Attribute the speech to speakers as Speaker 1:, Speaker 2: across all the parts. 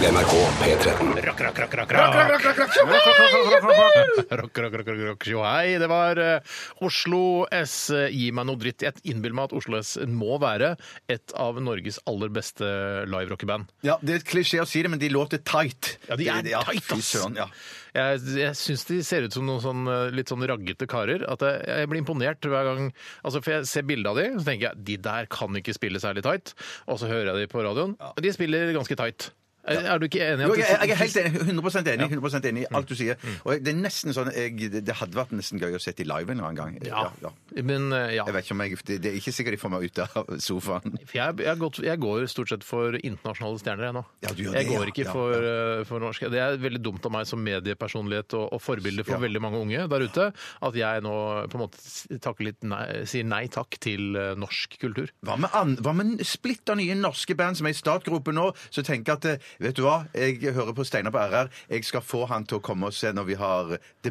Speaker 1: NRK P13.
Speaker 2: Rock, rock, rock, rock, rock. Rock, rock, rock, rock, rock. Jo, hei. Det var eh, Oslo S. eh, Gi meg noe dritt. Jeg innbiller meg at Oslo S må være et av Norges aller beste live-rockeband.
Speaker 3: Ja, det er et klisjé å si det, men de låter tight.
Speaker 2: Ja, de er tight,
Speaker 3: fy
Speaker 2: ass.
Speaker 3: søren, ja.
Speaker 2: Jeg, jeg syns de ser ut som noen sånn, eh, litt sånn raggete karer. At jeg, jeg blir imponert hver gang altså, For jeg ser bilde av de, så tenker jeg de der kan ikke spille særlig tight. Og så hører jeg de på radioen. De spiller ganske tight. Er, er du Mm. ikke enig? i
Speaker 3: Jo,
Speaker 2: at
Speaker 3: jeg,
Speaker 2: det-
Speaker 3: jeg er helt enig, 100 enig, 100 enig i alt du sier. Og jeg- det er nesten sånn jeg, det- Det hadde vært nesten gøy å se de live en eller annen gang.
Speaker 2: Ja. Men eh, ja.
Speaker 3: Jeg vet ikke om jeg, det, det er ikke sikkert de får meg ut av sofaen.
Speaker 2: For jeg, jeg, går, jeg går stort sett for internasjonale stjerner jeg nå.
Speaker 3: Ja, du gjør
Speaker 2: jeg
Speaker 3: det,
Speaker 2: går
Speaker 3: ja.
Speaker 2: ikke
Speaker 3: Ja,
Speaker 2: for, eh, for norske. Det er veldig dumt av meg som mediepersonlighet og, og forbilde for
Speaker 3: Ja.
Speaker 2: veldig mange unge der ute, at jeg nå på en måte s- takker litt nei, sier nei takk til eh, norsk kultur.
Speaker 3: Hva med, an, hva med en splitter nye norske band som er i startgropen nå, som tenker at eh, Vet du hva, jeg hører på Steinar på RR, jeg skal få han til å komme og se når vi har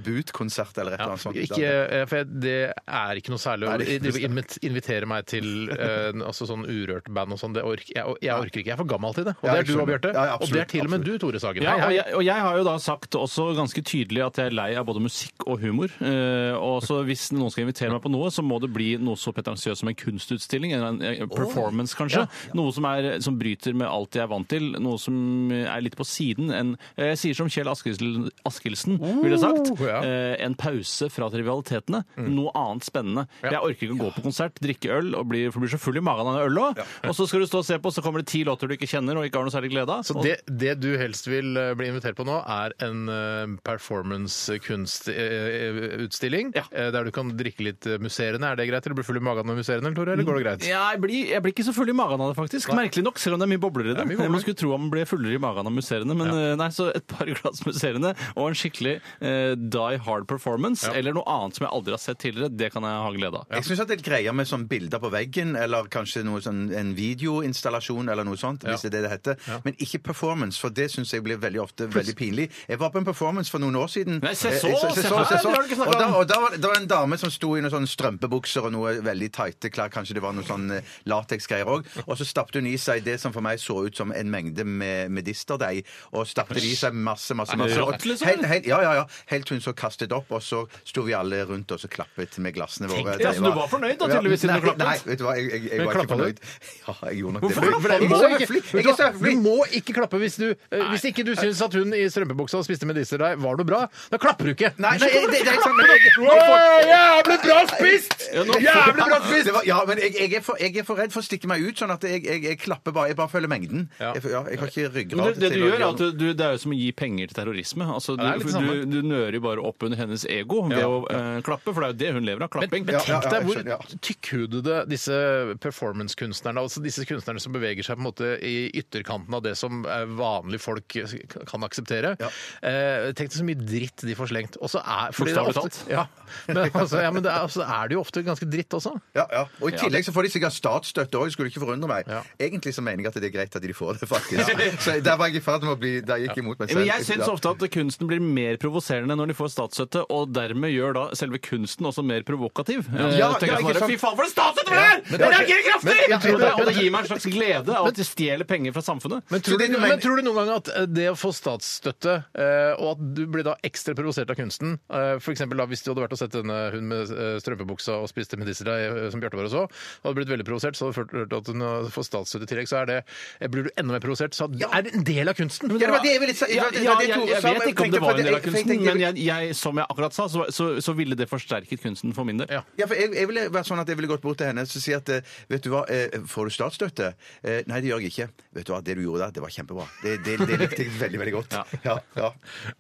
Speaker 3: debutkonsert eller et
Speaker 2: Ja,
Speaker 3: eller annet sånt.
Speaker 2: ikke, eh, for jeg, det er ikke noe særlig å
Speaker 3: Nei, det er ikke noe
Speaker 2: drive- invit- invitere meg til eh, altså sånn urørt band og sånn. Det ork, jeg, jeg orker ikke. Jeg er for gammel til det. Og
Speaker 3: Ja,
Speaker 2: det
Speaker 3: jeg
Speaker 2: er du og
Speaker 3: skjønner.
Speaker 2: Bjarte.
Speaker 3: Ja, ja,
Speaker 2: og det
Speaker 3: absolutt,
Speaker 2: er til og med du,
Speaker 3: absolutt.
Speaker 2: Tore Sagen.
Speaker 4: Ja,
Speaker 2: Hei,
Speaker 4: og
Speaker 2: hei.
Speaker 4: jeg, og jeg har jo da sagt også ganske tydelig at jeg er lei av både musikk og humor. Eh, og så hvis noen skal invitere meg på noe, så må det bli noe så pretensiøst som en kunstutstilling, eller en eh, performance kanskje. Noe som, er, som bryter med alt jeg er vant til, noe som er litt på siden. En, eh, jeg sier som Kjell Askildsen, Askildsen ville sagt,
Speaker 2: Oh, ja. Mm.
Speaker 4: eh, en pause fra trivialitetene, noe annet spennende. Jeg orker ikke å gå på konsert, drikke øl, og bli, for du blir så full i magen av den øl også. Og så skal du stå og se på, så kommer det ti låter du ikke kjenner og ikke har noe særlig glede av.
Speaker 2: Så
Speaker 4: Og-
Speaker 2: det, det du helst vil eh, bli invitert på nå, er en eh, performance-kunstutstilling?
Speaker 4: Ja.
Speaker 2: eh, Der du kan drikke litt eh, musserende. Er det greit? Eller blir du full i magen av musserende, eller, Tore? Eller går det greit?
Speaker 4: Ja, jeg blir, jeg blir ikke så full i magen av det, faktisk. Merkelig nok, selv om det er mye bobler i det.
Speaker 2: mye bobler.
Speaker 4: Man skulle tro at man ble fullere i magen av musserende, men eh, nei, så et par glass musserende og en skikkelig eh, die hard performance, eller noe annet som jeg aldri har sett tidligere, det kan jeg ha glede av.
Speaker 3: Jeg syns det er greier med sånn bilder på veggen, eller kanskje noe sånn, en videoinstallasjon eller noe sånt, hvis det er det det heter. Men ikke performance, for det syns jeg blir veldig ofte veldig pinlig. Jeg var på en performance for noen år siden.
Speaker 4: Nei, se
Speaker 3: Eh,
Speaker 4: så,
Speaker 3: jeg-
Speaker 4: se her, det har du ikke snakket
Speaker 3: Og, da,
Speaker 4: om.
Speaker 3: og da var det var en dame som sto i noen sånne strømpebukser og noe veldig tighte klær, kanskje det var noe sånn eh, lateksgreier òg, og så stappte hun i seg det som for meg så ut som en mengde med medisterdeig, og stappte det i seg masse, masse, masse.
Speaker 4: rått,
Speaker 3: Og
Speaker 4: liksom,
Speaker 3: Helt,
Speaker 4: eller?
Speaker 3: helt, ja, ja, ja. Helt til hun så kastet opp, og så sto vi alle rundt og så klappet med glassene våre.
Speaker 4: Tenk deg,
Speaker 3: Det
Speaker 4: så du var fornøyd da, tydeligvis, siden
Speaker 3: nei,
Speaker 4: du klappet.
Speaker 3: Nei, vet du hva, jeg, jeg, jeg
Speaker 2: Men
Speaker 3: var ikke
Speaker 2: klappa du?
Speaker 3: fornøyd. Ja, jeg gjorde nok
Speaker 4: Hvorfor
Speaker 3: det.
Speaker 4: klappa du?
Speaker 3: Jeg er så høflig! Jeg er så
Speaker 2: Du
Speaker 3: høflig!
Speaker 2: må ikke klappe hvis du eh, Hvis ikke du syns at hun i strømpebuksa og spiste medisterdeig var noe bra, da klapper du ikke!
Speaker 3: Nei, nei, det, det er ikke sant. men
Speaker 2: Wow,
Speaker 3: jeg-
Speaker 2: jævlig bra spist! Jævlig bra spist!
Speaker 3: Det var- Ja, men jeg, jeg, er for, jeg er for redd for å stikke meg ut, sånn at jeg, jeg, jeg klapper bare. Jeg bare følger mengden.
Speaker 2: Ja.
Speaker 3: Jeg, ja, jeg har ikke ryggrad
Speaker 4: Men det, det du
Speaker 3: å
Speaker 4: gjør, er
Speaker 3: gjøre
Speaker 4: at du, det er jo som å gi penger til terrorisme. Altså, du,
Speaker 2: Ja, det er litt det
Speaker 4: du,
Speaker 2: samme.
Speaker 4: du nører jo bare opp under hennes ego ved
Speaker 2: Ja.
Speaker 4: å eh, klappe, for det er jo det hun lever av. Klapping.
Speaker 2: Men
Speaker 3: ja,
Speaker 2: tenk
Speaker 3: ja,
Speaker 2: deg
Speaker 3: jeg
Speaker 2: hvor
Speaker 3: skjønner, ja.
Speaker 2: tykkhudede disse performance-kunstnerne, altså disse kunstnerne som beveger seg på en måte i ytterkanten av det som eh, vanlige folk kan akseptere. Eh, tenk deg så mye dritt de får slengt. Og så er, fordi det er
Speaker 4: Bokstavelig
Speaker 2: ofte, ja, men, altså, ja, men det er, altså, er det jo ofte ganske dritt også.
Speaker 3: Ja, ja. Og I tillegg så får de sikkert statsstøtte òg, skulle ikke forundre meg.
Speaker 2: Ja.
Speaker 3: Egentlig så mener jeg at det er greit at de får det, faktisk. Så der var jeg i ferd med å bli Der gikk jeg imot meg selv.
Speaker 4: Men jeg syns
Speaker 3: Ja.
Speaker 4: ofte at kunsten blir mer provoserende når de får statsstøtte, og dermed gjør da selve kunsten også mer provokativ. Eh,
Speaker 3: Ja,
Speaker 4: tenker
Speaker 3: ja, ikke
Speaker 4: jeg sånn her,
Speaker 3: sant.
Speaker 4: Fy faen, for en statsstøtte det er!
Speaker 2: men
Speaker 4: Jeg
Speaker 2: kanskje-
Speaker 4: reagerer kraftig!
Speaker 2: Men- ja,
Speaker 4: Og det- og det
Speaker 2: men-
Speaker 4: gir meg en slags glede av at de stjeler penger fra samfunnet.
Speaker 2: Men
Speaker 3: Så
Speaker 2: tror,
Speaker 3: det
Speaker 2: du,
Speaker 3: du
Speaker 2: men
Speaker 3: mener-
Speaker 2: tror du noen gang at eh, det å få statsstøtte, eh, og at du blir da ekstra provosert av kunsten eh, for eksempel da hvis du hadde vært og sett denne hun med eh, strømpebuksa og spiste medisterdeig, eh, som Bjarte var og så, og hadde blitt veldig provosert, så hadde du hørt at hun eh, får statsstøtte i tillegg, så er det, eh, blir du enda mer provosert, så er det en del av kunsten.
Speaker 3: Ja, det var det jeg ville si. Det
Speaker 4: Ja,
Speaker 3: var det- det
Speaker 4: ja,
Speaker 3: var det
Speaker 4: jeg,
Speaker 3: Tore
Speaker 4: jeg
Speaker 3: sa,
Speaker 4: vet
Speaker 3: men
Speaker 4: ikke om
Speaker 3: tenkte
Speaker 4: det
Speaker 3: på
Speaker 4: var en del av
Speaker 3: jeg- tenkte-
Speaker 4: kunsten, men jeg, jeg, som jeg akkurat sa, så, så, så ville det forsterket kunsten for min del.
Speaker 2: Ja.
Speaker 3: Ja, for jeg, jeg ville vært sånn at jeg ville gått bort til henne og si at eh, vet du hva, eh, får du statsstøtte? Eh, Nei, det gjør jeg ikke. Vet du hva, det du gjorde der, det var kjempebra. Det, det, det likte jeg veldig, veldig godt. Ja, ja.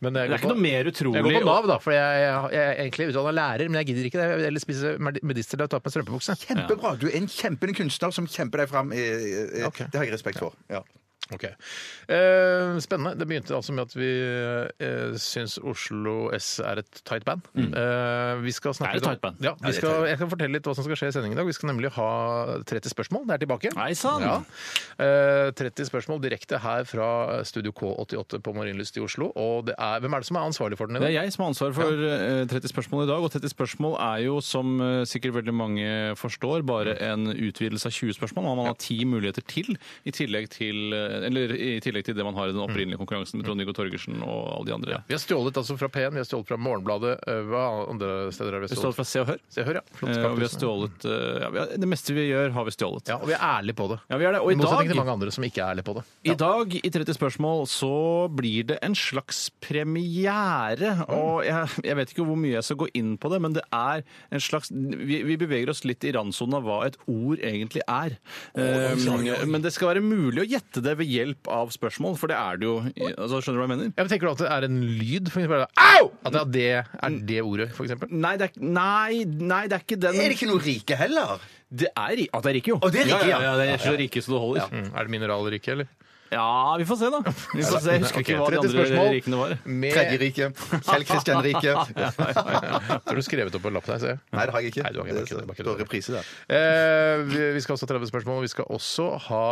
Speaker 2: Men jeg
Speaker 4: Det er
Speaker 2: går
Speaker 4: ikke
Speaker 2: på-
Speaker 4: noe mer
Speaker 2: Jeg går
Speaker 4: utrolig
Speaker 2: på Nav, da, for jeg, jeg, jeg er egentlig utdanna lærer, men jeg gidder ikke det. Jeg vil heller spise medisterdeig og ta på meg strømpebukse.
Speaker 3: Kjempebra. Du er en kjempende kunstner som kjemper deg fram. eh, eh,
Speaker 2: Ok.
Speaker 3: Det har jeg respekt for. Ja.
Speaker 2: Ok. Eh, spennende. Det begynte altså med at vi eh, syns Oslo S er et tight band. Eh, vi skal snakke litt
Speaker 4: Det Mm. er et
Speaker 2: om-
Speaker 4: tight band.
Speaker 2: Ja,
Speaker 3: det
Speaker 2: vi
Speaker 3: er
Speaker 2: skal, jeg kan fortelle litt hva som skal skje i sendingen i dag. Vi skal nemlig ha 30 spørsmål. Det er tilbake.
Speaker 4: Nei sann!
Speaker 2: Ja. Eh, 30 spørsmål direkte her fra Studio K88 på Marienlyst i Oslo. Og det er, hvem er det som er ansvarlig for den i
Speaker 4: Det
Speaker 2: dag?
Speaker 4: er jeg som har ansvaret for eh, 30 spørsmål i dag, og 30 spørsmål er jo, som eh, sikkert veldig mange forstår, bare en utvidelse av 20 spørsmål. Man har ti muligheter til, i tillegg til, eh, eller, i tillegg til det man har i den opprinnelige konkurransen med Trond-Viggo Torgersen og alle de andre.
Speaker 2: Vi har stjålet altså fra P1, vi har stjålet fra Morgenbladet. Eh, Hva andre steder er vi
Speaker 4: Vi har stjålet fra Se og Hør.
Speaker 2: Se og Hør, ja. Flott
Speaker 4: Eh, Og vi har
Speaker 2: skapelse.
Speaker 4: stjålet eh, ja, vi har- Det meste vi gjør, har vi stjålet.
Speaker 2: Ja, og vi er ærlige på det.
Speaker 4: Ja, vi er det. Og i
Speaker 2: I motsetning
Speaker 4: dag-
Speaker 2: til mange andre som ikke er ærlige på det.
Speaker 4: I dag i 30 spørsmål så blir det en slags premiere. Og jeg, jeg vet ikke hvor mye jeg skal gå inn på det, men det er en slags Vi, vi beveger oss litt i randsonen av hva et ord egentlig er. Eh, Men det skal være mulig å gjette det ved hjelp av spørsmål, for det er det jo. i- Altså, skjønner du hva jeg mener?
Speaker 2: Ja, men Tenker du at det er en lyd? For eksempel, Au! At det er det, er det ordet, for eksempel?
Speaker 4: Nei, det er, nei, nei, det er ikke den
Speaker 3: Er det ikke noe rike heller?
Speaker 4: Det er ri- At det er rike, jo.
Speaker 3: Å, det er rike,
Speaker 4: ja.
Speaker 3: ja.
Speaker 4: ja, det er så rike så det holder. Ja.
Speaker 2: Mm, er det mineralriket, eller?
Speaker 4: vi får se, da. Vi får se. Jeg husker ikke hva de
Speaker 2: 30
Speaker 4: andre
Speaker 2: spørsmål.
Speaker 4: rikene var.
Speaker 3: Tredje
Speaker 2: Med...
Speaker 3: rike. Kjell Kristian Rike.
Speaker 2: Har du skrevet opp på en lapp der, ser jeg?
Speaker 3: Nei, det har jeg ikke.
Speaker 2: Nei, du har ikke, det er ikke det, det er ikke det.
Speaker 3: står reprise der.
Speaker 2: Eh, vi vi skal også ha 30 spørsmål. og Vi skal også ha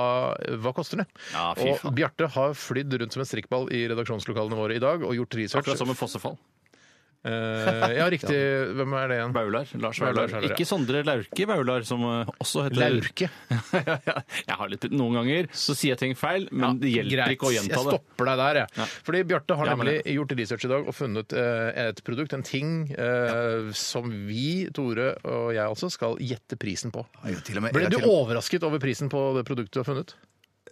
Speaker 2: Hva koster det?
Speaker 4: Ja, fy
Speaker 2: og
Speaker 4: faen.
Speaker 2: Bjarte har flydd rundt som en strikkball i redaksjonslokalene våre i dag og gjort research.
Speaker 4: Akkurat som med fossefall.
Speaker 2: Eh, ja, riktig. Hvem er det igjen?
Speaker 4: Baular. Lars
Speaker 2: Baular,
Speaker 4: Baular.
Speaker 2: Baular, ja.
Speaker 4: Ikke Sondre Lauke Baular, som eh, også heter
Speaker 2: Lauke.
Speaker 4: ja, ja. jeg har litt Noen ganger så sier jeg ting feil, men det hjelper
Speaker 2: Greit,
Speaker 4: ikke å gjenta det.
Speaker 2: Jeg stopper deg der, jeg. Fordi Bjarte har
Speaker 4: Ja, men
Speaker 2: nemlig gjort research i dag og funnet eh, et produkt, en ting, eh, som vi, Tore og jeg altså, skal gjette prisen på.
Speaker 3: Ja, til og med-
Speaker 2: Ble
Speaker 3: jeg
Speaker 2: du
Speaker 3: til og
Speaker 2: overrasket over prisen på det produktet du har funnet?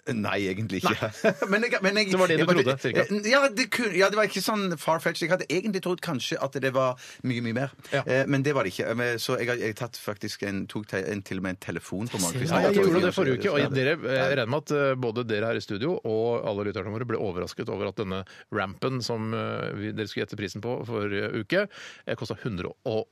Speaker 3: Nei, egentlig ikke. Men jeg, men jeg,
Speaker 2: Det var det du
Speaker 3: jeg bare- Eh,
Speaker 2: trodde, cirka?
Speaker 3: Ja det, kun, ja, det var ikke sånn far-fetched. Jeg hadde egentlig trodd kanskje at det var mye, mye mer.
Speaker 2: Ja.
Speaker 3: Eh, Men det var det ikke. Men- Så jeg, har- jeg tatt faktisk en, tok te, en, til og med en telefon på morgenen.
Speaker 2: Ja, jeg gjorde det forrige uke, og dere, jeg regner med at eh, både dere her i studio og alle lytterne våre ble overrasket over at denne rampen som eh, vi, dere skulle gjette prisen på forrige uke, eh, kosta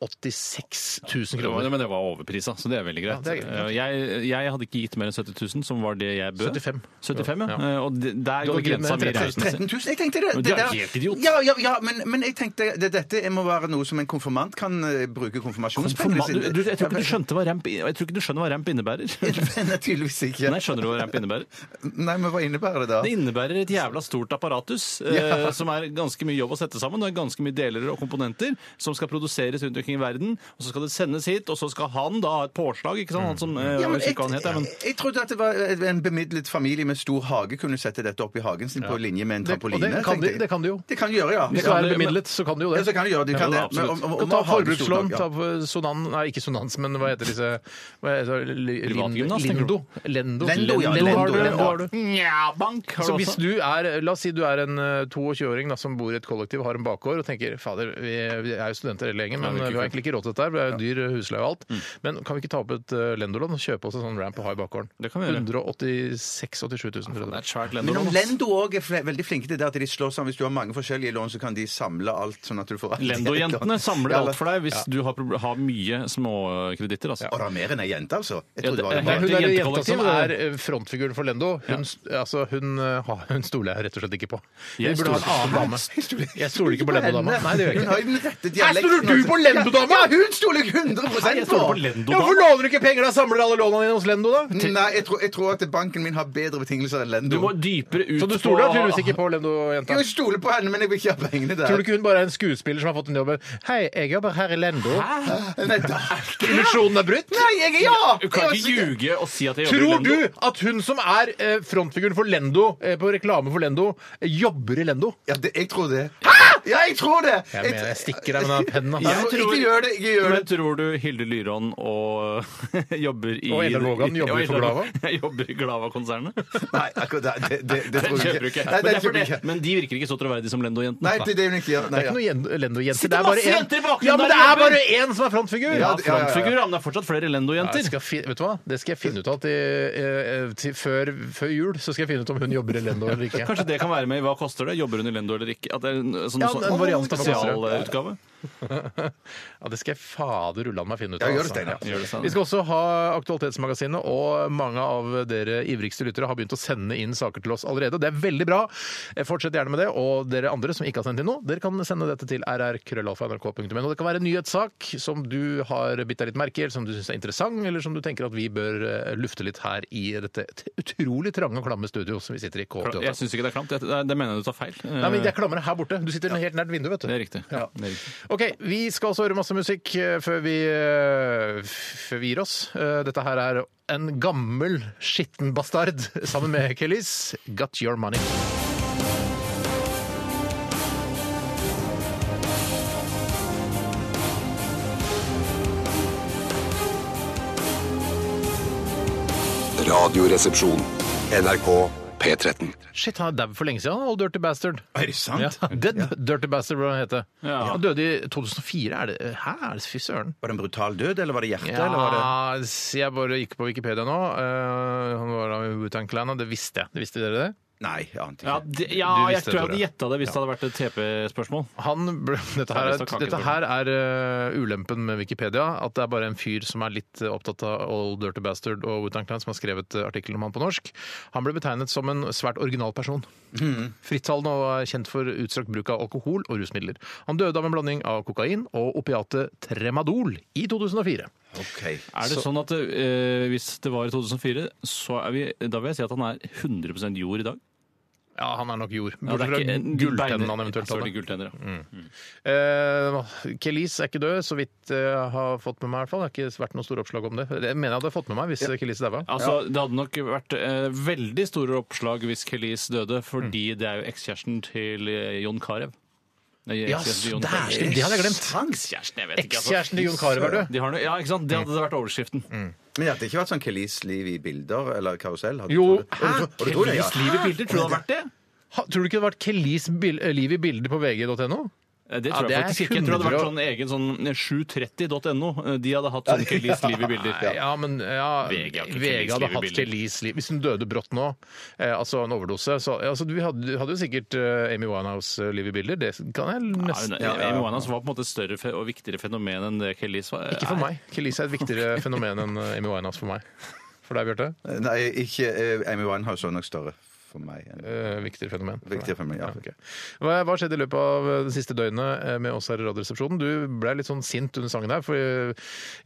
Speaker 2: 186 000
Speaker 4: Det var-
Speaker 2: kroner.
Speaker 4: Men det var overprisa, så det er veldig greit.
Speaker 2: Ja, det er greit.
Speaker 4: Eh, Jeg, jeg hadde ikke gitt mer enn 70 000, som var det jeg bød.
Speaker 2: 75.
Speaker 4: 75, ja.
Speaker 2: Ja.
Speaker 4: Eh, Og det, der
Speaker 2: Du hadde
Speaker 4: går
Speaker 2: ikke gitt mer
Speaker 4: grensa
Speaker 2: enn
Speaker 4: mi
Speaker 2: 13 000.
Speaker 4: reisende.
Speaker 3: 13 000? Jeg tenkte det!
Speaker 4: Men du er helt idiot.
Speaker 3: Ja, ja, ja men, men jeg tenkte det, dette må være noe som en konfirmant kan eh, bruke konfirmasjonspengene
Speaker 4: Konfirma-
Speaker 3: sine
Speaker 4: Du- du- Jeg tror ikke du skjønte hva ramp, jeg tror ikke du skjønner hva ramp innebærer.
Speaker 3: Nei, tydeligvis ikke.
Speaker 4: Nei, skjønner du hva ramp innebærer?
Speaker 3: Nei, men hva innebærer det da?
Speaker 4: Det innebærer et jævla stort apparatus eh, som er ganske mye jobb å sette sammen. Det er ganske mye deler og komponenter som skal produseres rundt omkring i verden. Og så skal det sendes hit, og så skal han da ha et påslag, ikke sant? Han som, eh,
Speaker 3: Ja, men
Speaker 4: jeg husker ikke hva han heter, men
Speaker 3: jeg, jeg trodde at det var en bemidlet familie med stor hage kunne sette dette opp i hagen sin på linje med en
Speaker 2: Det- og det
Speaker 3: trampoline.
Speaker 2: kan
Speaker 3: tenkte
Speaker 2: de-
Speaker 3: jeg.
Speaker 2: det kan de jo.
Speaker 3: Det kan de gjøre, ja.
Speaker 2: Hvis du
Speaker 3: ja.
Speaker 2: er bemidlet, så kan du jo det.
Speaker 3: Ja, så kan de gjøre det. De kan
Speaker 4: Ja,
Speaker 3: det. Men
Speaker 4: absolutt.
Speaker 3: om- om-
Speaker 2: Du
Speaker 3: om
Speaker 2: kan ta
Speaker 3: å ha det stort
Speaker 2: forbrukslån,
Speaker 3: nok, ja.
Speaker 2: ta på Sonan Nei, ikke Sonans, men hva heter disse hva heter, det? Li-
Speaker 4: Privatgymnas, tenker
Speaker 2: Lindo. Lendo.
Speaker 3: Lendo, ja, Lendo,
Speaker 2: har du,
Speaker 3: Lendo.
Speaker 2: har du.
Speaker 4: Nja, bank har
Speaker 2: Så
Speaker 4: du
Speaker 2: hvis
Speaker 4: også.
Speaker 2: du er, La oss si du er en eh, 22-åring da, som bor i et kollektiv og har en bakgård og tenker fader, vi, vi er jo studenter hele gjengen, men
Speaker 4: det
Speaker 2: vi
Speaker 4: er ikke
Speaker 2: har
Speaker 4: kult.
Speaker 2: egentlig ikke råd til dette, her, for det er jo dyr husleie og alt.
Speaker 3: Mm.
Speaker 2: Men kan vi ikke ta opp et eh, Lendolån og kjøpe oss en sånn ramp og ha i bakgården?
Speaker 4: Det kan vi gjøre.
Speaker 2: 186 000-87 000 for
Speaker 4: Det er
Speaker 2: det.
Speaker 4: et svært
Speaker 3: Men om
Speaker 4: lendolån. ass.
Speaker 3: Lendo òg er fle- veldig flinke til det at de slår sammen. Hvis du har mange forskjellige lån, så kan de samle alt. sånn at du får alt.
Speaker 4: Lendo-jentene samler
Speaker 3: Ja,
Speaker 4: alt for deg hvis du har, proble- har mye småkreditter. Altså.
Speaker 3: Og det er mer enn ei jente, altså. Jeg
Speaker 4: Ja,
Speaker 3: trodde
Speaker 4: det-
Speaker 3: det var
Speaker 4: det er
Speaker 2: Men hun
Speaker 4: Det
Speaker 2: der
Speaker 4: er
Speaker 2: jenta som
Speaker 4: jentekollektiv,
Speaker 2: er eh, frontfiguren for Lendo, hun, altså, hun, eh, ha- hun stoler jeg rett og slett ikke på. Vi
Speaker 4: Jeg
Speaker 2: burde ha en
Speaker 4: stoler-
Speaker 2: annen dame. Jeg stoler ikke på Lendo-dama. Nei, det gjør
Speaker 3: Hun
Speaker 2: jeg ikke.
Speaker 3: har jo den rette dialekten.
Speaker 2: stoler du på Lendo-dama?
Speaker 3: altså. Ja, hun stoler jeg 100 på!
Speaker 4: jeg stoler på Lendo.
Speaker 2: Ja, Hvorfor låner du ikke penger? Da samler alle lånene dine hos Lendo, da.
Speaker 3: Nei, jeg tror, jeg tror at banken min har bedre betingelser enn Lendo.
Speaker 4: Du må dypere ut
Speaker 2: Så du stoler
Speaker 4: på-
Speaker 2: tydeligvis ikke på Lendo-jenta?
Speaker 3: Jo, Jeg stoler på henne, men jeg vil ikke ha pengene der.
Speaker 2: Tror du ikke hun bare er en skuespiller som har fått en jobb? Hei, jeg jobber her i Lendo.
Speaker 3: Nei, da er ikke-
Speaker 2: Illusjonen er brutt?
Speaker 3: Nei, jeg ja!
Speaker 4: Du kan ikke ljuge og si at jeg jobber
Speaker 2: Tror
Speaker 4: i
Speaker 2: du
Speaker 4: Lendo.
Speaker 2: at hun som er eh, frontfiguren for Lendo, eh, på reklame for Lendo, eh, jobber i Lendo?
Speaker 3: Ja, det, jeg tror det. Ja, jeg tror det!
Speaker 2: Jeg mener, jeg stikker deg med den pennen.
Speaker 3: Jeg
Speaker 2: altså.
Speaker 3: tror-
Speaker 4: tror-
Speaker 3: Ikke gjør det! ikke gjør
Speaker 4: Men
Speaker 3: det.
Speaker 4: tror du Hilde Lyrån og jobber i
Speaker 2: Og Einar Vågan jobber
Speaker 4: og
Speaker 2: for
Speaker 4: Einar-
Speaker 2: Glava?
Speaker 4: Jeg jobber i Glava-konsernet.
Speaker 3: Nei, akkurat det, det, det, det
Speaker 4: Den
Speaker 3: tror jeg
Speaker 4: kjøper du
Speaker 3: ikke.
Speaker 4: ikke.
Speaker 3: Nei, det
Speaker 4: Men, det er for
Speaker 3: kjøper jeg
Speaker 4: det.
Speaker 3: ikke.
Speaker 4: men de virker ikke så troverdige som Lendo-jentene.
Speaker 3: Nei, det er det hun ikke gjør. Nei,
Speaker 2: Det er
Speaker 3: ja.
Speaker 2: ikke noe Lendo-jenter.
Speaker 4: Sitter
Speaker 2: Det er bare
Speaker 4: masse jenter i
Speaker 2: én.
Speaker 4: bakgrunnen
Speaker 2: Ja, men
Speaker 4: der
Speaker 2: det er
Speaker 4: og
Speaker 2: bare én som er frontfigur!
Speaker 4: Ja,
Speaker 3: Ja,
Speaker 4: det-
Speaker 3: ja, ja, ja.
Speaker 4: frontfigur, ja, men det er fortsatt flere
Speaker 2: Ja, jeg
Speaker 4: Lendo-jenter.
Speaker 2: skal fin- vet du hva? Det skal jeg finne ut av til, eh, til før, før jul. Så skal jeg finne ut om hun jobber i Lendo eller ikke.
Speaker 4: Kanskje det kan være med i Hva koster det? Jobber hun i Lendo eller ikke? At det er en- sånn,
Speaker 2: Ja, en, en variant av Spesial.
Speaker 4: spesialutgave.
Speaker 2: Ja, det skal jeg fader rulle meg finne ut
Speaker 3: Ja, gjør det,
Speaker 2: altså.
Speaker 3: Steinar.
Speaker 4: Gjør det, sånn. Steinar.
Speaker 2: Vi skal også ha Aktualitetsmagasinet, og mange av dere ivrigste lyttere har begynt å sende inn saker til oss allerede. Det er veldig bra. Eh, Fortsett gjerne med det. Og dere andre som ikke har sendt inn noe, dere kan sende dette til rrkrøllalfa.nrk.no. Det kan være en nyhetssak som du har bitt deg litt merke i, eller som du syns er interessant, eller som du tenker at vi bør eh, lufte litt her i dette t- utrolig trange og klamme studio som vi sitter i
Speaker 4: Jeg
Speaker 2: K88.
Speaker 4: syns ikke det er klamt. Det, det, det mener jeg du tar feil. Eh,
Speaker 2: Nei, men Det er klammere her borte. Du sitter helt nært vinduet, vet du.
Speaker 4: Det er riktig.
Speaker 2: Ja.
Speaker 4: Det er riktig.
Speaker 2: Ok, vi skal også høre masse musikk eh, før vi, eh, f- før vi gir oss. Eh, Dette her er en gammel skitten bastard sammen med Kelis. Got your money.
Speaker 5: Radioresepsjon. NRK P13.
Speaker 2: Shit, han er dau for lenge siden, han, old dirty bastard.
Speaker 3: Er det sant?
Speaker 2: Dead dirty bastard, hvordan heter det.
Speaker 4: Ja.
Speaker 2: Han døde i 2004, er det? Hæ, er det fy søren?
Speaker 3: Var det en brutal død, eller var det hjerte? Eller var det...
Speaker 2: Ja, jeg bare gikk på Wikipedia nå. Eh, han var av Wu-Tang Clan, og det visste jeg. Det visste dere det?
Speaker 3: Nei, jeg ante ikke.
Speaker 4: Ja, det, ja
Speaker 2: Du visste det,
Speaker 4: jeg tror jeg
Speaker 2: Tore.
Speaker 4: hadde gjetta det hvis det hadde vært et TP-spørsmål.
Speaker 2: Han ble, dette her,
Speaker 4: Det er
Speaker 2: er- dette her er eh, ulempen med Wikipedia. At det er bare en fyr som er litt eh, opptatt av Old Dirty Bastard og Wutan Clan, som har skrevet eh, artikkelen om han på norsk. Han ble betegnet som en svært original person.
Speaker 4: Mhm.
Speaker 2: Frittalende og er kjent for utstrakt bruk av alkohol og rusmidler. Han døde av en blanding av kokain og opiatet tremadol i 2004.
Speaker 3: Ok.
Speaker 4: Er det sånn at eh, hvis det var i 2004, så er vi, da vil jeg si at han er 100 jord i dag?
Speaker 2: Ja, han er nok jord.
Speaker 4: Ja,
Speaker 2: Bortsett
Speaker 4: det er
Speaker 2: fra
Speaker 4: ikke-
Speaker 2: gulltennene
Speaker 4: beiner-
Speaker 2: han eventuelt
Speaker 4: Sorry,
Speaker 2: hadde. Mm.
Speaker 4: gulltenner, ja.
Speaker 2: Eh, Kelis er ikke død, så vidt eh, jeg har fått med meg. i hvert fall. Det har ikke vært noen store oppslag om det. Jeg mener jeg hadde fått med meg hvis eh, Kelis daua.
Speaker 4: Altså, Det hadde nok vært eh, veldig store oppslag hvis Kelis døde, fordi
Speaker 2: Mm.
Speaker 4: det er jo ekskjæresten til eh, Jon Carew. Nei,
Speaker 2: Ja,
Speaker 4: ekskjæresten til Jon
Speaker 2: så
Speaker 4: Carew.
Speaker 2: dæsken, det hadde jeg glemt.
Speaker 4: Ekskjæresten, jeg vet ikke. Altså.
Speaker 2: Ekskjæresten til Mm. Jon Carew er død.
Speaker 4: De har noe, ja, ikke sant? Det hadde vært overskriften.
Speaker 3: Men det hadde ikke vært sånn Kelis liv i bilder eller karusell? hadde
Speaker 2: Jo.
Speaker 3: du trodd det? Og du- og du tror det, ja.
Speaker 4: Kelis liv i bilder, tror du det hadde vært det?
Speaker 2: Ha, tror du ikke det hadde vært Kelis bil, eh, liv i bilder på vg.no?
Speaker 4: Eh, Det
Speaker 2: Ja,
Speaker 4: tror
Speaker 2: det er
Speaker 4: jeg faktisk ikke. Jeg tror det
Speaker 2: 100
Speaker 4: hadde vært sånn egen sånn 730.no. eh, De hadde hatt sånn Kelis liv i bilder.
Speaker 2: Ja. men ja,
Speaker 4: VG
Speaker 2: VG,
Speaker 4: har ikke Kelis
Speaker 2: hadde
Speaker 4: liv i
Speaker 2: hatt
Speaker 4: bilder.
Speaker 2: Kelis liv Hvis hun døde brått nå, eh, altså en overdose så, ja, altså, Du hadde, du hadde jo sikkert eh, Amy Winehouse eh, liv i bilder. Det kan jeg
Speaker 4: Ja, hun-
Speaker 2: nesten
Speaker 4: ja, eh, Amy Winehouse var på en måte et større fe- og viktigere fenomen enn det Kelis var.
Speaker 2: Ikke for meg. Kelis er et viktigere fenomen enn eh, Amy Winehouse for meg. For deg, Bjarte?
Speaker 3: Nei, ikke eh, Amy Winehouse var nok større for meg. enn-
Speaker 2: Eh, viktigere fenomen. for
Speaker 3: Viktigere
Speaker 2: meg.
Speaker 3: fenomen, ja.
Speaker 2: ok. Hva, hva skjedde i løpet av eh, det siste døgnet eh, med oss her i Radioresepsjonen? Du ble litt sånn sint under sangen her, for eh,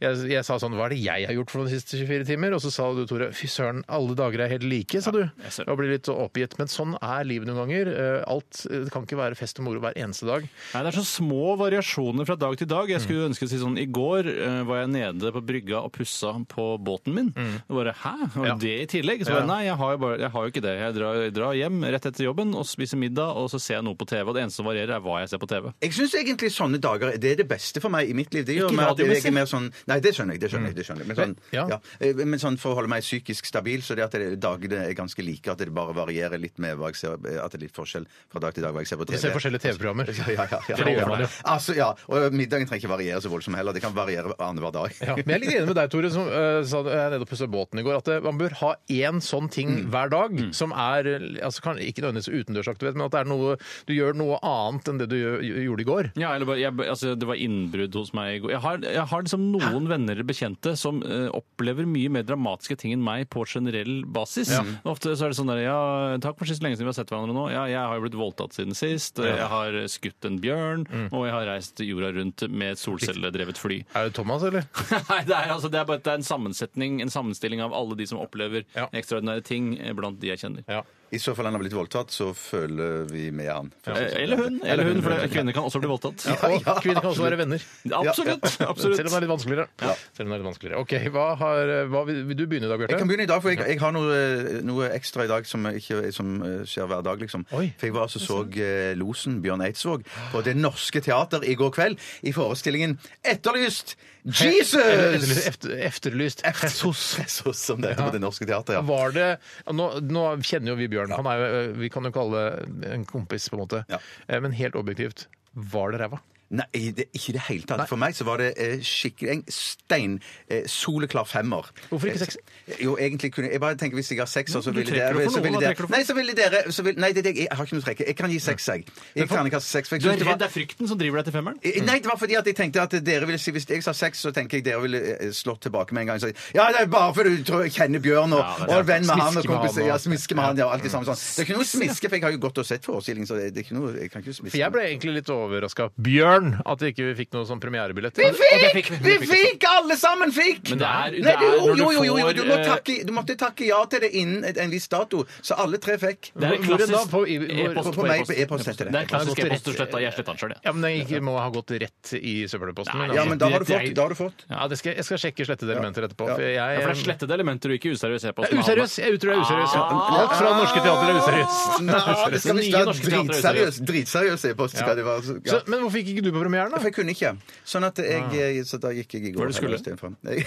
Speaker 2: jeg, jeg sa sånn Hva er det jeg har gjort for de siste 24 timer? Og så sa du, Tore, fy søren, alle dager er helt like, sa du.
Speaker 4: jeg ser det.
Speaker 2: Og ble litt oppgitt. Men sånn er livet noen ganger. Eh, Alt eh, det kan ikke være fest og moro hver eneste dag.
Speaker 4: Nei, Det er så små variasjoner fra dag til dag. Jeg
Speaker 2: Mm.
Speaker 4: skulle ønske å si sånn, I går eh, var jeg nede på brygga og pussa på båten min. Og bare, Hæ? Og
Speaker 2: Mm. Ja.
Speaker 4: det i tillegg? Så
Speaker 2: Ja.
Speaker 4: bare, Nei, jeg har, jo bare, jeg har jo ikke det. Jeg drar, jeg drar hjem rett etter jobben og spiser middag, og så ser jeg noe på TV. Og det eneste som varierer, er hva jeg ser på TV.
Speaker 3: Jeg syns egentlig sånne dager det er det beste for meg i mitt liv. Det gjør
Speaker 4: Ikke
Speaker 3: meg at jeg
Speaker 4: radiomessig.
Speaker 3: er mer sånn Nei, det skjønner jeg. det skjønner jeg, det skjønner jeg. Men, sånn,
Speaker 2: Mm. Ja.
Speaker 3: ja. eh, men sånn for å holde meg psykisk stabil, så det at det- dagene er ganske like, at det bare varierer litt med hva jeg ser, eh, at det er litt forskjell fra dag til dag hva jeg ser på TV.
Speaker 2: Du ser forskjellige TV-programmer.
Speaker 3: Ja, ja, ja, ja,
Speaker 2: For det gjør man jo.
Speaker 3: Altså, ja. Og middagen trenger ikke variere så voldsomt heller. Det kan variere annenhver dag.
Speaker 2: Ja, men jeg er litt enig med deg, Tore, som eh, sa jeg er nede og pussa båten i går, at eh, man bør ha én sånn ting
Speaker 4: Mm.
Speaker 2: hver dag som er eh, altså, kan, Ikke nødvendigvis utendørsaktivitet, men at det er noe, du gjør noe annet enn det du gjør, gjorde i går.
Speaker 4: Ja, eller bare, jeg, altså, Det var innbrudd hos meg i går. Jeg har, jeg har liksom noen venner eller bekjente som eh, opplever mye mer dramatiske ting enn meg på generell basis. Ofte så er det sånn der, ja, takk for sist, lenge siden vi har sett hverandre nå. Ja, jeg har jo blitt voldtatt siden sist, jeg har skutt en bjørn, og jeg har reist jorda rundt med et solcelledrevet fly.
Speaker 2: Er det Thomas, eller?
Speaker 4: Nei, det er, altså, det er bare det er en sammensetning, en sammenstilling av alle de som opplever
Speaker 2: Ja.
Speaker 4: ekstraordinære ting eh, blant de jeg kjenner.
Speaker 2: Ja.
Speaker 3: I så fall han har blitt voldtatt, så føler vi med han.
Speaker 4: Eh, Eller hun, eller hun, for kvinner kan også bli voldtatt.
Speaker 2: Og kvinner kan også være venner.
Speaker 4: Absolutt! absolutt.
Speaker 2: Selv om det er litt vanskeligere. Selv om det er litt vanskeligere. Ok, hva, har, hva vil, vil du begynne i dag,
Speaker 3: Jeg kan
Speaker 2: Bjarte?
Speaker 3: begynne i dag, for jeg, jeg har noe, eh, noe ekstra i dag som, ikke, som eh, skjer hver dag, liksom.
Speaker 2: Oi.
Speaker 3: For jeg var altså så eh, Losen, Bjørn Eidsvåg, på Det Norske Teater i går kveld i forestillingen Etterlyst
Speaker 2: Eller
Speaker 3: Jesus!
Speaker 2: Eh, efter- Efterlyst. Jesus.
Speaker 3: Jesus, som det heter på Det Norske Teater, ja.
Speaker 2: Var det, nå, nå kjenner jo eh, vi Bjørn. Han er jo, vi kan jo kalle det en kompis, på en måte.
Speaker 3: Ja.
Speaker 2: Eh, Men helt objektivt, var det ræva?
Speaker 3: Nei, det, ikke i det hele tatt. For meg så var det eh, skikkelig en stein eh, soleklar femmer.
Speaker 2: Hvorfor ikke seks?
Speaker 3: Eh, Jo, egentlig kunne jeg bare tenker hvis jeg har seks, så
Speaker 4: du
Speaker 3: ville
Speaker 4: trekker
Speaker 3: dere
Speaker 4: jo for
Speaker 3: så
Speaker 4: noe,
Speaker 3: ville
Speaker 4: hva
Speaker 3: dere-
Speaker 4: trekker du for?
Speaker 3: Nei, så ville dere så vil, Nei, det, er det jeg, jeg har ikke noe trekke. Jeg kan gi seks, jeg. Jeg kan ikke ha seks. for jeg
Speaker 4: Du
Speaker 3: synes
Speaker 4: er
Speaker 3: det var-
Speaker 4: redd det er frykten som driver deg til femmeren?
Speaker 3: Eh, Nei, det var fordi at jeg tenkte at dere ville si Hvis jeg sa seks, så tenker jeg dere ville eh, slått tilbake med en gang. Så, ja, det er bare fordi du tror jeg kjenner Bjørn og,
Speaker 4: Ja, det er
Speaker 3: og er venn med han og
Speaker 2: Smiske med
Speaker 3: kompis
Speaker 2: han og-
Speaker 3: Ja, smiske med han, ja, alt det samme sånn. Det er ikke noe smiske, for jeg har jo gått og sett forestillingen, så det, det er ikke noe, jeg kan ikke
Speaker 2: For
Speaker 3: smiske.
Speaker 2: jeg ble egentlig litt overraska. Bjørn, at vi ikke fikk noe sånn premierebillett.
Speaker 3: Vi
Speaker 2: Og det
Speaker 3: fikk! Vi
Speaker 2: vi fikk.
Speaker 3: fikk! Alle sammen fikk!
Speaker 4: Men det er- det
Speaker 3: Nei,
Speaker 4: er
Speaker 3: jo,
Speaker 4: når du
Speaker 3: jo, jo, jo,
Speaker 4: får,
Speaker 3: du, må
Speaker 4: eh,
Speaker 3: takke, du måtte takke ja til det innen et- en viss dato, så alle tre fikk.
Speaker 4: Det er
Speaker 2: Hvor- hvor er det da?
Speaker 4: klassisk
Speaker 2: På- i- hvor-
Speaker 4: e-post
Speaker 3: på meg på
Speaker 4: e-post.
Speaker 3: e-post heter det.
Speaker 4: Det er
Speaker 2: Nei, det
Speaker 4: klassisk
Speaker 2: går
Speaker 4: e-post du
Speaker 2: rett-
Speaker 4: sletta. Jeg sletta den sjøl, jeg.
Speaker 2: Ja, men den ikke, må ha gått rett i søppelposten. altså,
Speaker 4: Nei,
Speaker 3: Ja, men da har du
Speaker 2: det- det
Speaker 3: fått.
Speaker 2: er-
Speaker 3: Da har du fått.
Speaker 2: Ja, det skal, jeg skal sjekke slettede elementer etterpå. For jeg,
Speaker 4: Ja, for det er slettede elementer og ikke useriøs
Speaker 2: Jeg
Speaker 4: e-post.
Speaker 2: er useriøs! Jeg tror jeg er useriøs. Alt fra norske teater er useriøst.
Speaker 3: Ah. Nei, det skal
Speaker 4: Nye
Speaker 3: visst være
Speaker 4: norske teater er
Speaker 3: dritseriøs,
Speaker 4: useriøst.
Speaker 3: dritseriøs e-post. skal det være, så- ja.
Speaker 2: Så, men hvorfor gikk ikke du på premieren,
Speaker 3: For
Speaker 2: da?
Speaker 3: jeg kunne ikke. Sånn at jeg, så da gikk jeg i går.
Speaker 4: Hva var det du
Speaker 3: istedenfor. Nei.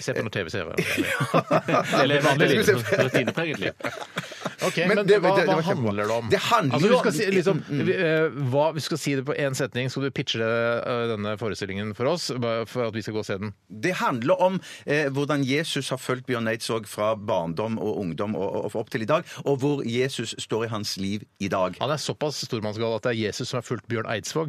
Speaker 2: Se på noe TV-CV.
Speaker 4: Eller vanlig
Speaker 3: Jeg
Speaker 4: liv.
Speaker 3: skulle se-
Speaker 4: Rutinepreget liv.
Speaker 2: Ok,
Speaker 3: Men
Speaker 2: men,
Speaker 3: det-
Speaker 2: hva,
Speaker 3: det- det
Speaker 2: hva
Speaker 3: var kjempebra.
Speaker 2: handler det om?
Speaker 3: Det handler
Speaker 2: altså,
Speaker 3: jo
Speaker 2: du
Speaker 3: om- Mm,
Speaker 2: skal si, liksom, vi, eh, hva, vi skal si det på én setning. Skal du pitche eh, denne forestillingen for oss bare for at vi skal gå og se den?
Speaker 3: Det handler om eh, hvordan Jesus har fulgt Bjørn Eidsvåg fra barndom og ungdom og, og, og opp til i dag, og hvor Jesus står i hans liv i dag.
Speaker 2: Han er såpass stormannsgal at det er Jesus som har fulgt Bjørn Eidsvåg.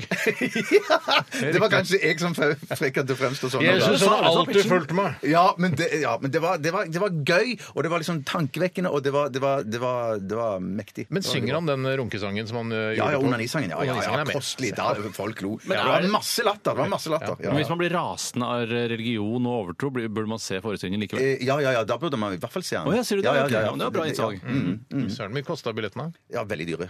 Speaker 3: Det var kanskje jeg som frekket til å fremstå sånn.
Speaker 2: har alltid fulgt meg.
Speaker 3: Ja, men, det, ja, men det, var, det, var, det var gøy, og det var liksom tankevekkende, og det var, det var, det var, det var mektig.
Speaker 2: Men synger han den runkesangen som han eh,
Speaker 3: Ja, ja,
Speaker 2: gjorde på-
Speaker 3: onanisangen. Ja, ja,
Speaker 2: Onanisangen
Speaker 3: ja,
Speaker 2: er med.
Speaker 3: kostelig. Da folk lo. Det
Speaker 4: er-
Speaker 3: var masse latter. Det var masse latter. Ja,
Speaker 4: Men
Speaker 3: ja.
Speaker 4: hvis man blir rasende av religion og overtro, blir- burde man se forestillingen likevel.
Speaker 3: Eh, ja, ja, ja, da burde man i hvert fall se han.
Speaker 4: Å ja, sier du det?
Speaker 3: Ja, ja,
Speaker 4: Ok,
Speaker 3: ja, ja.
Speaker 4: ja, men det var bra innsalg.
Speaker 3: Mm,
Speaker 2: Søren, hvor mye kosta billettene?
Speaker 3: ja, veldig dyre.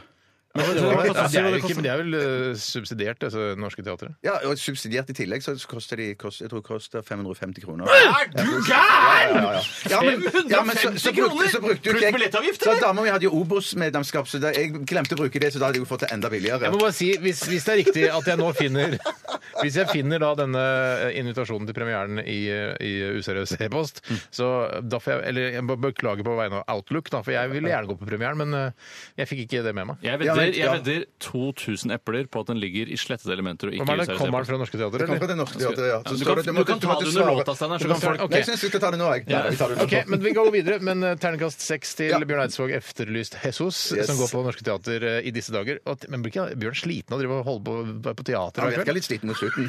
Speaker 4: Altså,
Speaker 2: Ja, det er jo ikke, men det er vel eh, subsidiert, disse norske teatret?
Speaker 3: Ja, og subsidiert i tillegg, så koster de kost, jeg tror det koster 550 kroner.
Speaker 4: Er du gæren?!
Speaker 3: Ja, ja. Ja, men, ja, men så, så brukte, så
Speaker 4: 550 kroner?
Speaker 3: brukte jo
Speaker 4: Pluss
Speaker 3: ikke jeg
Speaker 4: billettavgift,
Speaker 3: Så
Speaker 4: eller?
Speaker 3: Dama mi hadde jo Obos-medlemskap, så da, jeg glemte å bruke det, så da hadde jeg jo fått det enda billigere.
Speaker 2: Jeg må bare si, hvis, hvis det er riktig at jeg nå finner Hvis jeg finner da denne eh, invitasjonen til premieren i, i useriøs e-post, så da får jeg Eller jeg må beklage på vegne av Outlook, da, for jeg ville gjerne gå på premieren, men eh, jeg fikk ikke det med meg.
Speaker 4: Jeg
Speaker 3: Ja,
Speaker 4: vedder,
Speaker 3: men-
Speaker 4: jeg
Speaker 3: ja.
Speaker 4: vedder 2000 epler på at den ligger i slettede elementer og ikke
Speaker 2: Hvem er det?
Speaker 4: useriøs
Speaker 2: Kommer
Speaker 4: e-post.
Speaker 2: han fra Norske Teater,
Speaker 3: Kom fra
Speaker 2: eller?
Speaker 3: det norske teatret, ja.
Speaker 4: Ja,
Speaker 3: Så
Speaker 4: du
Speaker 3: står
Speaker 4: kan-
Speaker 3: det-
Speaker 4: du kan
Speaker 3: måtte-
Speaker 4: ta
Speaker 3: måtte
Speaker 4: det under
Speaker 3: svare.
Speaker 4: låta, Steinar, så
Speaker 3: Du
Speaker 4: kan
Speaker 3: svare-
Speaker 4: folk-
Speaker 3: Nei, Jeg syns vi skal ta det nå, jeg. Ja, vi tar det nå.
Speaker 2: Ok, men Vi går videre. Men eh, terningkast seks til
Speaker 3: Ja.
Speaker 2: Bjørn Eidsvåg efterlyst Jesus,
Speaker 3: Yes.
Speaker 2: som går på Norske Teater eh, i disse dager. Og at- Men blir ikke Bjørn sliten av å drive og holde på, være på teater?
Speaker 3: Han
Speaker 2: hver kveld?
Speaker 3: virker litt sliten mot slutten.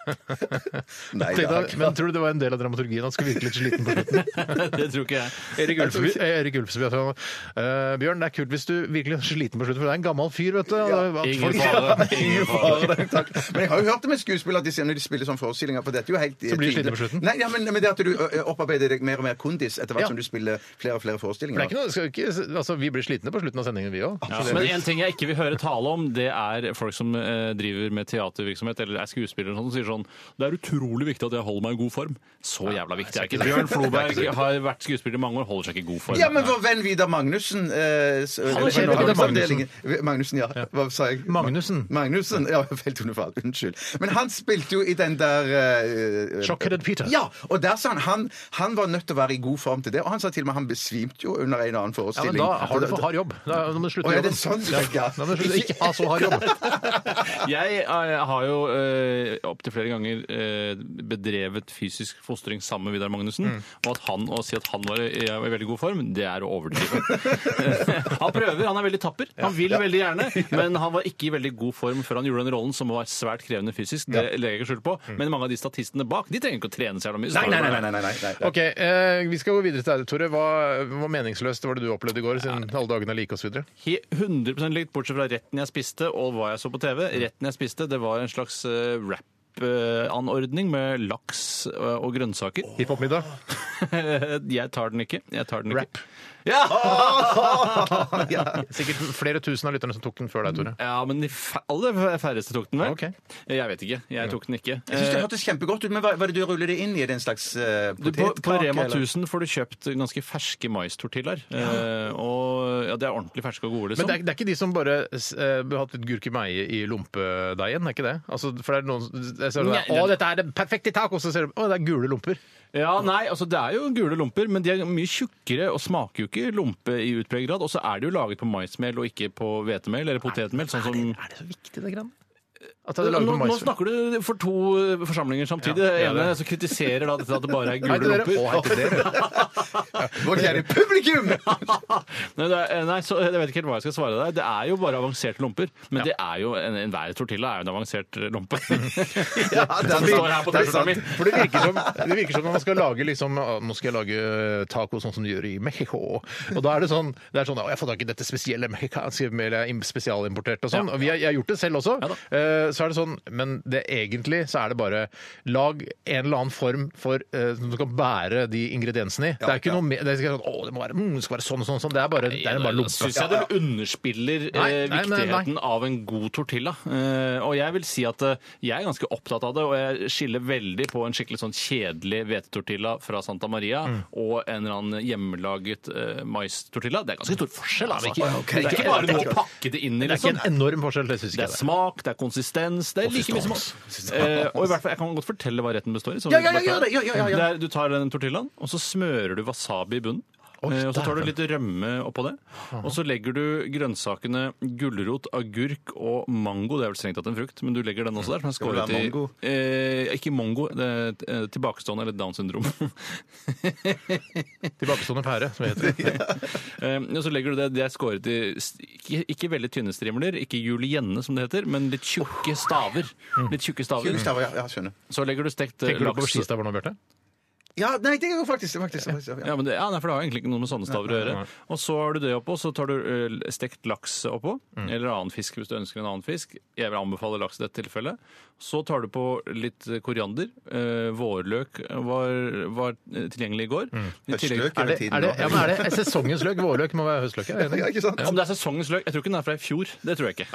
Speaker 3: Nei, det er
Speaker 2: Tenkte jeg, men tror du det var en del av dramaturgien? Han skulle virke litt sliten på slutten.
Speaker 4: det tror ikke jeg.
Speaker 2: Erik Ulfsby, Erik Ulfsby at han, «Eh, Bjørn, det er kult hvis du virkelig er sliten på slutten, for det er en gammel fyr, vet du. At
Speaker 4: Ingen
Speaker 2: folk-
Speaker 4: fare. Ingen fare.
Speaker 3: Takk. Men jeg har jo hørt det med skuespillere at de sier når de spiller sånne forestillinger For dette er jo helt eh,
Speaker 2: Så blir du sliten på slutten?
Speaker 3: Nei, ja, men, men det at du ø, ø, opparbeider deg mer og mer kondis etter hvert
Speaker 2: Ja.
Speaker 3: som du spiller flere og flere
Speaker 2: For det er
Speaker 3: forestillinger.
Speaker 2: ikke noe, det skal jo ikke, altså, vi blir slitne på slutten av sendingen, vi òg.
Speaker 4: Ja, men en ting jeg ikke vil høre tale om, det er folk som eh, driver med teatervirksomhet eller er skuespillere og sånn, som sier sånn Det er utrolig viktig at jeg holder meg i god form. Så jævla viktig er ikke det. Bjørn Floberg har vært skuespiller i mange år, holder seg ikke i god form.
Speaker 3: Ja, men vår venn Vidar Magnussen eh, s-
Speaker 2: er
Speaker 3: Magnussen-
Speaker 2: kjent, Vidar Magnussen.
Speaker 3: avdelingen- Magnussen, ja. Hva sa jeg?
Speaker 2: Magnussen.
Speaker 3: Magnussen, ja, feltunderfall. Unnskyld. Men han spilte jo i den der eh,
Speaker 2: Shockheaded Peter.
Speaker 3: Ja, og der sa han, han han var nødt til å være i god form til det, og han sa til og med han besvimte jo under en annen
Speaker 2: Ja, men
Speaker 3: forestilling.
Speaker 2: da har du for hard jobb. Da, da må du slutte
Speaker 3: Å, ja,
Speaker 2: med
Speaker 3: det er
Speaker 2: jobben.
Speaker 3: sånn du tenker, ja.
Speaker 2: Da må du slutte, ikke ha så hard jobb.
Speaker 4: Jeg eh, har jo eh, opptil flere ganger eh, bedrevet fysisk fostring sammen med Vidar Magnussen.
Speaker 3: Mm.
Speaker 4: Og at han å si at han var i, er i veldig god form, det er å overdrive. han prøver, han er veldig tapper. Han vil veldig gjerne, men han var ikke i veldig god form før han gjorde den rollen som var svært krevende fysisk. Det legger jeg skjul på. Men mange av de statistene bak, de trenger ikke å trene seg jævla mye. så
Speaker 3: Mm. Nei, nei,
Speaker 4: tar det
Speaker 3: nei,
Speaker 4: bare.
Speaker 3: nei, nei, nei, nei.
Speaker 2: Ok, eh, Vi skal gå videre til deg, Tore. Hva hva meningsløst var det du opplevde i går, siden alle dagene er like osv.?
Speaker 4: He- 100 likt, bortsett fra retten jeg spiste og hva jeg så på TV.
Speaker 3: Mm.
Speaker 4: Retten jeg spiste, det var en slags eh, wrap-anordning med laks eh, og grønnsaker.
Speaker 2: Hiphop-middag?
Speaker 4: Jeg tar den ikke. Jeg tar den ikke.
Speaker 2: Rap.
Speaker 4: Ja!
Speaker 2: Sikkert flere tusen av lytterne som tok den før deg, Tore.
Speaker 4: ja, men de fæ- aller færreste tok den vel?
Speaker 2: Ok.
Speaker 4: Jeg vet ikke. Jeg tok den ikke.
Speaker 3: Jeg synes det hørtes kjempegodt ut, men hva, hva er det du ruller det inn i? Er det en slags uh,
Speaker 4: Du, Eh, på,
Speaker 3: potetkake?
Speaker 4: på Rema
Speaker 3: eller?
Speaker 4: 1000 får du kjøpt ganske ferske maistortillaer. Eh, og ja, det er ordentlig ferske og gode,
Speaker 2: Men
Speaker 4: liksom.
Speaker 2: det er, det er ikke de som bare eh, har hatt litt gurkemeie i lompedeigen? er ikke det? Altså, for det er noen som- jeg ser det
Speaker 4: Nei,
Speaker 2: der, Å, dette er det perfekte taco! Så ser du Å, det er gule lomper.
Speaker 4: Ja, nei, altså Det er jo gule lomper, men de er mye tjukkere og smaker jo ikke lompe i utpreget grad. Og så er det jo laget på maismel og ikke på hvetemel eller potetmel. sånn som...
Speaker 2: Er det så viktig, det grann? At det er
Speaker 4: Nå,
Speaker 2: laget på
Speaker 4: nå
Speaker 2: maisfrø?
Speaker 4: snakker du for to eh, forsamlinger samtidig.
Speaker 2: Ja, det er
Speaker 4: det ene
Speaker 2: det.
Speaker 4: så kritiserer da dette at det bare er
Speaker 2: Hei til
Speaker 4: gule
Speaker 2: dere.
Speaker 4: lomper.
Speaker 2: Å, hei til dere.
Speaker 3: Vår kjære publikum!
Speaker 4: Nei, det er, eh, nei så jeg vet ikke helt hva jeg skal svare deg. Det er jo bare avanserte lomper. Men det er jo en- enhver tortilla er jo en avansert eh, lompe.
Speaker 3: Ja, det
Speaker 4: Som står her på
Speaker 3: det er
Speaker 4: T-skjorta mi.
Speaker 3: sant.
Speaker 2: For det virker, som, det virker som når man skal lage liksom, «Å, Nå skal jeg lage taco sånn som de gjør i Mexico. Og da er det sånn, det er sånn «Å, Jeg får tak i dette spesielle mexicanske eller im- spesialimportert og sånn.
Speaker 4: Ja.
Speaker 2: Og vi har, jeg har gjort det selv også.
Speaker 4: Ja da.
Speaker 2: Eh, så er det sånn, Men det egentlig så er det bare lag en eller annen form for eh, som du kan bære de ingrediensene i. det er ikke noe mer det, er ikke sånn, å, det, må være, mm, det skal være sånn og sånn. og sånn. Det er bare, det er bare
Speaker 4: Da
Speaker 2: lompe.
Speaker 4: Syns jeg det underspiller eh,
Speaker 2: Nei, nei, nei, nei.
Speaker 4: viktigheten av en god tortilla. Eh, og jeg vil si at eh, jeg er ganske opptatt av det, og jeg skiller veldig på en skikkelig sånn kjedelig hvetetortilla fra Santa Maria
Speaker 2: Mm.
Speaker 4: og en eller annen hjemmelaget eh, maistortilla. Det er ganske stor forskjell, altså.
Speaker 2: Ja, men ikke-
Speaker 4: det er ikke bare noe å pakke det inn i,
Speaker 2: Det er ikke
Speaker 4: liksom.
Speaker 2: en enorm forskjell. Det synes
Speaker 4: Det
Speaker 2: ikke
Speaker 4: er
Speaker 2: jeg.
Speaker 4: smak, det er konsistens Det er like mye som eh, Og i hvert fall, jeg kan godt fortelle hva retten består i. så
Speaker 3: Ja, ja, ja,
Speaker 4: vi bare tar-
Speaker 3: gjør det, ja, ja, ja, ja.
Speaker 4: Det er- Du tar den tortillaen, og så smører du wasabi i bunnen. Eh, Og så tar du litt rømme oppå det. Og så legger du grønnsakene gulrot, agurk og mango. Det er vel strengt tatt en frukt, men du legger den også der. Som er
Speaker 3: det
Speaker 4: skåret
Speaker 3: være
Speaker 4: i
Speaker 3: mango?
Speaker 4: eh, Ikke mongo. Det er eh, tilbakestående eller Downs syndrom.
Speaker 2: Tilbakestående pære, som det heter.
Speaker 4: Eh, og så legger du det. Det er skåret i s- ikke, ikke veldig tynne strimler, ikke julienne som det heter, men litt tjukke staver.
Speaker 3: Mm.
Speaker 4: Litt tjukke staver.
Speaker 3: Kunst, ja, ja, skjønner.
Speaker 4: Så legger du stekt eh,
Speaker 2: Tenker du på
Speaker 4: laks
Speaker 2: skistaver nå, Bjarte?
Speaker 3: Ja, nei, det er jo faktisk, faktisk, faktisk ja.
Speaker 4: Ja, men det, ja, nei, for det har egentlig ikke noe med sånne staver å gjøre. Og så har du det oppå, så tar du ø, stekt laks oppå,
Speaker 2: Mm.
Speaker 4: eller annen fisk hvis du ønsker en annen fisk. Jeg vil anbefale laks i dette tilfellet. Så tar du på litt koriander. ø, vårløk var, var tilgjengelig i
Speaker 2: Mm.
Speaker 4: går. I tillegg-
Speaker 3: Høstløk
Speaker 2: Er
Speaker 3: hele
Speaker 2: det,
Speaker 3: tiden.
Speaker 2: er det,
Speaker 3: nå.
Speaker 2: ja, men er det sesongens løk? Vårløk må være høstløk. Er, vi
Speaker 3: Ja,
Speaker 2: enig?
Speaker 3: ikke sant?
Speaker 4: Om det er sesongens løk? Jeg tror ikke den er fra i fjor. Det tror jeg ikke.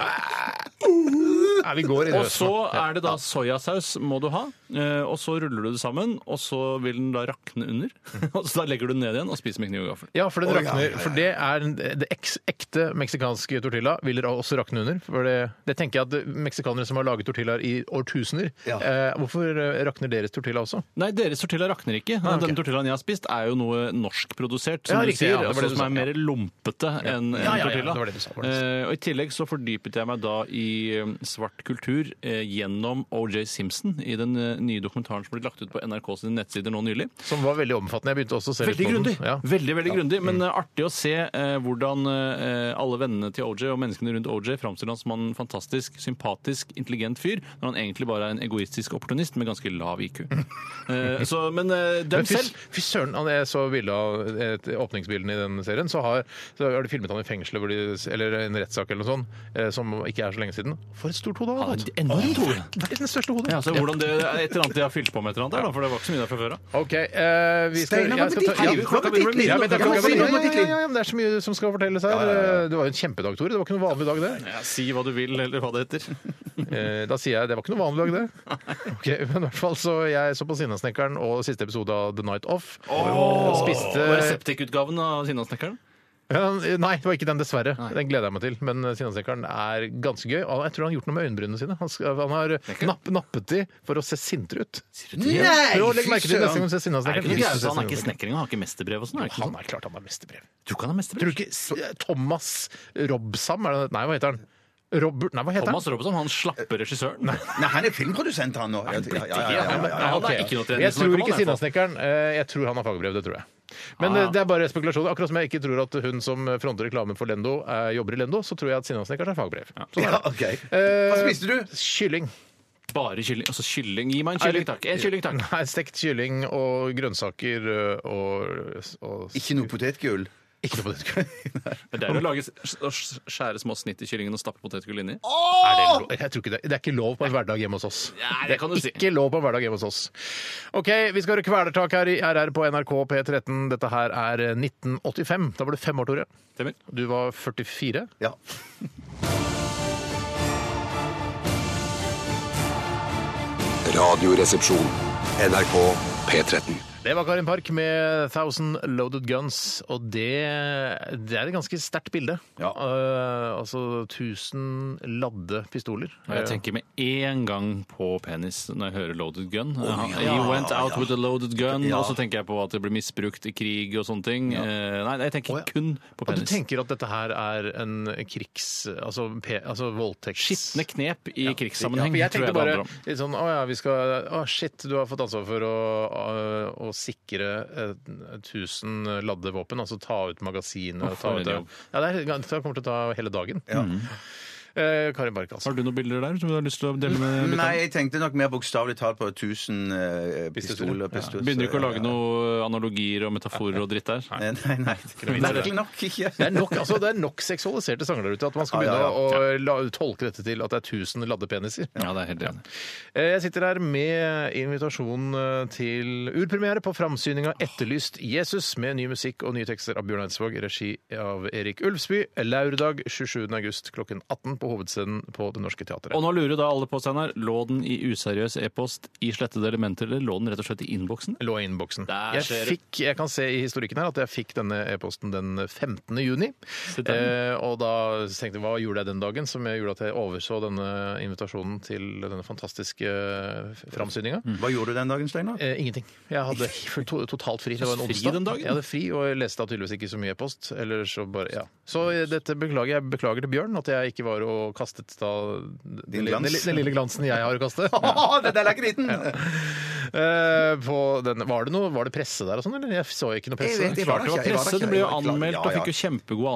Speaker 2: Nei, vi går i det
Speaker 4: Og så er det da soyasaus må du ha, ø, og så ruller du det sammen, og så vil den da rakne under.
Speaker 2: Mm.
Speaker 4: Og så da legger du den ned igjen og spiser med kniv og gaffel.
Speaker 2: Ja, for, den
Speaker 3: Å, ja, ja,
Speaker 2: rakner,
Speaker 3: ja, ja.
Speaker 2: for det er en- det eks, ekte meksikanske tortilla vil dere også rakne under. For det, det tenker jeg at meksikanere som har laget tortillaer i årtusener
Speaker 3: Ja.
Speaker 2: eh, Hvorfor eh, rakner deres tortilla også?
Speaker 4: Nei, deres tortilla rakner ikke.
Speaker 2: Ah, ok.
Speaker 4: Den tortillaen jeg har spist, er jo noe norskprodusert, som
Speaker 2: Ja,
Speaker 4: du
Speaker 2: riktig,
Speaker 4: sier.
Speaker 2: ja, det var
Speaker 4: altså,
Speaker 2: det du
Speaker 4: som
Speaker 2: sa,
Speaker 4: er mer lompete enn en
Speaker 2: Ja, ja, ja,
Speaker 4: tortilla.
Speaker 2: det var det du sa, det var det du sa.
Speaker 4: Eh, og I tillegg så fordypet jeg meg da i eh, svart kultur eh, gjennom OJ Simpson i den eh, nye dokumentaren som ble lagt ut på NRK sine nettsider nå nylig.
Speaker 2: Som var veldig omfattende. Jeg begynte også å se litt
Speaker 4: Veldig
Speaker 2: på den.
Speaker 4: grundig.
Speaker 2: Ja.
Speaker 4: Veldig, veldig grundig, Men eh, artig å se eh, hvordan eh, alle vennene til OJ og menneskene rundt OJ framstiller han som en fantastisk, sympatisk, intelligent fyr, når han egentlig bare er en egoistisk opportunist med ganske lav IQ. Eh, så, men eh, dem
Speaker 2: Men fy,
Speaker 4: selv
Speaker 2: fy søren, han- jeg så bildet av et, åpningsbildene i den serien, så har, så har de filmet han i fengselet hvor de, eller en rettssak eller noe sånt, eh, som ikke er så lenge siden. For et stort hode han har
Speaker 4: Han
Speaker 2: fått!
Speaker 4: er enormt hode.
Speaker 2: Verdens største hode.
Speaker 4: Ja, så hvordan det, et eller annet de har fylt på med et eller annet der, da, for det var ikke så mye der fra før av.
Speaker 2: OK. eh, vi skal,
Speaker 3: Steinar,
Speaker 2: jeg
Speaker 3: hva
Speaker 2: skal
Speaker 3: med ditt
Speaker 2: ta- ja,
Speaker 3: liv?
Speaker 4: klokka
Speaker 3: Hva med ditt
Speaker 4: begynner å bli-
Speaker 3: liv?
Speaker 2: Ja, men det, er
Speaker 3: Hva
Speaker 2: klokka
Speaker 3: med ditt
Speaker 2: begynner-
Speaker 3: liv?
Speaker 2: ja, ja, ja, ja, men det er så mye som skal fortelles her. Det var jo en kjempedag, Tore. Det var ikke noe vanlig dag, det.
Speaker 4: si hva du vil, eller hva det heter.
Speaker 2: Eh, Da sier jeg det var ikke noe vanlig dag, det. Ok, men i hvert fall så jeg så på Sinnasnekkeren og siste episode av The Night Off. Og spiste
Speaker 4: Septikutgaven av Sinnasnekkeren?
Speaker 2: ja, Nei, det var ikke den, dessverre. Den gleder jeg meg til. Men eh, Sinnasnekkeren er ganske gøy. Og Jeg tror han har gjort noe med øyebrynene sine. Han, skal, han har napp, nappet de for å se sintere ut.
Speaker 3: Nei,
Speaker 2: Prøv å legge merke til neste gang du ser
Speaker 4: Er det
Speaker 2: Sinnasnekkeren.
Speaker 4: ikke noe
Speaker 2: Lyst til å se
Speaker 4: greier, så Han er ikke
Speaker 2: Sinnasnekkeren.
Speaker 4: snekker engang, han har ikke mesterbrev og sånn? er det ikke
Speaker 2: Han
Speaker 4: sånn?
Speaker 2: er klart han har mesterbrev.
Speaker 4: Tror ikke han har
Speaker 2: Tror
Speaker 4: mesterbrev.
Speaker 2: du ikke S- Thomas Robsam er det? Nei, hva heter han? Robert Nei, hva heter
Speaker 4: Thomas Robson, han slappe regissøren.
Speaker 3: Nei, han er filmprodusent, han nå. Ja, ja, ja, ja, ja, ja, ja.
Speaker 4: han
Speaker 2: han?
Speaker 4: er
Speaker 2: Ok.
Speaker 4: ikke noe
Speaker 2: jeg tror ikke
Speaker 4: treningsnarkoman.
Speaker 2: Sinnasnekkeren. eh, Jeg tror han har fagbrev, det tror jeg. Men
Speaker 4: Ah.
Speaker 2: eh, det er bare spekulasjoner. Akkurat som jeg ikke tror at hun som fronter reklame for Lendo, eh, jobber i Lendo, så tror jeg at Sinnasnekkeren har fagbrev. Sånn er
Speaker 3: Ja,
Speaker 2: det.
Speaker 3: ok.
Speaker 2: Eh,
Speaker 3: Hva spiste du?
Speaker 2: Kylling.
Speaker 4: Bare kylling. Altså kylling. Gi meg en kylling, takk. En kylling, takk.
Speaker 2: Nei, stekt kylling og grønnsaker eh, og, og
Speaker 3: Ikke noe potetgull.
Speaker 2: Ikke noe på det.
Speaker 4: Men det er jo å lage s- å s- skjære små snitt i kyllingen og stappe potetgull inni.
Speaker 2: Er det, lov? jeg tror ikke det. det er ikke lov på en hverdag hjemme hos oss.
Speaker 4: Nei, det kan du si.
Speaker 2: Ikke lov på en hverdag hjemme hos oss. OK, vi skal høre Kvelertak her i RR på NRK P13. Dette her er 1985. Da var du fem år, Tore.
Speaker 4: Stemmer.
Speaker 2: Du var 44.
Speaker 3: Ja.
Speaker 5: Radioresepsjon. NRK P13.
Speaker 2: Det var Karin Park med 1000 Loaded Guns, og det, det er et ganske sterkt bilde.
Speaker 3: Ja.
Speaker 2: Eh, altså 1000 ladde pistoler. Eh,
Speaker 4: Og Jeg tenker med en gang på penis når jeg hører loaded gun. Han- He went out with a loaded gun,
Speaker 3: Ja.
Speaker 4: og så tenker jeg på at det blir misbrukt i krig og sånne ting. Eh, Nei, jeg tenker
Speaker 3: Å, ja.
Speaker 4: kun på
Speaker 2: Og du
Speaker 4: penis.
Speaker 2: tenker at dette her er en krigs... Altså, pe, altså voldtekts...
Speaker 4: Skitne knep i
Speaker 2: Ja,
Speaker 4: krigssammenheng,
Speaker 2: for jeg
Speaker 4: tror
Speaker 2: tenkte
Speaker 4: jeg det
Speaker 2: bare
Speaker 4: handler om.
Speaker 2: litt sånn Å ja, vi skal Å shit, du har fått ansvar for å, å, å sikre eh, 1000 ladde våpen. Altså ta ut magasinet
Speaker 4: Uff,
Speaker 2: ta
Speaker 4: for
Speaker 2: ut,
Speaker 4: en
Speaker 2: det
Speaker 4: jobb.
Speaker 2: ja, det, er, det kommer til å ta hele dagen. Eh, Karin Bark, altså.
Speaker 4: Har du noen bilder der som du har lyst til å dele med lytterne?
Speaker 3: Nei, jeg tenkte nok mer bokstavelig talt på 1000 eh, pistoler. pistoler.
Speaker 4: Begynner du ikke å lage noen analogier og metaforer og dritt der?
Speaker 3: Nei, Eh, nei. nei. Merkelig nok ikke.
Speaker 2: Det er, nok, altså det er nok seksualiserte sanger der ute at man skal
Speaker 3: Ja,
Speaker 2: begynne
Speaker 3: ja,
Speaker 2: å la, tolke dette til at det er 1000 laddepeniser.
Speaker 4: Ja, det er helt enig.
Speaker 2: Eh, Jeg sitter her med invitasjon eh, til urpremiere på framsyninga 'Etterlyst Jesus' med ny musikk og nye tekster av Bjørn Eidsvåg, regi av Erik Ulfsby. Laurdag 27. august klokken 18 på Hovedscenen på Det Norske Teatret.
Speaker 4: Og nå lurer da alle på, Steinar, lå den i useriøs e-post i slettede elementer, eller lå den rett og slett i innboksen?
Speaker 2: lå i innboksen.
Speaker 4: Der
Speaker 2: Jeg,
Speaker 4: ser du.
Speaker 2: fikk, jeg kan se i historikken her at jeg fikk denne e-posten den 15. juni. Eh, og da tenkte jeg hva gjorde jeg den dagen som jeg gjorde at jeg overså denne invitasjonen til denne fantastiske framsyninga?
Speaker 4: Mm.
Speaker 3: Hva gjorde du den dagen, Steinar?
Speaker 2: Eh, ingenting. Jeg hadde f- to totalt fri. Det var en
Speaker 4: Fri
Speaker 2: onsdag.
Speaker 4: den dagen?
Speaker 2: Jeg hadde fri, og jeg leste da tydeligvis ikke så mye e-post. Eller så bare, ja. Så eh, dette beklager jeg beklager til Bjørn, at jeg ikke var og kastet da den,
Speaker 3: glans.
Speaker 2: den, den lille glansen jeg har å kaste.
Speaker 3: Å, den der er ikke liten!
Speaker 2: Eh, på den, var, det noe, var det presse der og sånn, eller? Jeg så ikke noe presse.
Speaker 3: Jeg vet, jeg var der
Speaker 4: Det var
Speaker 3: ikke, jeg var der
Speaker 4: presse,
Speaker 3: ikke,
Speaker 4: det ble jo
Speaker 3: jeg var klar.
Speaker 4: anmeldt
Speaker 3: Ja,
Speaker 4: og
Speaker 3: ja.
Speaker 4: fikk jo kjempegode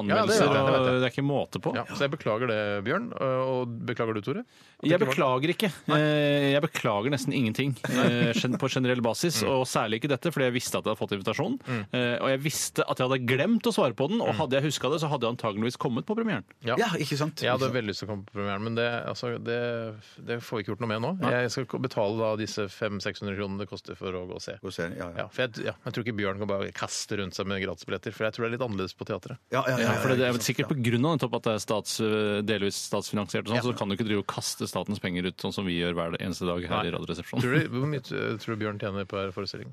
Speaker 2: Ja, det vet jeg,
Speaker 4: anmeldelser,
Speaker 2: det vet jeg.
Speaker 4: og det er ikke måte på.
Speaker 2: Ja, så jeg beklager det, Bjørn. Eh, Og beklager du, Tore?
Speaker 4: Jeg beklager ikke. Eh, Jeg beklager nesten ingenting eh, gen- på generell basis,
Speaker 2: Mm.
Speaker 4: og særlig ikke dette, fordi jeg visste at jeg hadde fått invitasjon. Eh, Og jeg visste at jeg hadde glemt å svare på den,
Speaker 2: Mm.
Speaker 4: og hadde jeg huska det, så hadde jeg antageligvis kommet på premieren.
Speaker 2: Ja.
Speaker 3: Ja, ikke sant?
Speaker 2: Jeg hadde veldig lyst til å komme på premieren, men det, altså, det, det får vi ikke gjort noe med nå. Jeg skal ikke betale da disse 500-600 kronene det koster for å gå og se.
Speaker 3: Gå og se, ja, ja.
Speaker 2: Ja, for jeg, ja, jeg tror ikke Bjørn kan bare kaste rundt seg med gratisbilletter, for jeg tror det er litt annerledes på teatret.
Speaker 3: Ja, ja, ja, ja,
Speaker 4: Ja, for det er
Speaker 3: ikke
Speaker 4: vel
Speaker 3: sant,
Speaker 4: sikkert på grunn av nettopp at det er stats, delvis statsfinansiert, og sånn, så kan du ikke drive og kaste statens penger ut sånn som vi gjør hver eneste dag her i
Speaker 2: Tror
Speaker 4: Radioresepsjonen.
Speaker 2: du, hvor mye t- tror du Bjørn tjener på hver forestilling?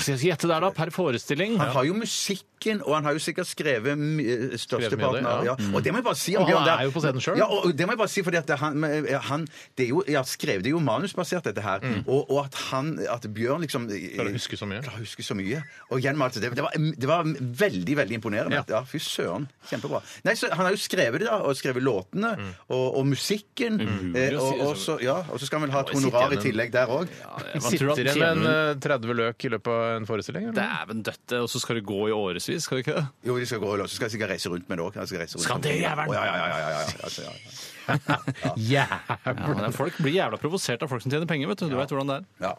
Speaker 4: Skal jeg gjette der, da? Per forestilling?
Speaker 3: Han har jo musikken, og han har jo sikkert skrevet my-
Speaker 2: Mm.
Speaker 3: eh,
Speaker 2: Skrevet
Speaker 3: størsteparten
Speaker 2: mye av
Speaker 3: av
Speaker 2: det,
Speaker 3: ja. Og det må jeg bare si.
Speaker 2: Og
Speaker 3: om
Speaker 2: han
Speaker 3: Bjørn, det
Speaker 2: er jo på scenen selv.
Speaker 3: Ja, og det må jeg bare si, fordi at det- han, men, eh, han det er jo, ja, skrev det jo manusbasert, dette her. Og, og at han, at Bjørn liksom
Speaker 2: Mm. Klarer å huske så mye.
Speaker 3: Klarer å huske så mye. Og gjenmalte det. Det var, det var veldig, veldig imponerende.
Speaker 2: Ja.
Speaker 3: Ja, fy søren. Kjempebra. Nei, så han har jo skrevet det, da. Og skrevet låtene.
Speaker 2: Mm.
Speaker 3: Og, og musikken. Eh,
Speaker 4: Umulig å
Speaker 3: og,
Speaker 4: si,
Speaker 3: og, så, ja, og så skal han vel ha et
Speaker 2: altså. jeg sitter
Speaker 3: honorar i
Speaker 2: igjen
Speaker 3: tillegg der òg.
Speaker 4: Hva tror du
Speaker 2: Sitter
Speaker 4: han
Speaker 2: igjen med en
Speaker 4: tjener?
Speaker 2: eh, 30 løk i løpet av en forestilling? Eller?
Speaker 4: Dæven døtte, og så skal det gå i årevis, skal det ikke det?
Speaker 3: Jo, de skal gå og låse. Så skal jeg sikkert reise rundt med det òg.
Speaker 4: Skal det, jævelen?
Speaker 3: Ja, ja, ja, ja, ja, ja. Altså, ja, ja.
Speaker 4: Ja, men folk blir jævla provosert av folk som tjener penger, vet du. Du vet hvordan det er.
Speaker 3: Ja.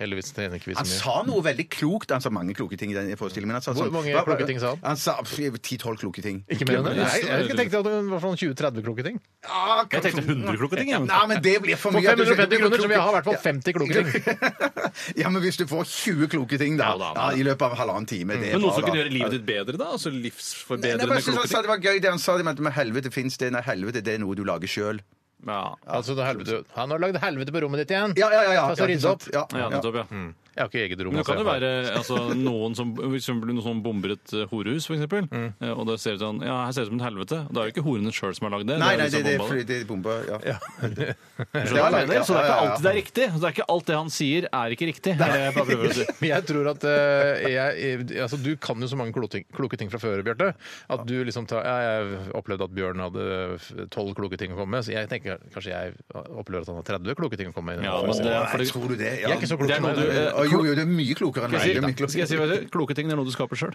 Speaker 2: Heldigvis tjener ikke vi så
Speaker 3: Han
Speaker 2: mye.
Speaker 3: sa noe veldig klokt. Han sa mange kloke ting i den forestillingen. men Han sa
Speaker 2: Hvor
Speaker 3: sånn-
Speaker 2: mange
Speaker 3: Hva-
Speaker 2: kloke ting sa han?
Speaker 3: Han sa ti-tolv kloke ting.
Speaker 2: Ikke mer enn det?
Speaker 4: Nei,
Speaker 2: Nei, jeg tenkte ikke at det var sånn 20-30 kloke ting.
Speaker 3: Ah,
Speaker 4: Jeg tenkte 100 kloke ting, jeg.
Speaker 3: Nei, men det blir for
Speaker 2: For
Speaker 3: mye.
Speaker 2: 550 kroner så vil jeg ha i hvert fall 50 kloke ting.
Speaker 3: Ja, men hvis du får 20 kloke ting, da.
Speaker 4: Ja, da, Mm.
Speaker 3: Ja, I løpet av halvannen time. Det er
Speaker 4: Men noe
Speaker 3: bra,
Speaker 4: som
Speaker 3: da.
Speaker 4: kunne gjøre livet ditt bedre, da? Altså
Speaker 3: Nei, jeg bare
Speaker 4: livsforbedrende
Speaker 3: synes
Speaker 4: kloke
Speaker 3: han sa det var gøy det han sa, det med at med helvete fins det. Nei, helvete det er noe du lager sjøl.
Speaker 4: ting. Ja.
Speaker 2: Altså, det er helvete. Han har lagd helvete på rommet ditt igjen!
Speaker 3: Ja, ja, ja. ja.
Speaker 2: Altså,
Speaker 3: Ja,
Speaker 2: rydde opp.
Speaker 3: Ja, Mm.
Speaker 4: Ja,
Speaker 3: ja.
Speaker 4: nettopp, ja.
Speaker 2: Jeg har ikke eget rom.
Speaker 4: Men det kan jo
Speaker 2: altså, jeg
Speaker 4: være altså, noen som for eksempel, noen som bomber et eh, horehus, for eksempel.
Speaker 3: Mm.
Speaker 4: eh, Og det ser ut som, ja, her ser det ut som et helvete. Og Da er det ikke horene sjøl som har lagd det.
Speaker 3: Nei, nei,
Speaker 4: de
Speaker 3: det,
Speaker 4: som
Speaker 3: det,
Speaker 4: bomba
Speaker 3: det, det er bombe. Ja.
Speaker 4: Skjønner
Speaker 3: det er
Speaker 4: du hva jeg
Speaker 3: lagd,
Speaker 4: mener?
Speaker 3: ja,
Speaker 4: Så det er
Speaker 3: ja, ja,
Speaker 4: ikke
Speaker 3: ja.
Speaker 4: alltid det er riktig. Det er ikke alt det han sier, er ikke riktig. Det er det jeg bare prøver å si.
Speaker 2: Men jeg tror at eh, jeg, altså, Du kan jo så mange kloke ting, kloke ting fra før, Bjarte. At du liksom tar ja, Jeg opplevde at Bjørn hadde tolv kloke ting å komme med. Så jeg tenker kanskje jeg opplever at han har 30 kloke ting å komme med.
Speaker 4: Ja, men det er
Speaker 3: Nei,
Speaker 4: fordi-
Speaker 3: tror du det?
Speaker 2: Jeg er ikke så klok
Speaker 4: Det er
Speaker 2: som
Speaker 4: noe
Speaker 2: deg.
Speaker 4: du, eh,
Speaker 3: Å, Jo, jo, det er mye klokere enn meg.
Speaker 4: Skal
Speaker 3: Det er mye
Speaker 4: jeg si, skal jeg si hva det er? Kloke ting det er noe du skaper sjøl.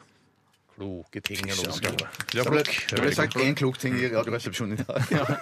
Speaker 2: Kloke ting er noe du skal Du er klok.
Speaker 3: Det ble sagt én klok ting i Radioresepsjonen i dag.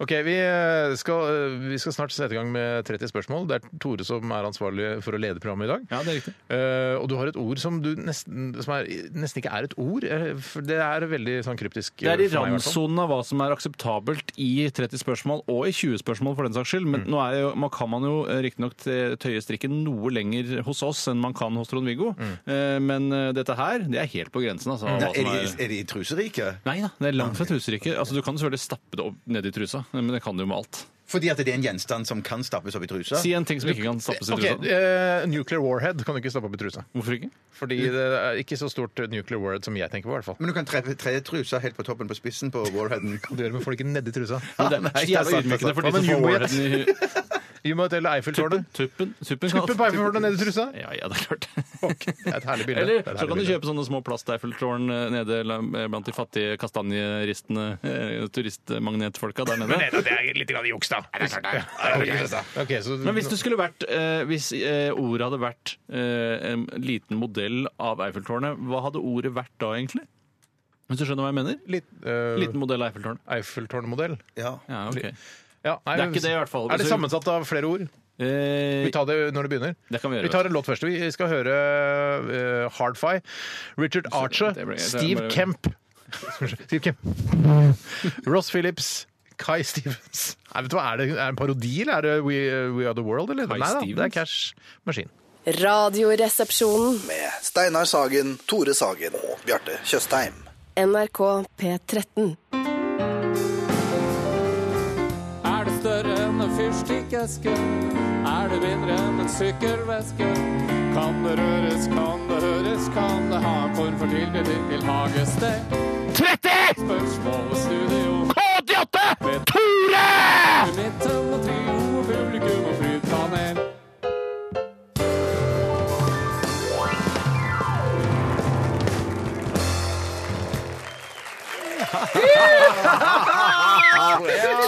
Speaker 2: Ok, vi eh, skal, eh, vi skal snart sette i gang med 30 spørsmål. Det er Tore som er ansvarlig for å lede programmet i dag.
Speaker 4: Ja, det er riktig.
Speaker 2: Eh, og du har et ord som, du nesten, som er, nesten ikke er et ord. eh, for Det er veldig sånn kryptisk.
Speaker 4: Det
Speaker 2: eh,
Speaker 4: er i
Speaker 2: for meg, hvert fall.
Speaker 4: randsonen av hva som er akseptabelt i 30 spørsmål, og i 20 spørsmål for den saks skyld, men nå er jo, man kan man jo eh, riktignok tøye strikken noe lenger hos oss enn man kan hos Trond-Viggo, Eh, men eh, dette her, det er helt på grensen, altså. av
Speaker 3: Mm. Nei,
Speaker 4: hva som
Speaker 3: Er de,
Speaker 4: er...
Speaker 3: er de i truseriket?
Speaker 4: Nei da, det er langt fra truseriket. Altså, du kan selvfølgelig stappe det opp ned i trusa, men det kan du jo med alt.
Speaker 3: Fordi at det er en gjenstand som kan stappes opp i trusa?
Speaker 4: Si en ting som ikke kan stappes i
Speaker 2: Ok,
Speaker 4: trusa.
Speaker 2: eh, Nuclear warhead kan du ikke stappe opp i trusa.
Speaker 4: Hvorfor ikke?
Speaker 2: Fordi det er ikke så stort nuclear warhead som jeg tenker på, i hvert fall.
Speaker 3: Men du kan treffe tre truser helt på toppen på spissen på warheaden.
Speaker 2: Hva du gjør med folk ikke nedi trusa?
Speaker 4: Men det er
Speaker 3: nei,
Speaker 4: så
Speaker 3: det er
Speaker 4: jævla
Speaker 3: sant,
Speaker 4: ydmykende for
Speaker 2: det
Speaker 4: de
Speaker 2: er sant. altså. Hva
Speaker 4: som får
Speaker 2: med
Speaker 4: warheaden i
Speaker 2: Humot eller Eiffeltårnet?
Speaker 4: tuppen. Tuppen kan-
Speaker 2: Tuppen på Eiffeltårnet nedi trusa?
Speaker 4: Ja, ja, det er klart.
Speaker 2: Ok, Det er et herlig bilde. Det er
Speaker 4: Eller
Speaker 2: et
Speaker 4: så kan
Speaker 2: herlig
Speaker 4: du
Speaker 2: bilde.
Speaker 4: kjøpe sånne små plast-Eiffeltårn eh, nede la- eh, blant de fattige kastanjeristende eh, turistmagnetfolka der nede.
Speaker 2: Nei, det er litt grann juks, da. Ok, så
Speaker 4: Men hvis du skulle vært eh, Hvis eh, ordet hadde vært eh, en liten modell av Eiffeltårnet, hva hadde ordet vært da, egentlig? Hvis du skjønner hva jeg mener?
Speaker 2: Litt, eh,
Speaker 4: Liten modell av Eiffeltårnet.
Speaker 2: Eiffeltårnmodell?
Speaker 3: Ja.
Speaker 4: Ja, ok.
Speaker 2: Ja, nei,
Speaker 4: Det er ikke det, i hvert fall.
Speaker 2: Er det sammensatt av flere ord?
Speaker 4: Eh,
Speaker 2: Vi tar det når det begynner.
Speaker 4: Det kan vi gjøre.
Speaker 2: tar en låt først. Vi skal høre eh, Hardfi, Richard Archer,
Speaker 4: det ble- det er
Speaker 2: Steve
Speaker 4: bare-
Speaker 2: Kemp Steve Kemp. Ross Phillips. Kai Stevens. Nei, vet du hva, Er det er det en parodi, eller er det We, eh, We Are The World? Eller? Nei da, det er
Speaker 4: Stevens?
Speaker 2: Cash Maskin.
Speaker 6: Radioresepsjonen.
Speaker 7: med Steinar Sagen, Tore Sagen og Bjarte Tjøstheim.
Speaker 6: NRK P13.
Speaker 8: Er det større enn en fyrstikkeske? Er det mindre enn en sykkelveske? Kan det røres, kan det høres, kan det ha en form for tilknytning til hagested? 30! Spørsmål og studio. K88! Tore! Midten og trio, publikum og prydpanel.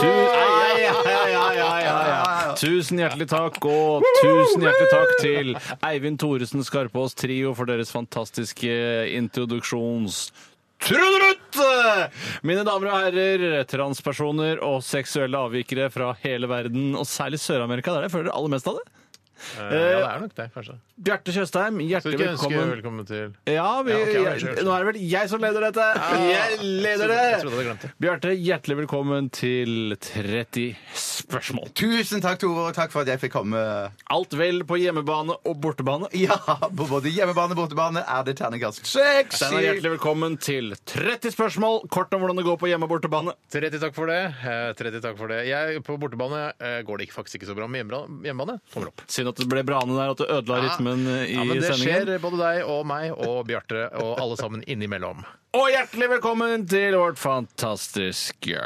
Speaker 4: Tu Ai, ai, ai, ai, ai, ai, ai. Tusen hjertelig takk, og tusen hjertelig takk til Eivind Thoresen Skarpaas Trio for deres fantastiske introduksjons... Trudelutt! Mine damer og herrer, transpersoner og seksuelle avvikere fra hele verden, og særlig Sør-Amerika, der jeg føler aller mest av det.
Speaker 2: Eh, ja, det er nok det, kanskje.
Speaker 4: Bjarte Tjøstheim,
Speaker 2: Så
Speaker 4: hjertelig
Speaker 2: ikke ønske
Speaker 4: velkommen.
Speaker 2: velkommen til
Speaker 4: Ja, vi,
Speaker 2: Ja, ok, ja, unnskyld,
Speaker 4: jeg,
Speaker 2: unnskyld.
Speaker 4: nå er det vel jeg som leder dette. Jeg leder det!
Speaker 2: Jeg trodde jeg hadde glemt det.
Speaker 4: Bjarte, hjertelig velkommen til 30 spørsmål.
Speaker 3: Tusen takk, Tore, og takk for at jeg fikk komme.
Speaker 4: Alt vel på hjemmebane og bortebane.
Speaker 3: Ja, på både hjemmebane og bortebane er det terningkast seks.
Speaker 4: Steinar, hjertelig velkommen til 30 spørsmål kort om hvordan det går på hjemme- og bortebane.
Speaker 2: 30 takk for det. eh, 30 takk for det. Jeg, på bortebane eh, går det ikke- faktisk ikke så bra med hjemmebra- hjemmebane. Kommer opp.
Speaker 4: Synd at det ble brane der, at det ødela rytmen eh, i
Speaker 2: Ja, men det
Speaker 4: sendingen.
Speaker 2: skjer både deg og meg og Bjarte og alle sammen innimellom.
Speaker 4: Og hjertelig velkommen til vårt fantastiske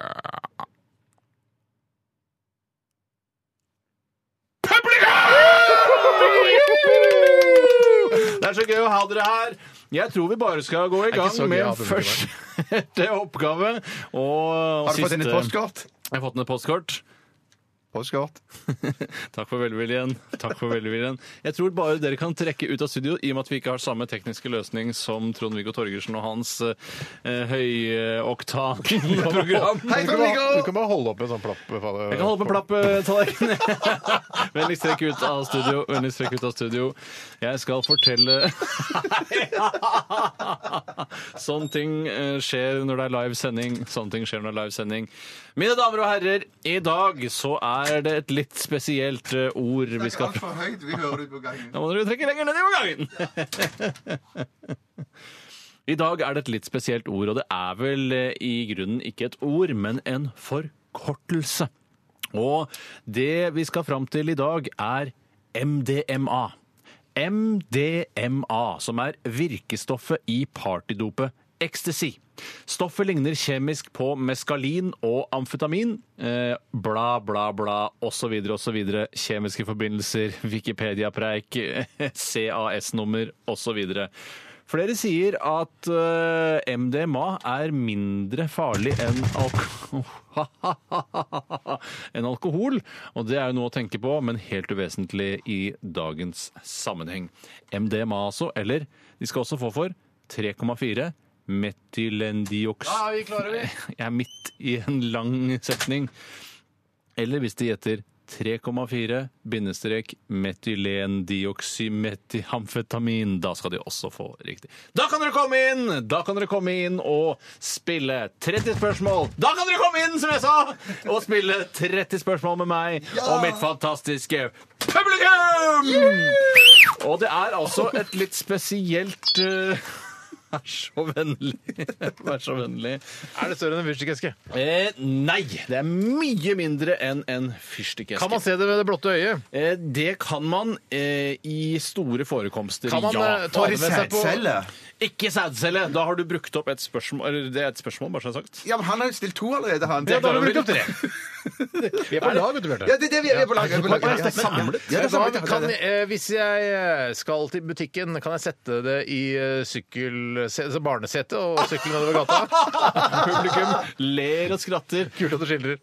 Speaker 4: Publikum! Det er så gøy å ha dere her. Jeg tror vi bare skal gå i
Speaker 2: ikke
Speaker 4: gang
Speaker 2: så gøy å ha
Speaker 4: med
Speaker 2: publikum
Speaker 4: første oppgave og, og
Speaker 3: Har du fått inn et
Speaker 4: siste.
Speaker 3: postkort?
Speaker 4: Jeg har fått inn et postkort.
Speaker 3: Postkort.
Speaker 4: Takk for velviljen. Takk for velviljen. Jeg tror bare dere kan trekke ut av studio, i og med at vi ikke har samme tekniske løsning som Trond-Viggo Torgersen og hans eh, høyoktan-program.
Speaker 3: Hei,
Speaker 2: Du kan, bare, du
Speaker 3: Trond-Viggo!
Speaker 2: kan bare holde opp en sånn plapp. Fader.
Speaker 4: Jeg kan holde på plapptallerkenen. Vennligst trekk ut av studio. Vennligst trekk ut av studio. Jeg skal fortelle Sånne ting eh, skjer når det er live sending. Sånne ting skjer når det er live sending. Mine damer og herrer, i dag så er det et litt spesielt eh, ord vi skal prate
Speaker 3: høyt. Vi hører det på gangen.
Speaker 4: da må dere trekke lenger ned i gangen! I dag er det et litt spesielt ord, og det er vel eh, i grunnen ikke et ord, men en forkortelse. Og det vi skal fram til i dag, er MDMA. MDMA, som er virkestoffet i partydopet ecstasy. Stoffet ligner kjemisk på meskalin og amfetamin. Eh, bla, bla, bla, osv., osv. Kjemiske forbindelser, Wikipedia-preik, CAS-nummer osv. Flere sier at eh, MDMA er mindre farlig enn alkohol. enn alkohol, og det er jo noe å tenke på, men helt uvesentlig i dagens sammenheng. MDMA altså, eller de skal også få for 3,4 metylendioks...
Speaker 2: Ja, vi klarer det.
Speaker 4: Jeg er midt i en lang setning. Eller hvis de gjetter 3,4 bindestrek metylendioksymetiamfetamin. Da skal de også få riktig. Da kan dere komme inn! Da kan dere komme inn og spille 30 spørsmål. Da kan dere komme inn, som jeg sa! Og spille 30 spørsmål med meg og mitt fantastiske publikum! Og det er altså et litt spesielt eh, Vær så vennlig. Vær så vennlig.
Speaker 2: Er det større enn en fyrstikkeske?
Speaker 4: Eh, nei, det er mye mindre enn en fyrstikkeske.
Speaker 2: Kan man se det ved det blotte øyet?
Speaker 4: Eh, det kan man eh, i store forekomster,
Speaker 2: Kan man eh,
Speaker 4: ja.
Speaker 2: ta
Speaker 3: Og
Speaker 2: det med seg på
Speaker 3: sædcelle.
Speaker 4: Ikke sædcelle! Da har du brukt opp et spørsmål. Eller det er et spørsmål, bare så jeg har sagt.
Speaker 3: Ja, men han har jo stilt to allerede, han.
Speaker 2: Ja, da har vi brukt opp
Speaker 4: brukt
Speaker 2: tre. Vi er på lag, vet du, Bjarte.
Speaker 3: Ja, det er det vi er på lag. vi er på lag.
Speaker 4: Ja,
Speaker 3: Ja, samlet. Ja, det er
Speaker 2: Da
Speaker 3: samlet.
Speaker 2: kan, eh, hvis jeg eh, skal til butikken, kan jeg sette det i eh, sykkel, se, altså barnesetet og sykle nedover gata? Publikum
Speaker 4: Ler og skratter.
Speaker 2: kult at du skildrer.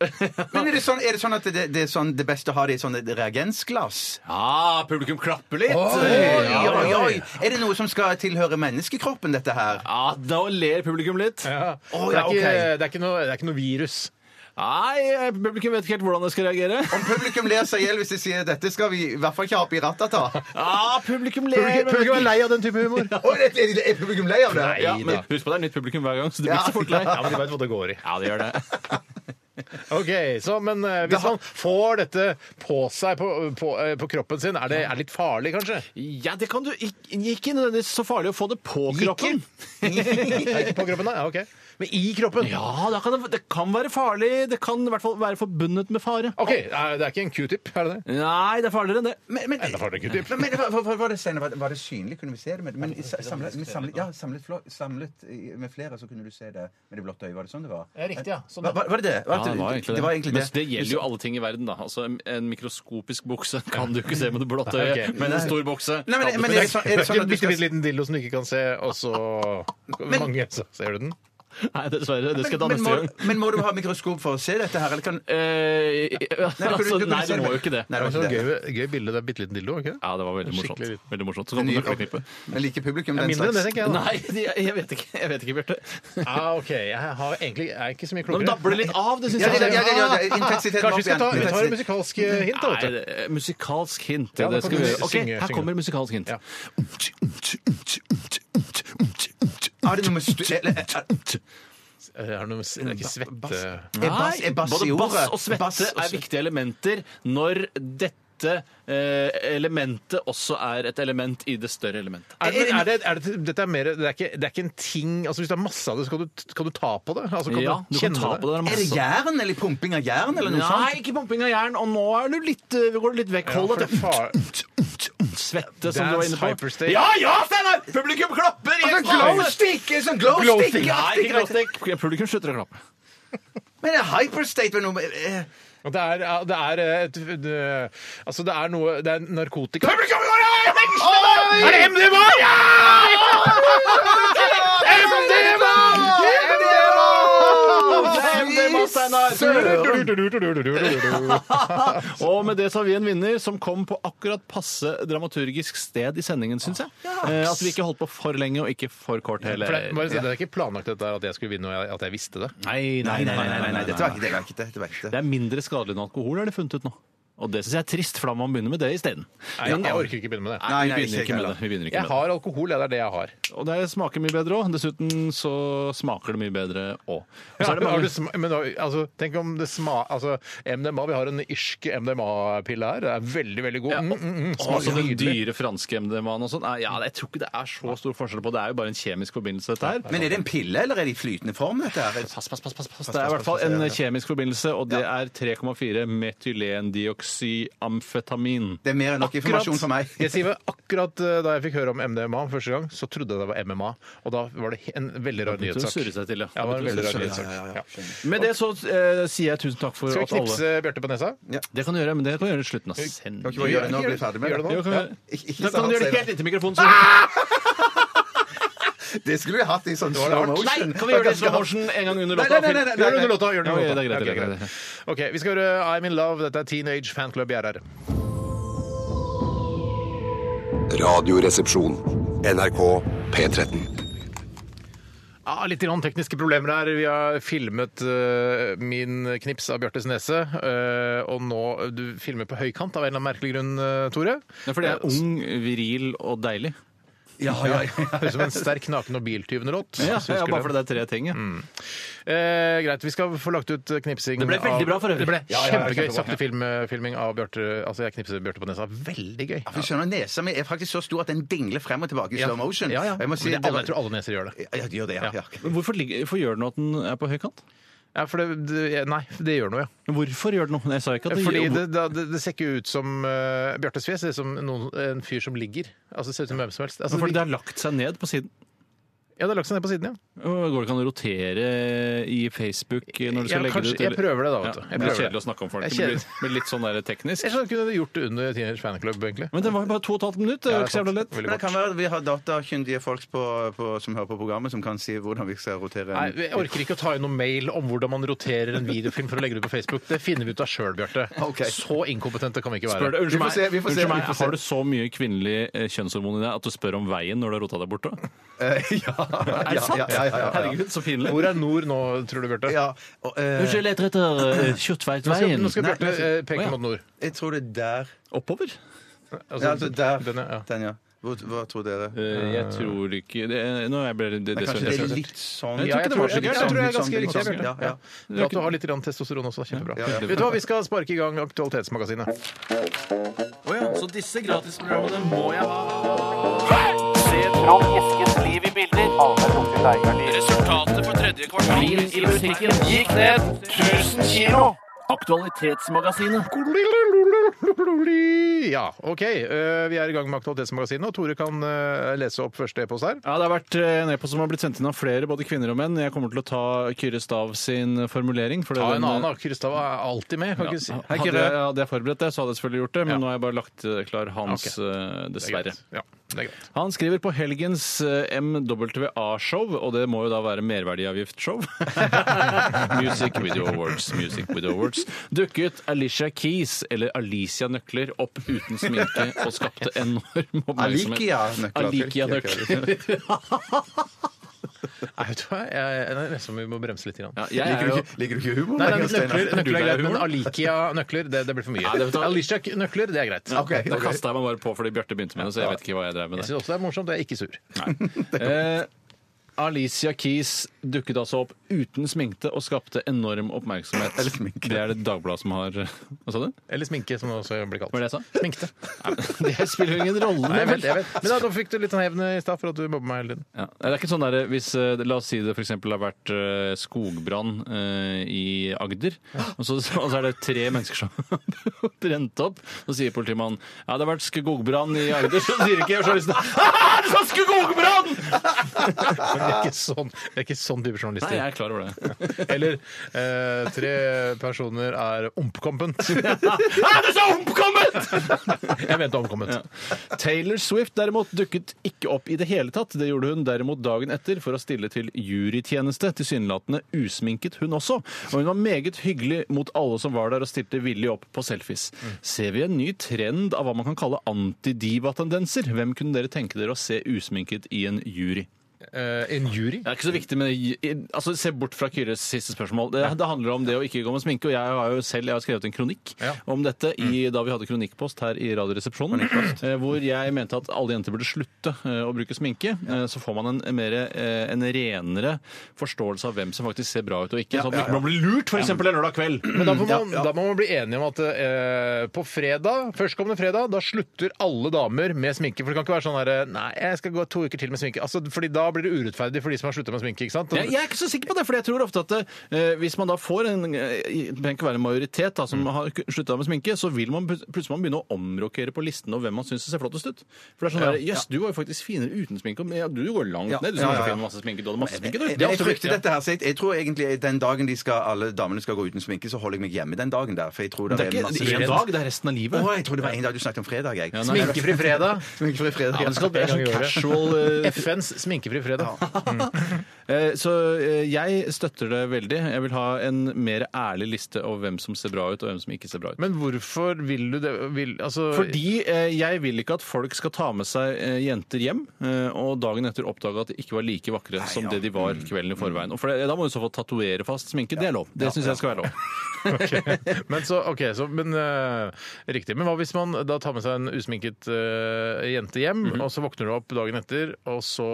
Speaker 3: Men er det sånn, er det, sånn at det, det, er sånn, det beste å ha det i sånne reagensglass?
Speaker 4: Ja, publikum klapper litt.
Speaker 3: Oi,
Speaker 4: ja,
Speaker 3: oi,
Speaker 4: ja.
Speaker 3: oi. Er det noe som skal tilhøre menneskekroppen, dette her?
Speaker 4: Ja, da ler publikum litt.
Speaker 2: Ja.
Speaker 3: Å,
Speaker 2: det, er
Speaker 3: ja,
Speaker 2: ikke,
Speaker 3: ok.
Speaker 2: det, er ikke noe, det er ikke noe virus.
Speaker 4: Nei, eh, publikum vet ikke helt hvordan det skal reagere.
Speaker 3: Om publikum ler seg i hjel hvis de sier 'dette skal vi i hvert fall ikke ha oppi rattet ta'.
Speaker 4: Ja, publikum ler.
Speaker 2: Publikum,
Speaker 4: men-
Speaker 2: publikum er lei av den type humor.
Speaker 3: Å, er, er, er publikum lei av det?
Speaker 2: Nei.
Speaker 4: Ja, men husk på det er nytt publikum hver gang, så det blir
Speaker 3: Ja.
Speaker 4: ikke så fort lei.
Speaker 2: Ja, men de vet hva det går i.
Speaker 4: Ja, det gjør det.
Speaker 2: Ok, så, Men eh, hvis man får dette på seg, på, på, eh, på kroppen sin, er det er det litt farlig, kanskje?
Speaker 4: Ja, det kan du ikke, ikke nødvendigvis så farlig å få det på kroppen.
Speaker 2: Ja, ikke på kroppen, da? Ja, ok. Men i kroppen?
Speaker 4: Ja, da kan det, det kan være farlig. Det kan i hvert fall være forbundet med fare.
Speaker 2: OK, eh, det er ikke en q-tip, er det det?
Speaker 4: Nei, det er farligere enn det.
Speaker 3: Men, men,
Speaker 2: Enda farligere q-tip.
Speaker 3: men, men var, var, var, det, Steinar, var, det- var det synlig? Kunne vi se det? Men, men i sa- samlet, men samlet, ja, samlet, flå- samlet i- med flere, så kunne du se det med det blotte øyet. Var det sånn det var?
Speaker 2: Ja, riktig, ja. Sånn,
Speaker 3: var, var- var det det? Var det var egentlig
Speaker 4: Men det
Speaker 3: det.
Speaker 4: gjelder jo alle ting i verden, da. Altså, en- en mikroskopisk bukse kan du ikke se med det blotte øyet,
Speaker 2: Ok.
Speaker 4: men en stor bukse
Speaker 3: Nei, men,
Speaker 4: kan
Speaker 3: men
Speaker 4: du
Speaker 3: er det sånn, er det sånn
Speaker 2: en
Speaker 3: at du
Speaker 2: bitte,
Speaker 3: skal
Speaker 2: bitte liten dildo som du ikke kan se, og så mange, så ser du den.
Speaker 4: Nei, dessverre. Det skal jeg ta
Speaker 3: men,
Speaker 4: neste
Speaker 3: må,
Speaker 4: gang.
Speaker 3: men må du ha mikroskop for å se dette her? Eller kan
Speaker 4: Eh,
Speaker 3: Nei, du kunne-
Speaker 4: altså,
Speaker 3: du kunne
Speaker 4: nei,
Speaker 3: se
Speaker 4: du
Speaker 3: det
Speaker 4: må
Speaker 3: med-
Speaker 4: jo ikke det.
Speaker 3: Nei,
Speaker 2: Det
Speaker 3: det
Speaker 2: var
Speaker 3: var
Speaker 2: sånn
Speaker 3: ikke det.
Speaker 2: gøy, gøy bilde, det er bitte liten dildo, ikke det?
Speaker 4: Ja, det var veldig morsomt.
Speaker 2: Skikkelig litt.
Speaker 4: Veldig morsomt. Så kan du nøkkelknippe.
Speaker 3: Men liker publikum den
Speaker 2: Mindre enn det,
Speaker 3: slags?
Speaker 2: tenker jeg. da.
Speaker 4: Nei, de- jeg vet ikke, jeg vet ikke Bjarte.
Speaker 2: Ah, ok, jeg har egentlig, jeg er ikke så mye
Speaker 4: Nå
Speaker 2: klokere.
Speaker 4: dabber det litt av, det syns
Speaker 3: Ja,
Speaker 4: jeg.
Speaker 3: det- ja, ja, ja, ja, intensiteten
Speaker 2: Kanskje
Speaker 3: opp
Speaker 2: vi skal ta
Speaker 3: igjen.
Speaker 2: vi tar et musikalsk eh, hint, da, vet
Speaker 4: Nei,
Speaker 2: du.
Speaker 4: det er musikalsk hint.
Speaker 2: Ja,
Speaker 4: Ja,
Speaker 2: da
Speaker 4: det
Speaker 2: kan
Speaker 4: skal vi
Speaker 2: du
Speaker 4: gjøre. Ok,
Speaker 2: synge-
Speaker 4: her
Speaker 2: synge.
Speaker 4: kommer musikalsk hint.
Speaker 2: Ja.
Speaker 3: Har Ah, det noe med stu... eller-
Speaker 2: Jeg har noe, med- det er ikke svette...
Speaker 3: Er bass, er bass
Speaker 4: både
Speaker 3: i ordet?
Speaker 4: bass og svette
Speaker 3: Bass og
Speaker 4: er viktige elementer når dette eh, elementet også er et element i det større elementet.
Speaker 2: Er det, er det, er det, dette er mer, det, er ikke, det er ikke en ting altså Hvis det er masse av det, så kan du, kan du ta på det? Altså, kan
Speaker 4: Ja, du kan
Speaker 2: kjenne
Speaker 4: ta på det.
Speaker 3: Er det
Speaker 4: masse.
Speaker 3: jern, eller pumping av jern, eller noe
Speaker 4: Nei,
Speaker 3: sånt?
Speaker 4: ikke pumping av jern. Og nå er du litt, eh, går du litt vekk.
Speaker 2: Ja,
Speaker 4: Hold
Speaker 2: for
Speaker 4: deg
Speaker 2: det far-
Speaker 4: svette, som du var
Speaker 2: Dance
Speaker 4: inne på.
Speaker 2: hyperstate.
Speaker 4: Ja, ja, Steinar! Publikum klapper! i
Speaker 3: Altså,
Speaker 4: ekstase.
Speaker 3: glowstick! er Sånn glowstick!
Speaker 4: Glowstick.
Speaker 3: ja,
Speaker 4: Nei,
Speaker 3: stick,
Speaker 4: ikke glowstick. Publikum slutter å klappe.
Speaker 3: Men er hyperstate vel noe eh,
Speaker 2: Og Det er, det er et det, Altså, det er noe Det er narkotika
Speaker 4: Er det MDMA? Ja! MDMA! MDMA, Steinar! Og med det så har vi en vinner som kom på akkurat passe dramaturgisk sted i sendingen, syns jeg. Eh, At vi ikke holdt på for lenge og ikke for kort
Speaker 2: For
Speaker 4: heller.
Speaker 2: det, bare, si, det er ikke planlagt dette her at jeg skulle vinne, og jeg, at jeg visste det.
Speaker 4: Nei, nei,
Speaker 3: Nei, nei, nei, nei, nei, dette var ikke det. var ikke det, dette var ikke
Speaker 4: Det
Speaker 3: det.
Speaker 4: er mindre skadelig enn alkohol, er det funnet ut nå. Og det syns jeg er trist, for da må man begynne med det isteden.
Speaker 2: Nei, jeg, jeg orker ikke begynne med det.
Speaker 4: Nei,
Speaker 3: Nei,
Speaker 4: vi
Speaker 3: nei,
Speaker 4: begynner
Speaker 3: ikke
Speaker 4: ikke med
Speaker 3: heller.
Speaker 4: det. Vi begynner ikke
Speaker 2: Jeg
Speaker 4: med det.
Speaker 2: har alkohol, ja, det er det jeg har.
Speaker 4: Og det smaker mye bedre òg. Dessuten så smaker det mye bedre òg. Og så
Speaker 2: Ja,
Speaker 4: er det
Speaker 2: har du
Speaker 4: mange
Speaker 2: sma- men da- altså, tenk om det sma... Altså, MDMA, vi har en irsk MDMA-pille her. Det er veldig, veldig god.
Speaker 4: Ja,
Speaker 2: Mm, mm, mm,
Speaker 4: og så
Speaker 2: smaker
Speaker 4: den
Speaker 2: nydelig.
Speaker 4: dyre franske MDMA-en og sånn. Nei, Ja, jeg tror ikke det er så stor forskjell på det. Det er jo bare en kjemisk forbindelse, dette her.
Speaker 3: Men er det en pille, eller er det i flytende form? dette her?
Speaker 4: Pass, pass, pass, pass, pass. Det er i hvert fall en kjemisk forbindelse, og det er 3,4 metylendioksyamfetamin.
Speaker 3: Det er mer enn nok informasjon for meg.
Speaker 2: Jeg sier vel akkurat eh, Da jeg fikk høre om MDMA første gang, så trodde jeg det var MMA. Og da var det he- en veldig rar
Speaker 4: begynte hun å
Speaker 2: nyhetssak.
Speaker 4: surre seg til, ja.
Speaker 2: ja. det var en veldig rar
Speaker 4: Surre
Speaker 2: nyhetssak. Ja.
Speaker 4: Med det så eh, sier jeg tusen takk for
Speaker 2: Skal vi
Speaker 4: at alle
Speaker 2: knipse Bjarte på nesa?
Speaker 4: Det kan du gjøre, men det kan du gjøre i slutten av sendingen.
Speaker 3: Kan ikke bare gjøre det nå og bli ferdig med
Speaker 2: Gjør det nå.
Speaker 3: det?
Speaker 4: Jo, kan vi
Speaker 2: Ja.
Speaker 4: gjøre.
Speaker 3: Ikke- ikke
Speaker 4: Da kan
Speaker 3: sant,
Speaker 4: du gjøre det
Speaker 3: Steinar.
Speaker 4: helt inntil mikrofonen. Så...
Speaker 3: Det skulle vi hatt i sånn
Speaker 2: var det
Speaker 3: slow
Speaker 2: hardt.
Speaker 3: motion.
Speaker 4: Nei, kan vi gjøre det i slow motion en gang under
Speaker 3: Nei,
Speaker 4: låta?
Speaker 3: nei, nei, nei, nei,
Speaker 2: Gjør det under låta. Gjør det
Speaker 4: Ja,
Speaker 2: under
Speaker 4: ja, det er greit,
Speaker 2: låta.
Speaker 4: det er greit, det er
Speaker 2: Ok, greit. OK, vi skal høre I'm In Love. Dette er Teenage Fanclub Gjerder.
Speaker 5: Radioresepsjon. NRK P13.
Speaker 2: Ja, litt grann tekniske problemer her. Vi har filmet eh, min knips av Bjartes nese. eh, og nå Du filmer på høykant av en eller annen merkelig grunn, eh, Tore.
Speaker 4: Nei, for det er ung, viril og deilig.
Speaker 3: Ja, ja,
Speaker 2: Det Høres ut som en sterk naken- og biltyvnelåt.
Speaker 4: Ja,
Speaker 2: hvis du husker den.
Speaker 4: bare fordi det Mm. er tre ting. Ja.
Speaker 2: Eh, greit, vi skal få lagt ut eh, knipsing
Speaker 4: Det ble veldig bra for øvrig.
Speaker 2: Det ble
Speaker 4: Ja, ja, ja,
Speaker 2: kjempegøy.
Speaker 4: kjempebra.
Speaker 2: Sakte film, eh, filming av Bjarte Altså, jeg knipser Bjarte på nesa. Veldig gøy.
Speaker 3: For du skjønner, Nesa mi er faktisk så stor at den dingler frem og tilbake i slow motion.
Speaker 2: Ja, ja.
Speaker 3: Og Jeg må si,
Speaker 2: Men det,
Speaker 3: det
Speaker 2: alle,
Speaker 3: var,
Speaker 2: jeg tror alle neser gjør det.
Speaker 3: ja, de gjør det, ja. ja.
Speaker 4: Men Hvorfor, ligger- hvorfor gjør den at den er på høykant?
Speaker 2: Ja, for det, det nei, det gjør noe, ja.
Speaker 4: Hvorfor gjør den noe? Jeg sa ikke at det
Speaker 2: Fordi
Speaker 4: gjør
Speaker 2: det, det, det, det ser ikke ut som uh, Bjartes fjes. Det ser ut som noen, en fyr som ligger. Altså, det ser ut som hvem som helst. Altså,
Speaker 4: Men Fordi
Speaker 2: det,
Speaker 4: det har lagt seg ned på siden.
Speaker 2: ja, det er lagt seg ned på siden, ja.
Speaker 4: Går det ikke an å rotere i Facebook når du skal
Speaker 2: Ja,
Speaker 4: legge
Speaker 2: kanskje-
Speaker 4: det ut?
Speaker 2: jeg prøver det da, vet du.
Speaker 4: Ja,
Speaker 2: Jeg
Speaker 4: det
Speaker 2: prøver
Speaker 4: er
Speaker 2: det.
Speaker 4: kjedelig å snakke om folk.
Speaker 2: Det er
Speaker 4: Det blir,
Speaker 2: kjedelig.
Speaker 4: blir litt sånn der teknisk.
Speaker 2: Jeg skjønner ikke om du gjort det under Teenage Fanclub, egentlig.
Speaker 4: Men det var jo bare to og et halvt minutt. Det er jo ikke så jævla lett.
Speaker 2: Veldig
Speaker 3: Men det
Speaker 2: kort.
Speaker 3: kan være at vi har datakyndige folk på, på, som hører på programmet, som kan si hvordan vi skal rotere
Speaker 2: Nei,
Speaker 3: en
Speaker 2: Jeg orker ikke å ta inn noe mail om hvordan man roterer en videofilm for å legge det ut på Facebook. Det finner vi ut av sjøl, Bjarte.
Speaker 3: Ok.
Speaker 2: Så inkompetente kan vi ikke
Speaker 4: Spør
Speaker 3: Vi
Speaker 2: være.
Speaker 4: det, unnskyld
Speaker 3: får
Speaker 4: meg,
Speaker 3: se, vi får se,
Speaker 4: unnskyld
Speaker 3: vi
Speaker 4: meg,
Speaker 3: får se.
Speaker 4: har du så mye kvinnelig eh, kjønnshormon i deg at du spør om veien når du har rota deg bort? da?
Speaker 3: Eh, ja,
Speaker 4: Er det sant?
Speaker 3: Ja, ja, ja, ja, ja.
Speaker 4: Herregud, så pinlig.
Speaker 2: Hvor er nord nå, tror du, Bjarte?
Speaker 3: ja og, eh,
Speaker 4: Unnskyld, jeg eh, leter etter
Speaker 2: Nå skal,
Speaker 4: Kjortveitveien.
Speaker 2: nå skal
Speaker 3: Nei, altså-
Speaker 2: Bjarte
Speaker 3: men-
Speaker 2: eh, peke
Speaker 4: Å, ja.
Speaker 2: mot nord.
Speaker 3: jeg tror det er der.
Speaker 4: Oppover?
Speaker 2: Altså,
Speaker 3: Ja, altså der.
Speaker 2: den er- ja.
Speaker 3: Den, ja. Hvor, hva tror dere?
Speaker 4: jeg tror ikke det, Nå er jeg ble det,
Speaker 3: Nei,
Speaker 4: det,
Speaker 3: kanskje det er litt sånn
Speaker 2: Ja, jeg tror,
Speaker 4: så
Speaker 2: jeg, jeg,
Speaker 3: Litt
Speaker 2: tror jeg er
Speaker 4: gærent.
Speaker 3: sånn,
Speaker 2: ganske
Speaker 3: litt
Speaker 2: riktig.
Speaker 3: sånn.
Speaker 2: Bjarte.
Speaker 3: Ja, ja.
Speaker 2: Bra at du har litt grann testosteron også. Kjempebra.
Speaker 3: Ja, ja.
Speaker 2: Vet du hva, Vi skal sparke i gang Aktualitetsmagasinet.
Speaker 4: Så disse gratisprogrammene må jeg ha. Resultatet på tredje kvartal i musikken gikk ned 1000 kilo. Aktualitetsmagasinet.
Speaker 2: Ja, OK. eh, Vi er i gang med Aktualitetsmagasinet, og Tore kan eh, lese opp første e-post her.
Speaker 4: Ja, Det har vært eh, en e-post som har blitt sendt inn av flere, både kvinner og menn. Jeg kommer til å ta Kyrre Stav sin formulering. For det
Speaker 2: Ta
Speaker 4: er
Speaker 2: en
Speaker 4: den-
Speaker 2: annen. da. Kyrstad er alltid med. Kan
Speaker 4: eh, Ja,
Speaker 2: ikke si. Hei,
Speaker 4: hadde,
Speaker 2: Kyrre.
Speaker 4: jeg, hadde jeg forberedt det, så hadde jeg selvfølgelig gjort det, men
Speaker 2: Ja.
Speaker 4: nå har jeg bare lagt eh, klar hans,
Speaker 2: Ok.
Speaker 4: eh,
Speaker 2: Det er greit.
Speaker 4: dessverre.
Speaker 2: Ja, det er greit.
Speaker 4: Han skriver på helgens eh, MWA-show, og det må jo da være merverdiavgift-show. Music Video Awards. Music Video Awards. Dukket Alicia Keys, eller Alicia Nøkler, opp uten sminke og skapte enorm oppmerksomhet.
Speaker 3: Alikia-nøkler.
Speaker 4: Alikia Nøkler.
Speaker 2: Nei, vet du hva? Jeg, jeg, jeg, nesten vi må bremse litt. Grann.
Speaker 4: Ja, jeg er jo...
Speaker 3: Liker du ikke humor?
Speaker 2: Nei,
Speaker 3: Nei,
Speaker 2: nei, men
Speaker 3: Jostein?
Speaker 2: nøkler,
Speaker 4: Du
Speaker 2: nøkler er
Speaker 4: er
Speaker 2: greit, men
Speaker 4: humoren.
Speaker 2: Alikia-nøkler det, det blir for mye.
Speaker 4: det vet du hva.
Speaker 2: Alicia-nøkler, det er greit.
Speaker 3: ok.
Speaker 4: Da kasta jeg meg bare på fordi Bjarte begynte med det, så jeg vet ikke hva jeg drev med.
Speaker 2: Jeg
Speaker 4: der.
Speaker 2: syns også det er morsomt, og jeg er ikke sur.
Speaker 4: Eh, Alicia Keys dukket altså opp uten sminkte og skapte enorm oppmerksomhet.
Speaker 3: Eller sminke.
Speaker 4: Det er det Dagbladet som har eh, Hva sa du?
Speaker 2: Eller sminke, som det også blir kalt.
Speaker 4: Hva var det jeg sa?
Speaker 2: Sminkte.
Speaker 4: Nei, men Det spiller jo ingen rolle.
Speaker 2: Nei, jeg
Speaker 4: vel?
Speaker 2: vet, jeg vet. Men da, da fikk du litt sånn hevn i stad for at du mobber meg hele tiden.
Speaker 4: Ja. Det er ikke sånn der, hvis, eh, La oss si det f.eks. har vært eh, skogbrann eh, i Agder, og så, og så er det tre mennesker som brent opp. Så sier politimannen ja, det har vært skogbrann i Agder. Så sier ikke journalisten «Ah, det var skogbrann!
Speaker 2: Men det er ikke sånn, det er ikke sånn type
Speaker 4: Nei,
Speaker 2: journalister.
Speaker 4: jeg er klar over det.
Speaker 2: Eller eh, tre personer er omkommet.
Speaker 4: Er du så omkommet?!
Speaker 2: Jeg mente omkommet.
Speaker 4: Taylor Swift derimot dukket ikke opp i det hele tatt. Det gjorde hun derimot dagen etter for å stille til jurytjeneste, tilsynelatende usminket hun også. Og hun var meget hyggelig mot alle som var der og stilte villig opp på selfies. Ser vi en ny trend av hva man kan kalle antidiva-tendenser? Hvem kunne dere tenke dere å se usminket i en jury?
Speaker 2: Eh, en jury.
Speaker 4: Det er ikke så viktig, men altså, se bort fra Kyres siste spørsmål. Det, det handler om det å ikke gå med sminke. Og jeg har jo selv jeg har skrevet en kronikk
Speaker 2: Ja.
Speaker 4: om dette i, da vi hadde kronikkpost her i Radioresepsjonen, eh, hvor jeg mente at alle jenter burde slutte eh, å bruke sminke. Eh, så får man en, mer, eh, en renere forståelse av hvem som faktisk ser bra ut og ikke. Sånn at man ikke blir lurt, f.eks. en lørdag kveld.
Speaker 2: Men da, får man, da må man bli enige om at eh, på fredag, førstkommende fredag, da slutter alle damer med sminke. For det kan ikke være sånn her eh, Nei, jeg skal gå to uker til med sminke. Altså, fordi da blir det urettferdig for de som har sluttet med sminke, ikke sant?
Speaker 4: Jeg, jeg er ikke så sikker på det, for jeg tror ofte at eh, hvis man da får en eh, Det trenger ikke være en majoritet da, som
Speaker 3: Mm.
Speaker 4: har slutta med sminke, så vil man plut- plutselig man begynne å omrokere på listen over hvem man syns ser flottest ut. For det er sånn der, Jøss, du var jo faktisk finere uten sminke. Men ja, du går langt
Speaker 3: Ja.
Speaker 4: ned. Du
Speaker 3: Ja, ja,
Speaker 4: som var så
Speaker 3: ja.
Speaker 4: fin med masse sminke. Du hadde masse sminke, du.
Speaker 3: Men Eh, jeg frykter dette her, så jeg, jeg tror egentlig den dagen de skal, alle damene skal gå uten sminke, så holder jeg meg hjemme den dagen der. For jeg tror det,
Speaker 4: Det er
Speaker 3: masse
Speaker 4: ikke én
Speaker 3: skjedd.
Speaker 4: dag, det er resten av
Speaker 3: Å,
Speaker 4: livet.
Speaker 3: jeg trodde det var en dag du snakket om fredag, jeg.
Speaker 4: nei.
Speaker 2: Sminkefri fredag.
Speaker 3: Sminkefri fredag.
Speaker 4: Ja, det, skal, det er
Speaker 2: en gang i
Speaker 4: sånn
Speaker 2: året.
Speaker 4: casual eh,
Speaker 2: FNs sminkefri fredag.
Speaker 4: Eh, Så eh, jeg støtter det veldig. Jeg vil ha en mer ærlig liste over hvem som ser bra ut, og hvem som ikke ser bra ut.
Speaker 2: Men hvorfor vil du det? Vil, altså,
Speaker 4: Fordi eh, jeg vil ikke at folk skal ta med seg eh, jenter hjem eh, og dagen etter oppdage at de ikke var like vakre som det de var kvelden i forveien. Og for det, da må du i så fall tatovere fast sminke. Det er lov. Det syns jeg skal være lov.
Speaker 2: men så, ok, så, men, eh, riktig. Men hva hvis man da tar med seg en usminket eh, jente hjem, og så våkner du opp dagen etter, og så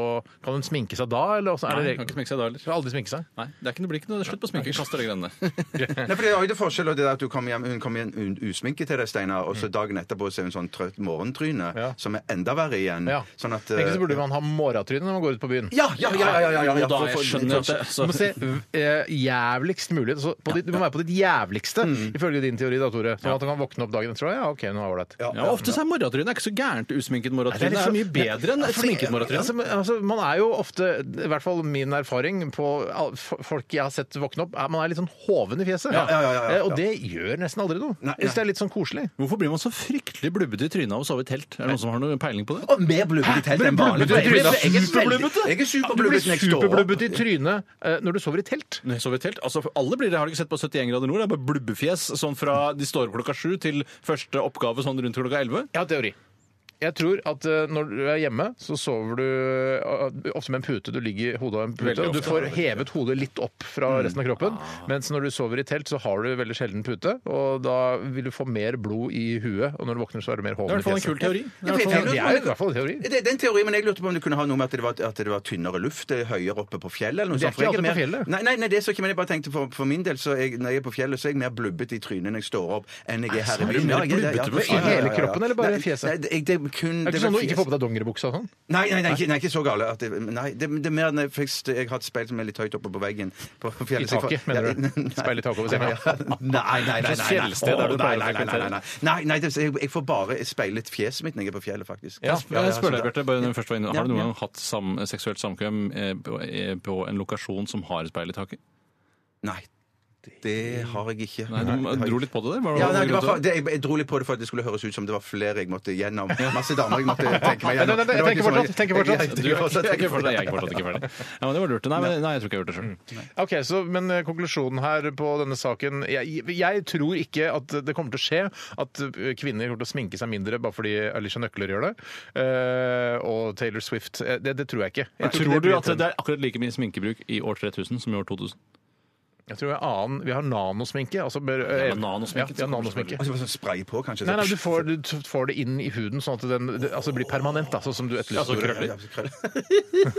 Speaker 2: kan hun sminke seg da? Eller også, er
Speaker 4: Nei,
Speaker 2: det
Speaker 4: kan ikke sminke seg da heller.
Speaker 2: Skal aldri sminke seg?
Speaker 4: Nei, det, er ikke, det blir ikke noe slutt på sminking. Kast de greiene.
Speaker 3: Nei, for Det er jo det forskjell og det der at du kommer hjem, hun kommer hjem un- usminket til deg, Steinar, og så dagen etterpå ser hun sånn trøtt morgentryne,
Speaker 2: Ja.
Speaker 3: som er enda verre igjen.
Speaker 2: Ja.
Speaker 3: Sånn at eh,
Speaker 2: Egentlig så burde man ha morgentryne når man går ut på byen.
Speaker 3: ja, ja, ja, ja, ja, ja, ja.
Speaker 4: Jo da, jeg
Speaker 3: sånn-
Speaker 4: skjønner at det
Speaker 2: Du
Speaker 4: så-
Speaker 2: må se eh, jævligst mulig. Altså, på ditt, du må være på ditt jævligste, ifølge din teori, da, Tore. Sånn at du kan våkne opp dagen etter og ja, OK, nå er det ålreit.
Speaker 4: Ja, og ofte så er morgentrynet ikke så gærent usminket
Speaker 2: Det er
Speaker 4: morgentryne. Det
Speaker 2: litt
Speaker 4: er
Speaker 2: så-
Speaker 4: mye bedre enn et sminket
Speaker 2: Altså,
Speaker 4: morgentryne.
Speaker 2: men- altså, man er jo ofte, i hvert fall min erfaring på all- f- folk jeg har sett våkne opp, er, man er litt sånn hoven i fjeset.
Speaker 3: ja, ja, ja, ja.
Speaker 2: Eh, Og det gjør nesten aldri noe.
Speaker 3: Nei,
Speaker 2: Jeg synes det er litt sånn koselig.
Speaker 4: Hvorfor blir man så fryktelig blubbete i trynet av å sove i telt? Er det noen som har noen peiling på det?
Speaker 3: Og mer blubbete telt enn vanlig.
Speaker 2: Blubbete
Speaker 3: Jeg er- jeg er-
Speaker 2: trynet.
Speaker 3: Jeg er
Speaker 2: Du blir
Speaker 3: superblubbet next door.
Speaker 2: superblubbet i trynet eh, når du sover i telt.
Speaker 4: Når jeg sover i telt, altså for Alle blir det, har du ikke sett på 71 grader nord? Det er bare blubbefjes sånn fra de står opp klokka sju til første oppgave sånn rundt klokka elleve.
Speaker 2: Jeg har en teori. Jeg tror at eh, når du er hjemme, så sover du eh, ofte med en pute. Du ligger i hodet av en pute,
Speaker 4: Veldig
Speaker 2: og du
Speaker 4: ofte. Ah.
Speaker 2: får hevet hodet litt opp
Speaker 3: Mm.
Speaker 2: fra resten av kroppen. Mens når du sover i telt, så har du veldig sjelden pute, og da vil du få mer blod i huet. Og når du våkner, så er du mer
Speaker 4: Det
Speaker 2: hoven
Speaker 4: er i
Speaker 2: i
Speaker 4: hvert fall en kul
Speaker 2: fjeset.
Speaker 4: teori.
Speaker 3: Ja, for jeg tenker
Speaker 2: Ja, Det
Speaker 3: jo
Speaker 2: er
Speaker 3: på-
Speaker 2: i hvert fall en teori.
Speaker 3: Det, det er en teori, men jeg lurte på om det kunne ha noe med at det var, at det var tynnere luft det er høyere oppe på fjellet. eller noe
Speaker 2: Det er
Speaker 3: sånt, for jeg
Speaker 2: ikke alle på
Speaker 3: mer-
Speaker 2: fjellet.
Speaker 3: Nei, nei, nei, det er så ikke, men jeg bare tenkte for, for min del, så jeg, når jeg er på fjellet, så er jeg mer blubbet i trynet når jeg står opp, enn jeg er her i
Speaker 4: er du
Speaker 3: byen.
Speaker 4: mer
Speaker 3: Ja, jeg- ja, ja.
Speaker 4: blubbete på
Speaker 3: Ja, ja, ja, ja, ja.
Speaker 2: hele kroppen, eller bare
Speaker 3: Nei,
Speaker 2: fjeset?
Speaker 3: Nei, det, det, er kun,
Speaker 2: Det
Speaker 3: vel
Speaker 2: er ikke sånn du ikke
Speaker 3: fjes.
Speaker 2: får på deg dongeribuksa og sånn?
Speaker 3: Nei, nei, nei, ikke, nei, ikke så gale. At det, nei, det, det er mer når jeg, først- jeg har et speil som er litt høyt oppe på veggen. På fjellet, så jeg får-
Speaker 2: taket, mener du?
Speaker 3: Ja, nei, nei.
Speaker 2: Speil i taket over senga?
Speaker 3: Ja, Nei, nei, nei. nei,
Speaker 2: Et
Speaker 3: nei.
Speaker 2: fjellsted der du
Speaker 3: Å, nei,
Speaker 2: pleier å
Speaker 3: nei, nei, nei, nei, nei. Nei, nei, det- jeg, jeg får bare speilet fjeset mitt når jeg er på fjellet, faktisk.
Speaker 2: Ja,
Speaker 4: Jeg spør deg,
Speaker 3: så da-
Speaker 4: Bjarte, bare når vi først var inne. Har du
Speaker 3: Ja,
Speaker 4: noen gang hatt sam seksuelt samkvem eh, på eh, på en lokasjon som har speil i taket?
Speaker 3: Nei, det har jeg ikke.
Speaker 4: Nei, du
Speaker 3: det har jeg
Speaker 4: dro litt på det der. Var det
Speaker 3: Ja, nei, det var,
Speaker 4: grunn
Speaker 3: for-
Speaker 4: til det?
Speaker 3: det, jeg, jeg dro litt på det for at det skulle høres ut som det var flere jeg måtte gjennom. Masse damer jeg måtte tenke meg
Speaker 2: Nei, nei,
Speaker 3: gjennom.
Speaker 2: nei,
Speaker 3: Men det var
Speaker 2: jeg
Speaker 3: ikke så
Speaker 2: tenker
Speaker 3: mange-
Speaker 2: fortsatt, tenker fortsatt.
Speaker 3: Jeg- jeg-
Speaker 4: Du
Speaker 3: jeg- jeg-
Speaker 4: er ikke- jeg er ikke fortsatt, jeg er ikke fortsatt ikke ferdig. Ja, men det var lurt. Nei, men, nei, jeg tror ikke jeg har gjort det sjøl.
Speaker 2: Ok, så, Men eh, konklusjonen her på denne saken jeg, jeg tror ikke at det kommer til å skje at eh, kvinner kommer til å sminke seg mindre bare fordi Alicia Nøkler gjør det. Eh, og Taylor Swift. Eh, Det, det tror jeg ikke. Jeg ikke
Speaker 4: Tror du
Speaker 2: blir
Speaker 4: at det
Speaker 2: trenden.
Speaker 4: er akkurat like mye sminkebruk i år 3000 som i år 2000?
Speaker 2: Jeg tror vi har annen Vi har nanosminke. Altså bør, eh,
Speaker 4: Ja, men nanosminke,
Speaker 2: Ja, vi har nanosminke.
Speaker 3: Og så bare sånn spray på, kanskje.
Speaker 2: Nei, nei, du får, du t- får det inn i huden, sånn at den det, altså, blir permanent. Da, sånn som du etterlyser.
Speaker 4: Altså,
Speaker 2: Tore.
Speaker 4: krøller.
Speaker 3: Ja, så krøller.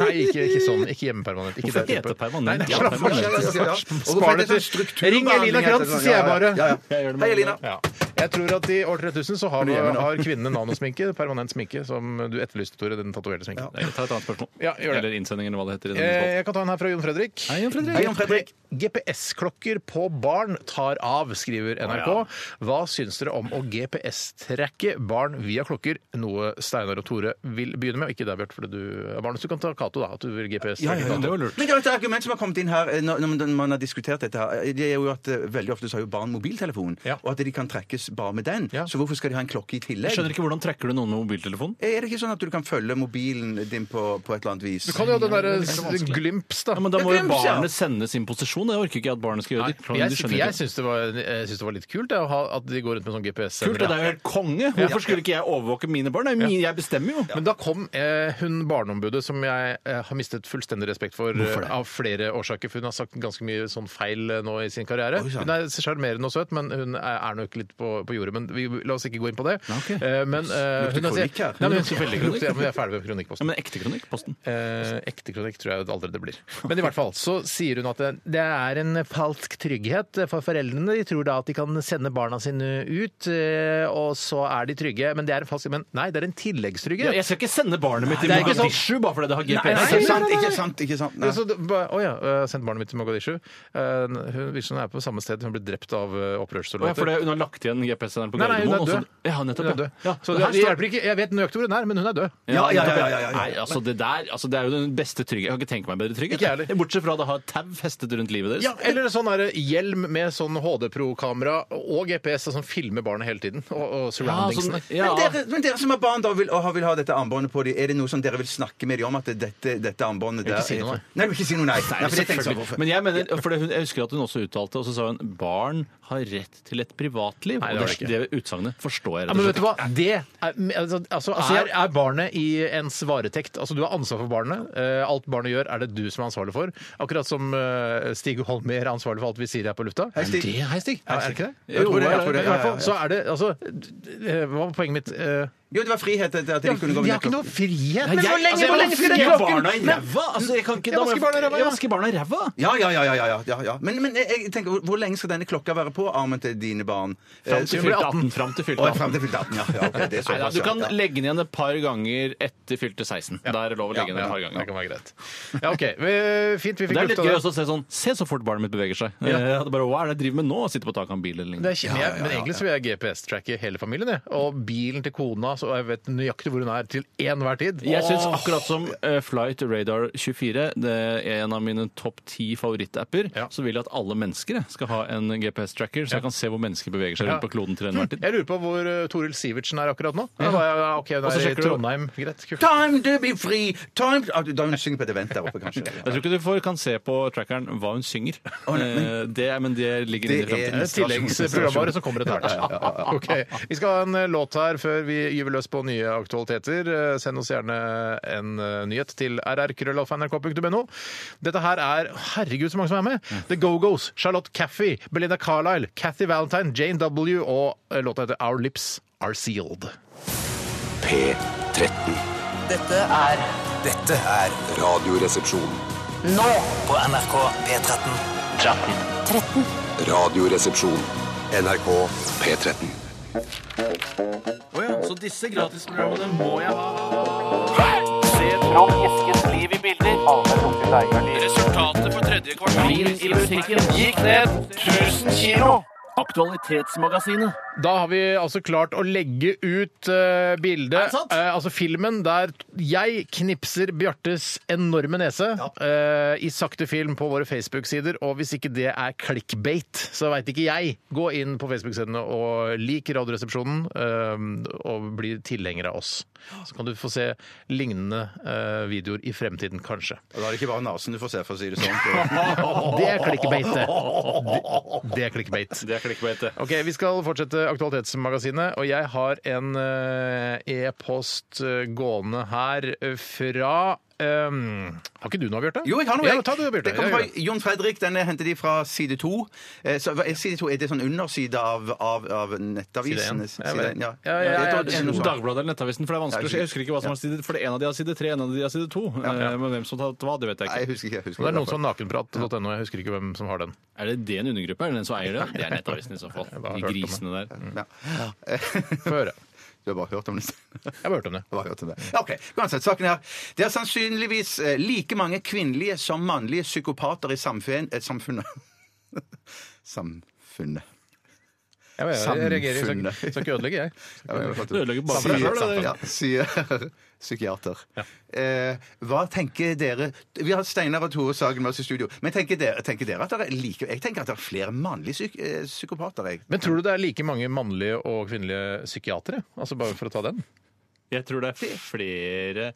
Speaker 2: Nei, ikke, ikke sånn. Ikke hjemmepermanent. Ikke
Speaker 4: Hvorfor
Speaker 2: det
Speaker 4: heter
Speaker 2: type.
Speaker 4: det permanent?
Speaker 2: Nei, nei,
Speaker 4: Ja,
Speaker 2: slapp av.
Speaker 4: permanent.
Speaker 2: Spar det til sånn Ring Elina Krantz, sier jeg bare.
Speaker 3: sånn. Ja,
Speaker 4: Jeg gjør
Speaker 3: ja.
Speaker 4: det med
Speaker 3: Hei, Elina.
Speaker 2: Ja. Jeg tror at i år 3000 så har,
Speaker 3: du hjemme nå?
Speaker 2: har kvinnene nanosminke, permanent sminke, som du etterlyste, Tore, den tatoverte sminken.
Speaker 4: Nei, Ta et annet spørsmål.
Speaker 2: Ja, gjør det.
Speaker 4: Eller innsending, eller hva det heter. i denne
Speaker 2: Eh, Jeg kan ta en her fra Jon Fredrik.
Speaker 4: Hei, Jon Fredrik.
Speaker 3: Hei, Jon Fredrik.
Speaker 2: GPS-klokker på barn tar av, skriver
Speaker 4: Å,
Speaker 2: NRK. Hva syns dere om å GPS-trekke barn via klokker? Noe Steinar og Tore vil begynne med, og ikke deg, Bjarte, fordi du er barn. Så du kan ta Cato, da. At du vil
Speaker 3: Ja, ja,
Speaker 2: GPS-trekke
Speaker 3: ja.
Speaker 2: Cato.
Speaker 4: var lurt.
Speaker 3: Men det er et argument som har kommet inn her eh, når når man har diskutert dette, her, eh, det er jo at eh, veldig ofte så har jo barn mobiltelefon,
Speaker 2: Ja.
Speaker 3: og at de kan trekkes bare med den.
Speaker 2: Ja.
Speaker 3: Så hvorfor skal de ha en klokke i tillegg?
Speaker 4: Jeg skjønner ikke hvordan trekker du noen med mobiltelefon?
Speaker 3: Er det ikke sånn at du kan følge mobilen din på, på et eller annet vis?
Speaker 2: Du kan jo ha den derre
Speaker 4: Det er så vanskelig.
Speaker 2: glimps, da.
Speaker 4: Ja, men da må jo
Speaker 3: glemmer ikke, ja.
Speaker 4: barnet sende sin posisjon. Det orker ikke jeg at barnet skal gjøre.
Speaker 2: Nei,
Speaker 4: De-
Speaker 2: for jeg
Speaker 4: de skjønner
Speaker 2: for jeg
Speaker 4: ikke.
Speaker 2: syns det, var- jeg syns det var litt kult det, å ha, at de går rundt med sånn GPS-sender.
Speaker 4: Kult, det er jo helt konge! Hvorfor skulle ikke jeg overvåke mine barn? Det er jo mine, jeg bestemmer jo!
Speaker 2: Men da kom eh, hun barneombudet, som jeg eh, har mistet fullstendig respekt for eh, av flere årsaker. For hun har sagt ganske mye sånn feil eh, nå i sin karriere.
Speaker 3: Oi, sann.
Speaker 2: Hun er sjarmerende og søt, men hun er, er nok litt på, på jordet. Men vi, la oss ikke gå inn på det.
Speaker 4: ok.
Speaker 2: Eh, men, eh,
Speaker 3: Lukter
Speaker 2: hun har-
Speaker 3: kronikk her.
Speaker 2: Nei, men hun lukter veldig kronikk. Ja, men vi er ferdig med
Speaker 4: Ja,
Speaker 2: kronikkposten.
Speaker 4: men ekte kronikk, posten.
Speaker 2: Eh, ekte kronikk tror jeg aldri det blir. Men i hvert fall så sier hun at det, det er en falsk trygghet for foreldrene. De tror da at de kan sende barna sine ut, eh, og så er de trygge. Men det er en falsk Men nei, det er en tilleggstrygghet.
Speaker 4: Jeg skal ikke sende barnet mitt til
Speaker 2: det er ikke sånn-
Speaker 4: Mogadishu bare fordi det har
Speaker 2: Nei, nei,
Speaker 3: Ikke
Speaker 4: GPS.
Speaker 2: nei.
Speaker 3: sant, ikke sant, ikke sant. Nei.
Speaker 2: Ja, så det- ba- Å ja, jeg har sendt barnet mitt til Mogadishu. Eh, Hun virker som hun er på samme sted. Hun ble drept av eh,
Speaker 4: Å ja, fordi
Speaker 2: opprørssoldater.
Speaker 4: hun har lagt igjen GPS-en på
Speaker 2: Nei, nei, hun er
Speaker 4: Gardermoen. og så-
Speaker 2: død.
Speaker 4: Ja, nettopp.
Speaker 2: Hun er død.
Speaker 4: Ja.
Speaker 2: Så
Speaker 4: Og
Speaker 2: det, det
Speaker 4: her står-
Speaker 2: hjelper ikke. Jeg vet nøyaktig hvor hun er, men hun er død.
Speaker 3: Ja, ja, ja, ja, ja, ja.
Speaker 4: Nei, altså det der altså, Det er jo den beste trygghet. Jeg kan ikke tenke meg bedre trygghet.
Speaker 2: Ikke jeg heller.
Speaker 4: Bortsett fra at det har et tau festet rundt livet deres.
Speaker 2: Ja, eller sånn er det hjelm med sånn HD Pro-kamera og GPS altså som filmer barnet hele tiden. Og, og surroundingsene.
Speaker 4: ja. sånn
Speaker 3: Men, dere, men dere som har barn da vil, og har- vil ha dette armbåndet på dem, er det noe som dere vil snakke med dem om? At dette, dette armbåndet
Speaker 2: Jeg vil
Speaker 3: der
Speaker 2: ikke si
Speaker 3: er-
Speaker 2: noe, nei.
Speaker 3: Nei, du vil ikke si noe, nei. nei, for det tenkte jeg sånn.
Speaker 4: Selvfølgelig.
Speaker 3: på.
Speaker 4: Men jeg mener, for det, hun, jeg husker at hun også uttalte, og så sa hun barn har rett til et privatliv.
Speaker 2: Nei, det
Speaker 4: og
Speaker 2: har
Speaker 4: det,
Speaker 2: de
Speaker 4: det utsagnet forstår jeg
Speaker 2: Ja,
Speaker 4: rett
Speaker 2: men
Speaker 4: og
Speaker 2: vet du
Speaker 4: slett.
Speaker 2: hva? Det er, altså, altså, er, er barnet i ens varetekt. Altså, du har ansvar for barnet. Eh, Alt barnet gjør, er det du som er ansvarlig for. Akkurat som eh, Stig Holmer er ansvarlig for alt vi sier her på lufta.
Speaker 3: Hei, Stig.
Speaker 2: Er det- Hei, Stig. Ja, er det ikke det?
Speaker 3: Jeg tror det, jeg tror det.
Speaker 2: Men i hvert fall,
Speaker 3: Ja, ja,
Speaker 2: så er det altså d- eh, Hva var poenget mitt? Eh,
Speaker 3: Jo, det var frihet til at de kunne gå
Speaker 2: vi
Speaker 3: med
Speaker 2: har ikke noe
Speaker 3: nøkkel.
Speaker 2: frihet!
Speaker 4: Nei, jeg- altså, jeg vasker barna i
Speaker 2: Men-
Speaker 4: ræva! Altså, jeg kan
Speaker 2: Jeg
Speaker 4: ikke- da må
Speaker 2: vasker barna i ræva,
Speaker 4: Jeg
Speaker 2: ja.
Speaker 4: vasker barna i ræva!
Speaker 3: Ja, ja, ja. ja, ja, ja, ja. Men, men jeg jeg tenker, hvor- hvor lenge skal denne klokka være på armen til dine barn? Eh,
Speaker 2: Fram til
Speaker 4: Til
Speaker 2: Hun ble
Speaker 4: fylte
Speaker 2: 18.
Speaker 4: 18. Fram til fylte
Speaker 3: Å, frem
Speaker 4: 18.
Speaker 3: til fylte 18, ja. ja ok, det er
Speaker 4: Neida,
Speaker 3: såpass,
Speaker 4: du
Speaker 3: ja,
Speaker 4: kan
Speaker 3: ja.
Speaker 4: legge den igjen et par ganger etter fylte 16. Der er det lov å legge den
Speaker 2: Ja,
Speaker 4: et par
Speaker 2: det
Speaker 4: ganger.
Speaker 2: kan være greit. Ja, OK. Eh, Fint, vi fikk lufta
Speaker 4: Det er litt gøy også å se sånn Se så fort barnet mitt beveger seg. Eh, at Bare, Hva er det jeg driver med nå? Sitter på taket av en bil eller
Speaker 2: Det
Speaker 4: lignende.
Speaker 2: er kjem- jeg- Men egentlig så vil jeg GPS-tracke hele familien. Jeg. Og bilen til kona, så jeg vet nøyaktig hvor hun er til enhver tid.
Speaker 4: Jeg syns
Speaker 2: Åh.
Speaker 4: akkurat som eh, Flight Radar 24, det er en av mine topp ti favorittapper,
Speaker 2: Ja.
Speaker 4: så vil jeg at alle mennesker jeg, skal ha en GPS-tracker, så jeg kan se hvor mennesker beveger seg
Speaker 2: Ja.
Speaker 4: rundt på kloden til enhver tid.
Speaker 2: Jeg lurer på hvor eh, Toril Sivertsen er akkurat nå. Ja. da er jeg- ok, hun
Speaker 4: Og så
Speaker 2: er i
Speaker 4: sjekker du-
Speaker 2: Trondheim. Greit. kult.
Speaker 3: Time to be free! Time to... Ah, du- Da hun synger på et event der oppe, kanskje.
Speaker 4: Jeg tror ikke du får, kan se på trackeren hva hun synger. Eh, det, er- men det ligger
Speaker 3: Det
Speaker 4: inne i
Speaker 3: er
Speaker 4: fremtiden.
Speaker 3: neste
Speaker 2: Tilleggsprogramvare som kommer etter hvert. Ok, Vi skal ha en eh, låt her før vi gyver løs på nye aktualiteter. Eh, Send oss gjerne en eh, nyhet til rrkrøllalfa.nrk.no. Dette her er Herregud, så mange som er med! The Go-Go's, Charlotte Caffey, Belinda Carlisle, Cathy Valentine, Jane W. og eh, låta heter Our Lips Are Sealed.
Speaker 5: P13.
Speaker 9: Dette er
Speaker 5: Dette er Radioresepsjon.
Speaker 9: nå på NRK P13.
Speaker 5: Radioresepsjon. NRK P13.
Speaker 4: Så disse gratisprogrammene må jeg ha. Resultatet på tredje kvartal i musikken gikk ned 1000 kilo. Aktualitetsmagasinet.
Speaker 2: Da har vi altså klart å legge ut eh,
Speaker 4: Er det
Speaker 2: bildet,
Speaker 4: sant?
Speaker 2: eh, altså filmen der jeg knipser Bjartes enorme nese eh, i sakte film på våre Facebook-sider. Og hvis ikke det er clickbait, så veit ikke jeg. Gå inn på Facebook-sidene og lik Radioresepsjonen eh, og bli tilhenger av oss. Så kan du få se lignende eh, videoer i fremtiden, kanskje.
Speaker 3: Og da er det ikke bare nasen du får se, for å si det sånn.
Speaker 2: Det er clickbait, det. Det- Det er clickbait.
Speaker 4: Det er klikkbete.
Speaker 2: Ok, Vi skal fortsette Aktualitetsmagasinet, og jeg har en eh, e-post eh, gående her eh, fra ehm, Har ikke du noe, Bjarte?
Speaker 3: Jo, jeg har noe.
Speaker 2: Ja,
Speaker 3: jeg.
Speaker 2: ta du, Bjarte.
Speaker 3: det kommer fra
Speaker 2: Ja, ja.
Speaker 3: Jon Fredrik. Den henter de fra side 2. Så, hva- side 2 er det sånn underside av, av, av nettavisene?
Speaker 2: Side én.
Speaker 3: én, ja.
Speaker 2: Ja, ja, ja,
Speaker 3: Jeg tror
Speaker 2: ja,
Speaker 3: det er noe sånt.
Speaker 4: Dagbladet eller Nettavisen, for det er vanskelig. å se. Jeg husker ikke hva som er side, for det en av de har side tre, en av de har side to. Eh, Men hvem som har tatt hva, det vet jeg
Speaker 3: Nei,
Speaker 4: ikke.
Speaker 3: jeg husker ikke. Jeg husker
Speaker 2: Det er sånn- noen
Speaker 3: ikke.
Speaker 2: som har nakenprat.no. Jeg husker ikke hvem som har den.
Speaker 4: Er det det en undergruppe? Er det den som eier det? Det er Nettavisen i så fall.
Speaker 2: bare har
Speaker 4: De
Speaker 2: hørt om det.
Speaker 4: grisene der.
Speaker 3: Ja.
Speaker 2: Få høre.
Speaker 3: Du har bare hørt om det?
Speaker 2: Jeg har hørt om det.
Speaker 3: Jeg har hørt om det. Ja, Ok, uansett, saken her. Det er sannsynligvis eh, like mange kvinnelige som mannlige psykopater i samfunn, eh, samfunnet. Samfunnet.
Speaker 2: Jeg, jeg, jeg reagerer. Jeg skal,
Speaker 3: Samfunnet.
Speaker 2: ikke- skal ikke ødelegge, jeg.
Speaker 3: Ja, men jeg vet
Speaker 4: Du ødelegger bare for deg
Speaker 3: Sier,
Speaker 4: selv, det der.
Speaker 3: ja, sier psykiater. Eh, hva tenker dere Vi har Steinar og Tore Sagen med oss i studio. Men tenker dere, tenker dere at det er like Jeg tenker at det er flere mannlige psyk eh, psykopater, jeg.
Speaker 2: Men tror du det er like mange mannlige og kvinnelige psykiatere? Altså Bare for å ta den?
Speaker 4: Jeg tror det er flere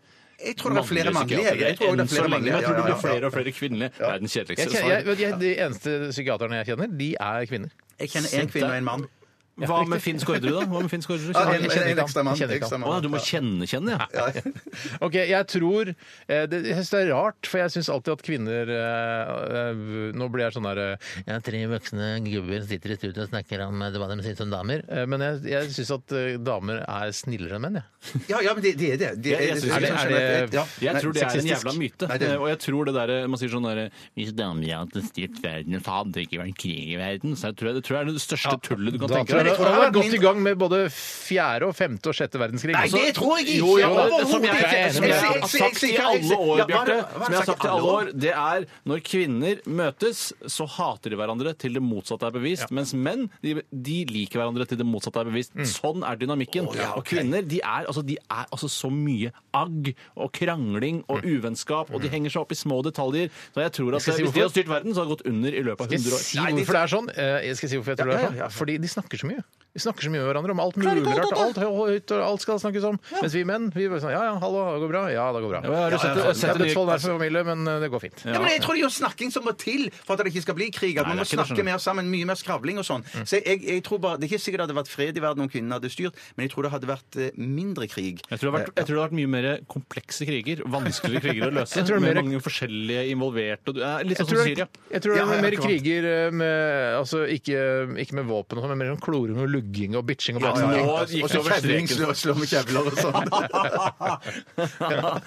Speaker 3: Jeg tror det er flere mannlige. Jeg, jeg tror det
Speaker 4: enn
Speaker 3: er
Speaker 4: så
Speaker 3: flere
Speaker 4: lenge.
Speaker 3: mannlige.
Speaker 4: Jeg
Speaker 3: Ja,
Speaker 4: tror det
Speaker 3: ja,
Speaker 4: blir
Speaker 3: ja.
Speaker 4: flere og flere kvinnelige. Det er den
Speaker 2: Jeg
Speaker 4: kjedeligste
Speaker 2: kjenner,
Speaker 4: svaret.
Speaker 2: jeg, jeg, de eneste psykiaterne jeg kjenner, de er kvinner.
Speaker 3: Jeg kjenner én kvinne og en mann.
Speaker 4: Hva med Finn Skårderud, da? Hva med Finn Skårderud?
Speaker 3: Ja,
Speaker 4: Kjenner
Speaker 3: en,
Speaker 4: du?
Speaker 2: kjenner ikke
Speaker 3: en
Speaker 2: han.
Speaker 3: ekstra mann.
Speaker 2: Jeg kjenner ikke
Speaker 3: Ekstra
Speaker 2: han.
Speaker 4: Å, ja, du
Speaker 3: mann.
Speaker 4: må kjenne-kjenne, ja.
Speaker 2: Ok, jeg tror eh, det, jeg synes det er rart, for jeg syns alltid at kvinner eh, eh, Nå blir jeg sånn der eh, Ja, tre voksne gubber sitter i studio og snakker om eh, hva de sier som damer. Eh, men jeg, jeg syns at eh, damer er snillere enn menn, jeg.
Speaker 3: Ja, ja, men det, det er det. det,
Speaker 4: Jeg- jeg synes-
Speaker 3: sånn
Speaker 2: er det- er
Speaker 3: generelt,
Speaker 2: det-
Speaker 3: ja.
Speaker 4: Jeg
Speaker 3: Nei,
Speaker 4: tror det er en
Speaker 3: sexistisk.
Speaker 4: jævla myte.
Speaker 3: Nei, det-
Speaker 4: Eh, Og jeg tror det der, man sier sånn der Hvis damene hadde styrt verden, så hadde det ikke vært krig i verden. Så jeg tror, jeg, det tror jeg er det største tullet du kan
Speaker 2: Da
Speaker 4: tenke
Speaker 2: tror jeg Han
Speaker 3: jeg tror
Speaker 2: har
Speaker 3: det
Speaker 2: vært
Speaker 3: var
Speaker 2: godt i
Speaker 3: min-
Speaker 2: gang med både fjerde og femte og sjette verdenskrig.
Speaker 3: Nei,
Speaker 2: Altså,
Speaker 3: det tror jeg ikke!
Speaker 2: Jo, jo,
Speaker 3: Overhodet
Speaker 2: det- som jeg-
Speaker 3: ikke.
Speaker 2: jeg er enig
Speaker 4: som
Speaker 2: med
Speaker 4: jeg
Speaker 3: Jeg-
Speaker 2: deg.
Speaker 3: jeg-
Speaker 4: har
Speaker 3: jeg-
Speaker 4: sagt i
Speaker 3: jeg-
Speaker 4: alle år,
Speaker 3: Ja, hva-
Speaker 4: Bjarte,
Speaker 3: hva- hva
Speaker 4: som jeg har sagt i alle år, det er når kvinner møtes, så hater de hverandre til det motsatte er bevist, mens menn de, de liker hverandre til det motsatte er bevist. Sånn er dynamikken. Og kvinner de er, altså, de er altså så mye agg og krangling og uvennskap, og de henger seg opp i små detaljer. Så jeg tror at eh,
Speaker 2: skal si
Speaker 4: hvis de
Speaker 2: hvorfor.
Speaker 4: hadde styrt verden, så hadde det gått under i løpet av
Speaker 2: Skal
Speaker 4: 100
Speaker 2: jeg
Speaker 4: år.
Speaker 2: si
Speaker 4: Nei, de-
Speaker 2: hvorfor det er sånn? Eh, Jeg skal si hvorfor jeg tror det
Speaker 3: Ja,
Speaker 2: er
Speaker 3: ja, ja.
Speaker 2: sånn. Fordi de snakker så mye. De snakker så mye med hverandre om alt mulig rart. Alt er høyt, og alt skal snakkes om. Mens vi menn, vi bare sånn Ja ja, hallo, det går bra. Ja, det går bra. eh,
Speaker 4: Ja, men har du
Speaker 2: Ja,
Speaker 4: sett-
Speaker 2: ja, ja. Det er
Speaker 4: sett
Speaker 2: sånn-
Speaker 4: det nye-
Speaker 2: dødsfall der for familie, men eh, det går fint.
Speaker 3: Ja, men jeg tror det er jo snakking som må til for at det ikke skal bli krig. At
Speaker 4: Nei,
Speaker 3: man må
Speaker 4: det er ikke det,
Speaker 3: snakke mer sammen, mye mer skravling og sånn. Så jeg, jeg tror bare, Det er ikke sikkert det hadde vært fred i verden om kvinnene hadde styrt, men jeg tror det hadde vært eh, mindre krig.
Speaker 4: Jeg tror, det har vært, jeg tror det har vært mye mer komplekse kriger. Vanskeligere kriger å løse.
Speaker 2: Jeg tror det er
Speaker 4: med
Speaker 2: mer-
Speaker 4: mange forskjellige involverte. og du- eh, Litt
Speaker 2: Jeg tror,
Speaker 4: sånn som
Speaker 2: det,
Speaker 4: Syria.
Speaker 2: jeg tror det
Speaker 3: Ja,
Speaker 2: er
Speaker 3: ja,
Speaker 2: mer
Speaker 3: akkurat.
Speaker 2: kriger eh, med Altså ikke, ikke med våpen, og sånn, men mer sånn kloring og lugging og bitching og
Speaker 4: Ja,
Speaker 2: bråting.
Speaker 4: nå gikk
Speaker 3: Og
Speaker 4: det
Speaker 3: så
Speaker 4: over
Speaker 3: kjevling
Speaker 4: streken.
Speaker 3: slår slår med kjevler og sånn.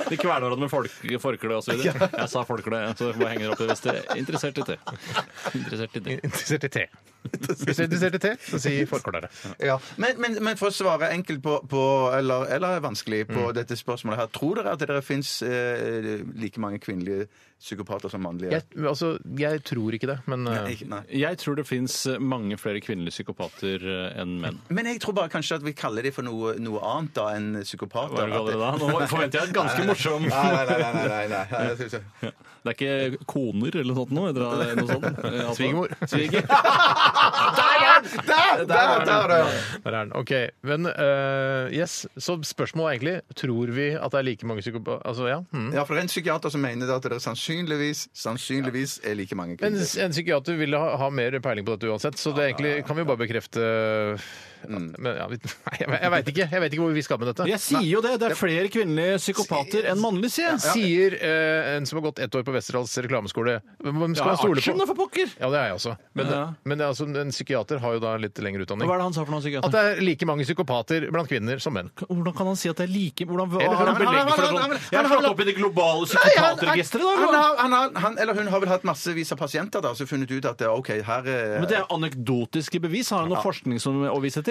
Speaker 4: De kveler hverandre med folk, forkle og så videre. Jeg sa forkle, så bare henger dere opp i hvis dere er interessert i det. Interessert i det.
Speaker 2: Interessert i te. Hvis du er interessert i te, så si forklare.
Speaker 3: Ja. Men, men, men for å svare enkelt på, på eller, eller vanskelig på dette spørsmålet her, tror dere at det fins eh, like mange kvinnelige psykopater som mannlige?
Speaker 2: Jeg, altså, jeg tror ikke det, men eh,
Speaker 3: Ikke- Nei.
Speaker 4: Jeg tror det fins mange flere kvinnelige psykopater eh, enn menn.
Speaker 3: Men jeg tror bare kanskje at vi kaller dem for noe, noe annet da enn psykopater.
Speaker 4: Hva er det du
Speaker 3: At
Speaker 4: kaller det da?
Speaker 3: det-
Speaker 4: Nå forventer jeg et ganske morsom
Speaker 3: Nei, nei, nei. nei, nei, nei, nei, jeg synes ikke.
Speaker 4: Det er ikke koner eller noe sånt nå? Eller noe sånt. Eh, altså-
Speaker 2: Svigermor.
Speaker 4: Sviger.
Speaker 3: Der, der, der, der.
Speaker 2: Der er den. Ok, men eh, yes, så spørsmålet er egentlig Tror vi at det er like mange psykopater? Altså, ja. Mm.
Speaker 3: Ja, for det er en psykiater som mener det at det sannsynligvis, sannsynligvis er like mange
Speaker 2: Men
Speaker 3: kvinner.
Speaker 2: en psykiater ville ha, ha mer peiling på dette uansett, så det egentlig kan vi jo bare bekrefte
Speaker 3: Mm.
Speaker 2: Men ja, vi, nei, jeg, jeg veit ikke. Jeg vet ikke hvor vi skal med dette.
Speaker 4: Jeg sier jo det! Det er flere kvinnelige psykopater enn mannlige, sier jeg.
Speaker 2: Sier eh, en som har gått ett år på Westerdals reklameskole. Hvem skal
Speaker 4: Ja,
Speaker 2: man stole
Speaker 4: Arntzen, da, for
Speaker 2: på?
Speaker 4: pokker!
Speaker 2: Ja, det er jeg også. Men,
Speaker 4: Ja.
Speaker 2: men det er altså, en psykiater har jo da en litt lengre utdanning.
Speaker 4: Hva er det han sa for noe,
Speaker 2: At
Speaker 4: psykiater?
Speaker 2: det er like mange psykopater blant kvinner som menn.
Speaker 4: Hvordan kan han si at det er like hvordan, hva,
Speaker 2: Eller-
Speaker 4: Har
Speaker 2: Han-
Speaker 4: han
Speaker 2: han-
Speaker 4: belegg
Speaker 3: han-
Speaker 4: for det?
Speaker 3: han-
Speaker 4: sånn?
Speaker 3: han-
Speaker 4: Jeg har slått
Speaker 3: han-
Speaker 4: opp i det globale
Speaker 3: han,
Speaker 4: psykiaterregisteret. da, eller hva?
Speaker 3: har- han, har- han eller hun har vel hatt massevis av pasienter da, så funnet ut at det, OK, her eh,
Speaker 4: Men det er jo anekdotiske bevis. Har han noe forskning som å vise til?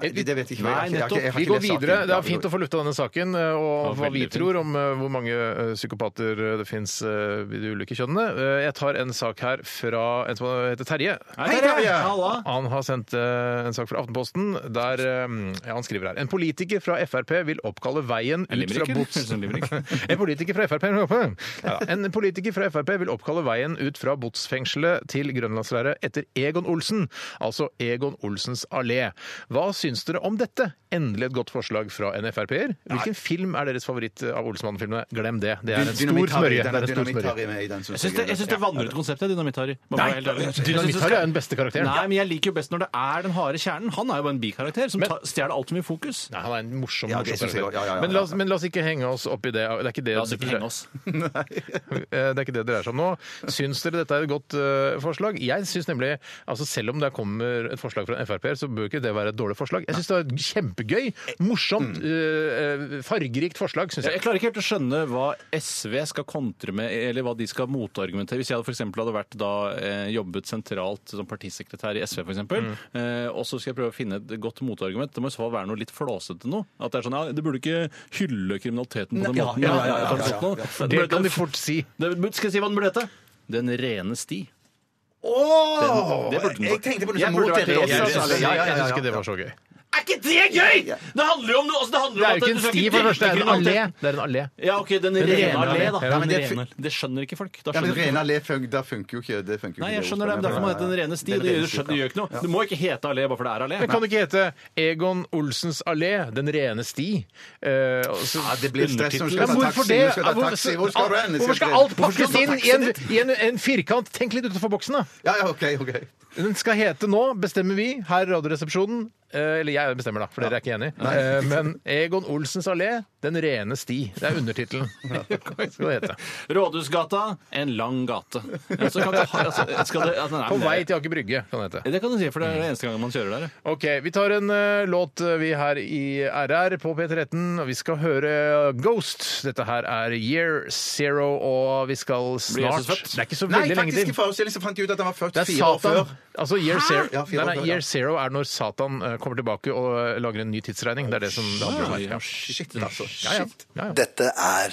Speaker 3: det, det vet jeg ikke. hva jeg
Speaker 4: Nei,
Speaker 3: har ikke- jeg har ikke- jeg har
Speaker 2: Vi
Speaker 3: ikke lest
Speaker 2: går
Speaker 3: saken.
Speaker 2: videre. Det
Speaker 3: Ja,
Speaker 2: er fint å få lufta denne saken, eh, og
Speaker 4: Ja,
Speaker 2: hva vi
Speaker 4: veldig fint.
Speaker 2: tror om eh, hvor mange eh, psykopater eh, det fins i de ulike kjønnene. Eh, Jeg tar en sak her fra en som heter Terje.
Speaker 4: Hei,
Speaker 3: Terje!
Speaker 4: Halla!
Speaker 2: Han har sendt eh, en sak fra Aftenposten der eh, ja, han skriver her En politiker fra Frp vil oppkalle veien
Speaker 4: En
Speaker 2: ut fra
Speaker 4: limerick,
Speaker 2: Bots...
Speaker 4: eller? En limerick.
Speaker 2: En politiker fra Frp ja, En politiker fra Frp vil oppkalle veien ut fra Botsfengselet til Grønlandsleiret etter Egon Olsen, altså Egon Olsens allé. Hva syns dere om dette? Endelig et godt forslag fra en Frp-er. Hvilken film er deres favoritt av Olsenmannen-filmene? Glem det. Det er en stor
Speaker 3: Dynamitt-Harry,
Speaker 2: smørje.
Speaker 3: den-
Speaker 2: Det er en stor smørje.
Speaker 3: Dynamitt-Harry med i den. synes
Speaker 4: Jeg syns det, jeg
Speaker 3: jeg.
Speaker 4: synes det vanner ut konseptet, Dynamitt-Harry. Må være helt ærlig. Jeg synes
Speaker 2: Dynamitt-Harry er den beste
Speaker 4: det-
Speaker 2: karakteren.
Speaker 4: Nei, men jeg liker jo best når det er den harde kjernen. Han er jo bare en bikarakter som
Speaker 2: Men-
Speaker 4: tar- stjeler alt for mye fokus.
Speaker 2: Nei, han er en morsom,
Speaker 3: Ja, det
Speaker 2: morsom
Speaker 3: synes jeg
Speaker 2: karakter.
Speaker 3: også. Ja, ja, ja,
Speaker 2: Men, la oss,
Speaker 3: ja.
Speaker 2: men la oss ikke henge oss opp i det. Det er ikke det,
Speaker 4: La oss ikke henge oss.
Speaker 2: Eh, Det er ikke det det dreier seg om nå. Syns dere dette er et godt eh, forslag? Jeg syns nemlig altså Selv om det kommer et forslag fra en Frp-er, så bør ikke det være et dårlig forslag. Jeg syns det er et kjempegøy,
Speaker 3: Mm.
Speaker 2: morsomt, eh, eh, fargerikt forslag, syns
Speaker 4: Jeg, jeg
Speaker 2: jeg.
Speaker 4: klarer ikke helt å skjønne hva SV skal kontre med, eller hva de skal motargumentere. Hvis jeg hadde for eksempel hadde vært da, eh, jobbet sentralt som partisekretær i SV, for eksempel, eh, og så skal jeg prøve å finne et godt motargument, det må i så fall være noe litt flåsete nå. At det er sånn, ja, det burde ikke hylle kriminaliteten på den måten.
Speaker 3: ja, ja, ja,
Speaker 4: på den
Speaker 3: ja, ja,
Speaker 4: måten nå. Det
Speaker 2: Det
Speaker 4: burde-
Speaker 2: kan de fort si.
Speaker 4: det, skal jeg si hva den burde hete? Den rene sti.
Speaker 3: Åh!
Speaker 4: Den- det burde den
Speaker 3: Jeg
Speaker 4: vært.
Speaker 3: tenkte på noe
Speaker 2: Jeg
Speaker 3: som
Speaker 2: burde
Speaker 3: mot
Speaker 2: vært
Speaker 3: Therese.
Speaker 2: Therese, altså.
Speaker 3: Ja, ja,
Speaker 2: Jeg
Speaker 3: ja,
Speaker 2: syns ikke
Speaker 3: ja.
Speaker 2: det var så gøy.
Speaker 4: Er ikke det gøy?! Det handler jo om noe! Altså, det, handler
Speaker 2: Det er
Speaker 4: om at
Speaker 2: jo ikke en
Speaker 4: du skal
Speaker 2: sti, for det første. Det er en allé.
Speaker 4: kriminalitet.
Speaker 2: Det er en allé.
Speaker 4: Ja, OK, den
Speaker 2: Den
Speaker 4: rene
Speaker 2: rene
Speaker 4: allé,
Speaker 2: allé.
Speaker 4: da. Ja,
Speaker 2: Ja,
Speaker 3: men
Speaker 4: men
Speaker 3: det-
Speaker 4: rene, det skjønner ikke folk. Da
Speaker 3: Ja, men
Speaker 4: skjønner ikke
Speaker 3: Rene allé fun- da funker jo ikke det. funker jo
Speaker 4: Nei,
Speaker 3: ikke
Speaker 4: jeg skjønner det. men Derfor må det hete Den rene sti.
Speaker 3: Det er
Speaker 4: Det gjør,
Speaker 3: det
Speaker 4: skjønner, det gjør ikke noe. Du må ikke hete allé bare fordi det er allé.
Speaker 2: Men kan det ikke hete Egon Olsens allé, Den rene sti? Eh, og så-
Speaker 3: Ja, det blir stress når du
Speaker 2: Ja,
Speaker 3: skal
Speaker 2: men
Speaker 3: ta
Speaker 2: hvorfor
Speaker 3: taxi.
Speaker 2: det?
Speaker 3: Hvor skal du ta taxi? Hvor skal du hen?
Speaker 2: Hvorfor skal alt pakkes inn i en, i en, en firkant? Tenk litt utenfor boksen, da.
Speaker 3: Ja, ja, ok, ok.
Speaker 2: Den skal hete nå, bestemmer vi, her i Radioresepsjonen. eh, Eller jeg bestemmer, da, for dere er ikke enig. Men Eh, Egon Olsens allé, Den rene sti. Det er undertittelen. Skal det hete.
Speaker 4: Rådhusgata, en lang gate. Ja, så kan det, ha- altså, skal det, altså, nei,
Speaker 2: På
Speaker 4: men
Speaker 2: vei
Speaker 4: det-
Speaker 2: til Aker Brygge, kan det hete.
Speaker 4: Det kan du si, for det er den eneste gangen man kjører der.
Speaker 2: Ok, vi tar en eh, låt eh, vi her i RR på P13. og Vi skal høre Ghost. Dette her er Year Zero, og vi skal snart
Speaker 4: Jesus født?
Speaker 2: Det er ikke så
Speaker 3: Nei,
Speaker 2: veldig lenge
Speaker 3: faktisk i
Speaker 2: til.
Speaker 3: forestillingen så fant de ut at han var født
Speaker 2: Det er
Speaker 3: fire år
Speaker 2: Satan.
Speaker 3: før.
Speaker 2: Altså Year Zero.
Speaker 3: Ja, fire
Speaker 2: Nei,
Speaker 3: år
Speaker 2: nei,
Speaker 3: før, ja.
Speaker 2: year Zero er når Satan eh, kommer tilbake og eh, lager en ny tidsregning. Det er det som det handler om. her.
Speaker 4: Ja,
Speaker 2: Ja.
Speaker 4: shit,
Speaker 3: altså.
Speaker 2: Ja, ja. Ja, ja.
Speaker 7: Dette er